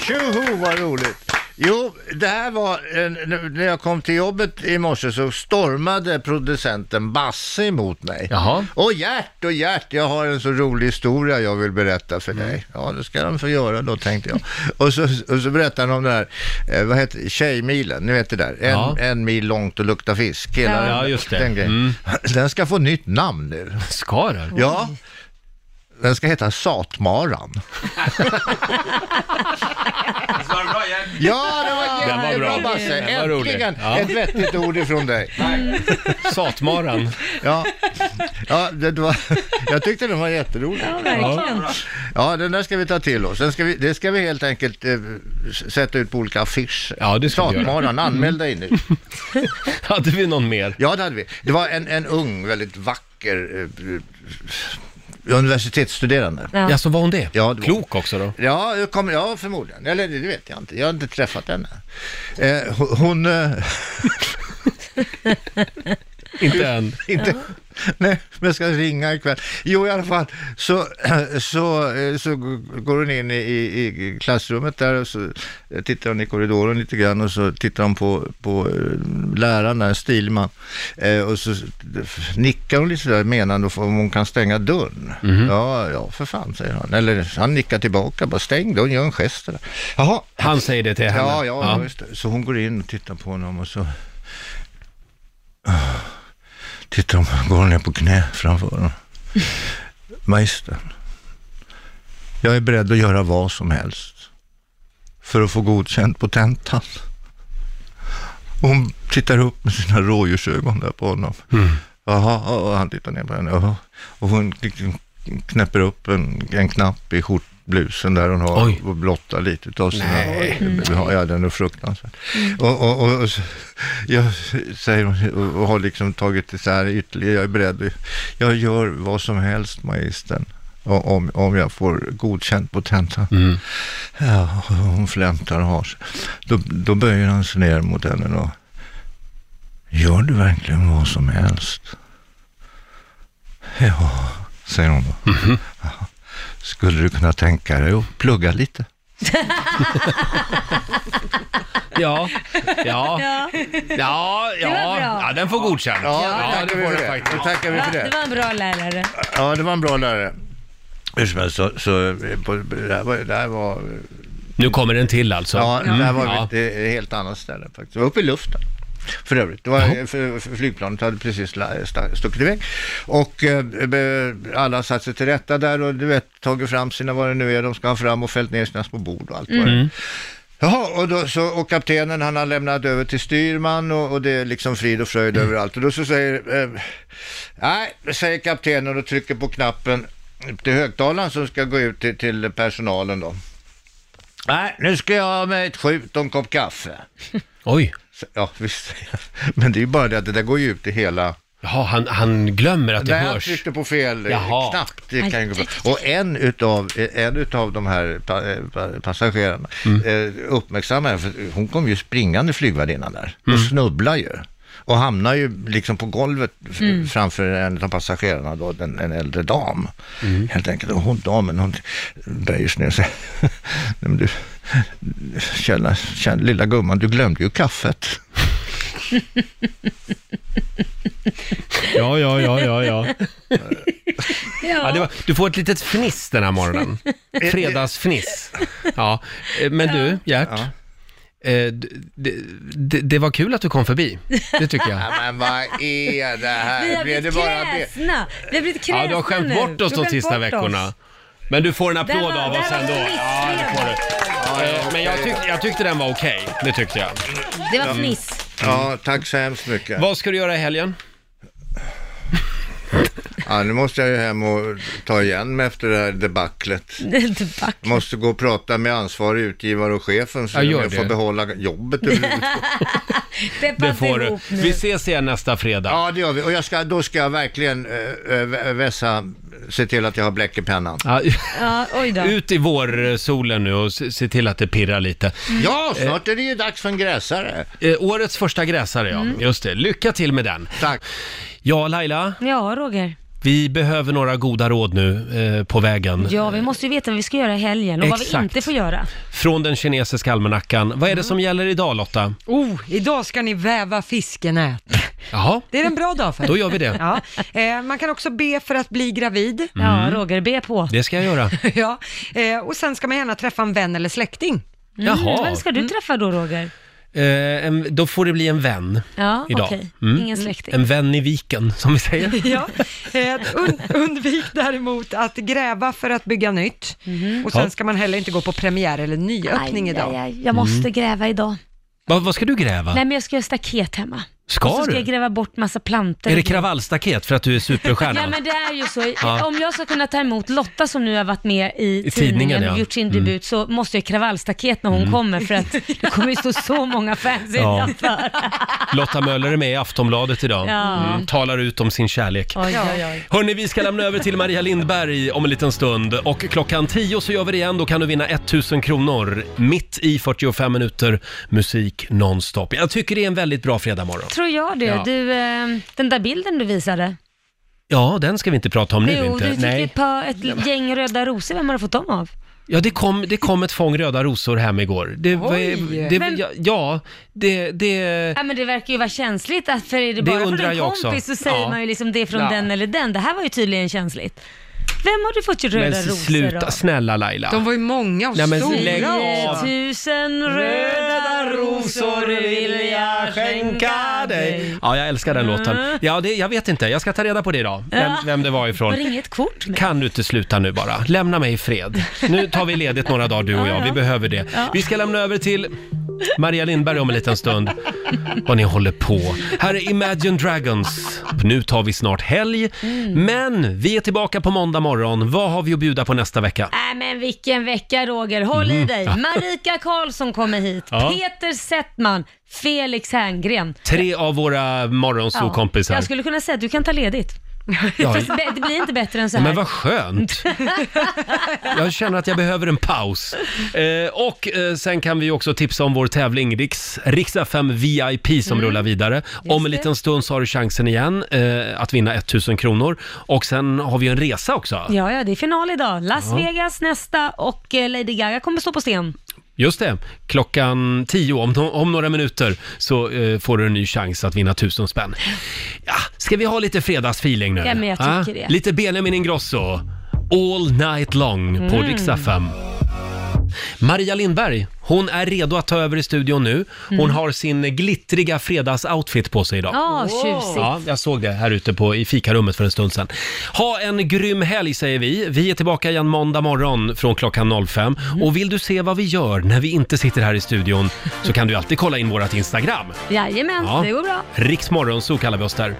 [SPEAKER 11] Tjoho, vad roligt! Jo, det här var, eh, när jag kom till jobbet i morse så stormade producenten Basse emot mig.
[SPEAKER 1] Jaha.
[SPEAKER 11] Och Gert, och Gert, jag har en så rolig historia jag vill berätta för dig. Ja, det ska de få göra då, tänkte jag. Och så, och så berättade han om den här, eh, vad heter det, Tjejmilen, ni vet det där, en,
[SPEAKER 1] Ja.
[SPEAKER 11] en mil långt och lukta fisk. Hela
[SPEAKER 1] Ja.
[SPEAKER 11] den-
[SPEAKER 1] Ja, just det.
[SPEAKER 11] Den, grejen.
[SPEAKER 1] Mm.
[SPEAKER 11] den ska få nytt namn nu.
[SPEAKER 1] Ska den?
[SPEAKER 11] Ja. Den ska heta Satmaran. Ja, det var
[SPEAKER 1] Den var
[SPEAKER 11] jättebra
[SPEAKER 1] bra.
[SPEAKER 11] Basse.
[SPEAKER 1] Den var rolig.
[SPEAKER 11] Äntligen
[SPEAKER 1] Ja.
[SPEAKER 11] ett vettigt ord ifrån dig.
[SPEAKER 1] Satmaran.
[SPEAKER 11] Ja, ja det det var, jag tyckte den var jätterolig. Ja,
[SPEAKER 2] verkligen.
[SPEAKER 11] Ja, den där ska vi ta till oss. Den ska vi, det ska vi helt enkelt eh, s- sätta ut på olika affischer.
[SPEAKER 1] Ja, det ska vi göra.
[SPEAKER 11] Satmaran, anmäl dig nu.
[SPEAKER 1] hade vi någon mer?
[SPEAKER 11] Ja, det hade vi. Det var en, en ung, väldigt vacker eh, universitetsstuderande.
[SPEAKER 1] Ja. så var hon det?
[SPEAKER 11] Ja, det
[SPEAKER 1] Klok också då?
[SPEAKER 11] Ja, jag kommer, ja, förmodligen. Eller det vet jag inte. Jag har inte träffat henne. Eh, ho- hon... eh,
[SPEAKER 1] Inte än.
[SPEAKER 11] inte.
[SPEAKER 8] Nej, men jag ska ringa ikväll. Jo, i alla fall så, så, eh, så går hon in i, i, i klassrummet där och så tittar hon i korridoren lite grann och så tittar hon på, på eh, läraren där, en stilman. Eh, och så nickar hon lite sådär menande om hon kan stänga dörren. Ja, ja, för fan, säger han. Eller han nickar tillbaka, bara stäng dörren, gör en gest. Där. Jaha.
[SPEAKER 1] Han säger det till henne.
[SPEAKER 8] Ja, ja,
[SPEAKER 1] Ja.
[SPEAKER 8] Just det. Så hon går in och tittar på honom och så Tittar hon, går hon ner på knä framför honom. Magistern, jag är beredd att göra vad som helst för att få godkänt på tentan. Och hon tittar upp med sina rådjursögon där på honom. Jaha, och han tittar ner på henne. Jaha. Och hon liksom knäpper upp en, en knapp i skjortblusen där hon har och blottar lite utav sina...
[SPEAKER 14] Nej.
[SPEAKER 8] Mm. Ja, den är fruktansvärd. Och, och, och, och så- jag säger hon, och, och har liksom tagit isär ytterligare, jag är beredd att, jag gör vad som helst magistern. o- Om, om jag får godkänt på tentan. Ja, och hon flämtar och har sig. Då, då böjer han sig ner mot henne och Gör du verkligen vad som helst? Ja, säger hon då. Ja. Skulle du kunna tänka dig att plugga lite?
[SPEAKER 1] Ja, ja,
[SPEAKER 2] Ja.
[SPEAKER 1] ja,
[SPEAKER 2] Det var
[SPEAKER 1] ja,
[SPEAKER 2] bra.
[SPEAKER 1] ja den får godkänt.
[SPEAKER 8] Ja, tackar vi för det. Då tackar vi
[SPEAKER 2] Ja,
[SPEAKER 8] för det.
[SPEAKER 2] det var en bra lärare.
[SPEAKER 8] Ja, det var en bra lärare. Hur som helst, så, så eh, på, det här var... Det här var
[SPEAKER 1] Nu kommer en till alltså.
[SPEAKER 8] Ja,
[SPEAKER 1] Mm.
[SPEAKER 8] det här var
[SPEAKER 1] Ja.
[SPEAKER 8] ett eh, helt annat ställe faktiskt. Det var uppe i luften. För övrigt, det var, eh, för, för flygplanet hade precis la- sta- stuckit iväg. Och eh, be- alla satt sig till rätta där och du vet, tagit fram sina, vad det nu är de ska ha fram och fällt ner sina små bord och allt vad det är.
[SPEAKER 14] Mm.
[SPEAKER 8] Jaha, och, då, så, och kaptenen han har lämnat över till styrman och, och det är liksom frid och fröjd
[SPEAKER 1] Mm.
[SPEAKER 8] överallt. Och då så säger, eh, nej, säger kaptenen och trycker på knappen till högtalaren som ska gå ut till, till personalen då. Nej, nu ska jag ha mig ett skjut och en kopp kaffe.
[SPEAKER 1] Oj.
[SPEAKER 8] Ja, visst. Men det är ju bara det att det där går ju ut i hela...
[SPEAKER 1] Jaha, han, han glömmer att det
[SPEAKER 8] Nej, han
[SPEAKER 1] hörs.
[SPEAKER 8] tryckte på fel eh,
[SPEAKER 1] Jaha.
[SPEAKER 8] knapp. Det kan ju gå bra. Och en utav, eh, en utav de här pa, eh, pa- passagerarna eh, uppmärksammade, för hon kom ju springande flygvärdinnan där och snubblar ju. Och hamnar ju liksom på golvet f-
[SPEAKER 14] Mm.
[SPEAKER 8] framför en av passagerarna, då, en, en äldre dam. Helt enkelt. Och hon, damen, hon böjer sig ner och säger, "Nej, men du, källa, källa, lilla gumman, du glömde ju kaffet.
[SPEAKER 1] Ja, ja, ja, ja, ja.
[SPEAKER 2] Ja.
[SPEAKER 1] Ja, det var, du får ett litet fniss den här morgonen. Fredagsfniss. Ja, eh, men du, Gert. eh, d- d- d- det var kul att du kom förbi, det tycker jag.
[SPEAKER 8] Ja, men vad
[SPEAKER 1] Äh,
[SPEAKER 8] är det
[SPEAKER 2] Vi har
[SPEAKER 8] här? Blev det
[SPEAKER 2] blivit
[SPEAKER 8] bara be-
[SPEAKER 2] kräsna. Vi har blivit kräsna
[SPEAKER 1] Ja, du har skämt
[SPEAKER 2] nu.
[SPEAKER 1] bort
[SPEAKER 2] Du har
[SPEAKER 1] oss de
[SPEAKER 2] skämt
[SPEAKER 1] sista
[SPEAKER 2] bort
[SPEAKER 1] veckorna.
[SPEAKER 2] oss.
[SPEAKER 1] Men du får en
[SPEAKER 2] Där
[SPEAKER 1] applåd
[SPEAKER 2] var-
[SPEAKER 1] av
[SPEAKER 2] där
[SPEAKER 1] oss
[SPEAKER 2] var
[SPEAKER 1] ändå.
[SPEAKER 2] fniss
[SPEAKER 1] Ja, det får du. Eh, Men jag, tyck, jag tyckte den var okej, det tyckte jag.
[SPEAKER 2] Det var
[SPEAKER 1] Mm.
[SPEAKER 2] fniss.
[SPEAKER 8] Ja, tack så hemskt mycket.
[SPEAKER 1] Vad ska du göra i helgen?
[SPEAKER 8] Ja, nu måste jag ju hem och ta igen mig efter det här debaclet.
[SPEAKER 2] Det är inte back.
[SPEAKER 1] Mm.
[SPEAKER 8] Jag måste gå och prata med ansvarig utgivare och chefen så
[SPEAKER 1] Ja, gör
[SPEAKER 8] jag
[SPEAKER 1] det.
[SPEAKER 8] får behålla jobbet.
[SPEAKER 2] Peppa inte
[SPEAKER 1] får du.
[SPEAKER 2] ihop nu.
[SPEAKER 1] Vi ses igen nästa fredag.
[SPEAKER 8] Ja, det gör vi. Och jag ska, då ska jag verkligen eh, eh, vässa, se till att jag har bläck i pennan.
[SPEAKER 1] Ja,
[SPEAKER 2] Ja, oj då.
[SPEAKER 1] Ut i vårsolen nu och s- se till att det pirrar lite.
[SPEAKER 8] Ja, snart är det ju dags för en gräsare.
[SPEAKER 1] Eh, årets första gräsare, ja.
[SPEAKER 2] Mm.
[SPEAKER 1] Just det. Lycka till med den.
[SPEAKER 8] Tack.
[SPEAKER 1] Ja, Laila,
[SPEAKER 2] Ja, Roger.
[SPEAKER 1] vi behöver några goda råd nu eh, på vägen.
[SPEAKER 2] Ja, vi måste ju veta vad vi ska göra i helgen och vad
[SPEAKER 1] Exakt.
[SPEAKER 2] vi inte får göra.
[SPEAKER 1] Från den kinesiska almanackan. Vad
[SPEAKER 2] Mm.
[SPEAKER 1] är det som gäller idag, Lotta?
[SPEAKER 3] Oh, idag ska ni väva fiskenät.
[SPEAKER 1] Jaha,
[SPEAKER 3] Det är en bra dag för.
[SPEAKER 1] Då gör vi det.
[SPEAKER 3] Ja. Eh, man kan också be för att bli gravid.
[SPEAKER 1] Ja, Mm.
[SPEAKER 2] Roger, be på.
[SPEAKER 1] det ska jag göra.
[SPEAKER 2] Mm.
[SPEAKER 3] ja. eh, och sen ska man gärna träffa en vän eller släkting.
[SPEAKER 1] Mm, Jaha.
[SPEAKER 2] Vem ska du träffa då, Roger?
[SPEAKER 1] Eh, en, då får det bli en vän
[SPEAKER 2] Ja,
[SPEAKER 1] idag.
[SPEAKER 2] okej.
[SPEAKER 1] Mm.
[SPEAKER 2] Ingen släkting.
[SPEAKER 1] En vän i viken, som vi säger.
[SPEAKER 3] ja. eh, und, undvik däremot att gräva för att bygga nytt. Och sen
[SPEAKER 1] Ja.
[SPEAKER 3] ska man heller inte gå på premiär eller
[SPEAKER 2] Mhm.
[SPEAKER 3] nyöppning
[SPEAKER 2] Aj,
[SPEAKER 3] idag.
[SPEAKER 2] aj, aj. Jag måste
[SPEAKER 1] Mm.
[SPEAKER 2] gräva idag.
[SPEAKER 1] Va, vad ska du gräva?
[SPEAKER 2] Nej, men jag ska göra staket hemma.
[SPEAKER 1] Ska
[SPEAKER 2] och så ska
[SPEAKER 1] du?
[SPEAKER 2] jag gräva bort massa plantor.
[SPEAKER 1] är det kravallstaket för att du är superstjärna?
[SPEAKER 2] Ja men det är ju så.
[SPEAKER 1] Ja.
[SPEAKER 2] Om jag ska kunna ta emot Lotta som nu har varit med i,
[SPEAKER 1] tidningen,
[SPEAKER 2] tidningen och
[SPEAKER 1] ja.
[SPEAKER 2] gjort sin
[SPEAKER 1] Mm.
[SPEAKER 2] debut så måste jag kravallstaket när hon
[SPEAKER 1] Mm.
[SPEAKER 2] kommer för att det kommer ju stå så många fans
[SPEAKER 1] Ja.
[SPEAKER 2] innanför.
[SPEAKER 1] Lotta Möller är med i Aftonbladet idag.
[SPEAKER 2] Ja.
[SPEAKER 1] Mm, talar ut om sin kärlek.
[SPEAKER 2] Oj, oj, oj.
[SPEAKER 1] Hörni, vi ska lämna över till Maria Lindberg om en liten stund. Och klockan 10 så gör vi det igen. Då kan du vinna 1000 kronor mitt i 45 minuter musik nonstop. Jag tycker det är en väldigt bra fredagmorgon.
[SPEAKER 2] Tror jag det.
[SPEAKER 1] Ja.
[SPEAKER 2] Du, eh, den där bilden du visade.
[SPEAKER 1] Ja, den ska vi inte prata om nu
[SPEAKER 2] jo,
[SPEAKER 1] inte.
[SPEAKER 2] du fick ett, par, ett gäng röda rosor. Vem har du fått dem av?
[SPEAKER 1] Ja, det kom, det kom ett fång röda rosor hem igår. Det, var-
[SPEAKER 2] Oj.
[SPEAKER 1] det,
[SPEAKER 2] Men-
[SPEAKER 1] ja, ja, det, det,
[SPEAKER 2] Ja, men det verkar ju vara känsligt, att för är det
[SPEAKER 1] Det
[SPEAKER 2] bara från
[SPEAKER 1] undrar
[SPEAKER 2] en
[SPEAKER 1] jag
[SPEAKER 2] kompis
[SPEAKER 1] också.
[SPEAKER 2] så säger
[SPEAKER 1] Ja.
[SPEAKER 2] man ju liksom det är från
[SPEAKER 1] Ja.
[SPEAKER 2] den eller den. Det här var ju tydligen känsligt. Vem har du fått röda
[SPEAKER 1] men
[SPEAKER 2] rosor
[SPEAKER 1] sluta,
[SPEAKER 2] av?
[SPEAKER 1] snälla Laila.
[SPEAKER 3] De var ju många och
[SPEAKER 1] Nej, men
[SPEAKER 3] stora.
[SPEAKER 1] lägg av.
[SPEAKER 2] Tusen röda rosor vill jag skänka dig.
[SPEAKER 1] Ja, jag älskar den låten. Ja, det, jag vet inte, jag ska ta reda på det idag, vem,
[SPEAKER 2] Ja.
[SPEAKER 1] vem det var
[SPEAKER 2] Var
[SPEAKER 1] ifrån.
[SPEAKER 2] det inget kort?
[SPEAKER 1] Kan du inte sluta nu bara? Lämna mig i fred. Nu tar vi ledigt några dagar du och jag, vi behöver det.
[SPEAKER 2] Ja.
[SPEAKER 1] Vi ska lämna över till Maria Lindberg om en liten stund. Vad ni håller på. Här är Imagine Dragons. Nu tar vi snart helg.
[SPEAKER 2] Mm.
[SPEAKER 1] Men vi är tillbaka på måndag morgon. Vad har vi att bjuda på nästa vecka?
[SPEAKER 2] Nej men vilken vecka Roger, håll i
[SPEAKER 1] Mm.
[SPEAKER 2] dig. Marika Karlsson kommer hit,
[SPEAKER 1] Ja.
[SPEAKER 2] Peter Settman, Felix Herngren.
[SPEAKER 1] Tre av våra morgonsokompisar.
[SPEAKER 2] Jag skulle kunna säga att du kan ta ledigt.
[SPEAKER 1] Ja.
[SPEAKER 2] Fast be- det blir inte bättre än så här.
[SPEAKER 1] Men vad skönt! Jag känner att jag behöver en paus. Eh, och eh, sen kan vi ju också tipsa om vår tävling Riks, Riks FM VIP
[SPEAKER 2] Mm.
[SPEAKER 1] som rullar vidare. Om en liten stund så har du chansen igen eh, att vinna 1000 kronor. Och sen har vi ju en resa också.
[SPEAKER 2] Ja, ja, det är final idag. Las
[SPEAKER 1] Ja.
[SPEAKER 2] Vegas nästa och eh, Lady Gaga kommer stå på scen.
[SPEAKER 1] Just det, klockan 10 om, no- om några minuter så eh, får du en ny chans att vinna 1000 spänn. Ja, ska vi ha lite fredagsfeeling nu? Ah,
[SPEAKER 2] Ja, men jag tycker det.
[SPEAKER 1] Lite Benjamin Ingrosso, All Night Long på
[SPEAKER 2] Mm.
[SPEAKER 1] Rix FM. Maria Lindberg, hon är redo att ta över i studion nu. Hon
[SPEAKER 2] Mm.
[SPEAKER 1] har sin glittriga fredagsoutfit på sig idag.
[SPEAKER 2] Ja, tjusigt.
[SPEAKER 1] Ja, jag såg det här ute på, i fikarummet för en stund sedan. Ha en grym helg säger vi. Vi är tillbaka igen måndag morgon från klockan 05. Och vill du se vad vi gör när vi inte sitter här i studion så kan du alltid kolla in vårt Instagram.
[SPEAKER 2] Jajamän,
[SPEAKER 1] Ja.
[SPEAKER 2] det går bra.
[SPEAKER 1] Riksmorgon, så kallar vi oss där.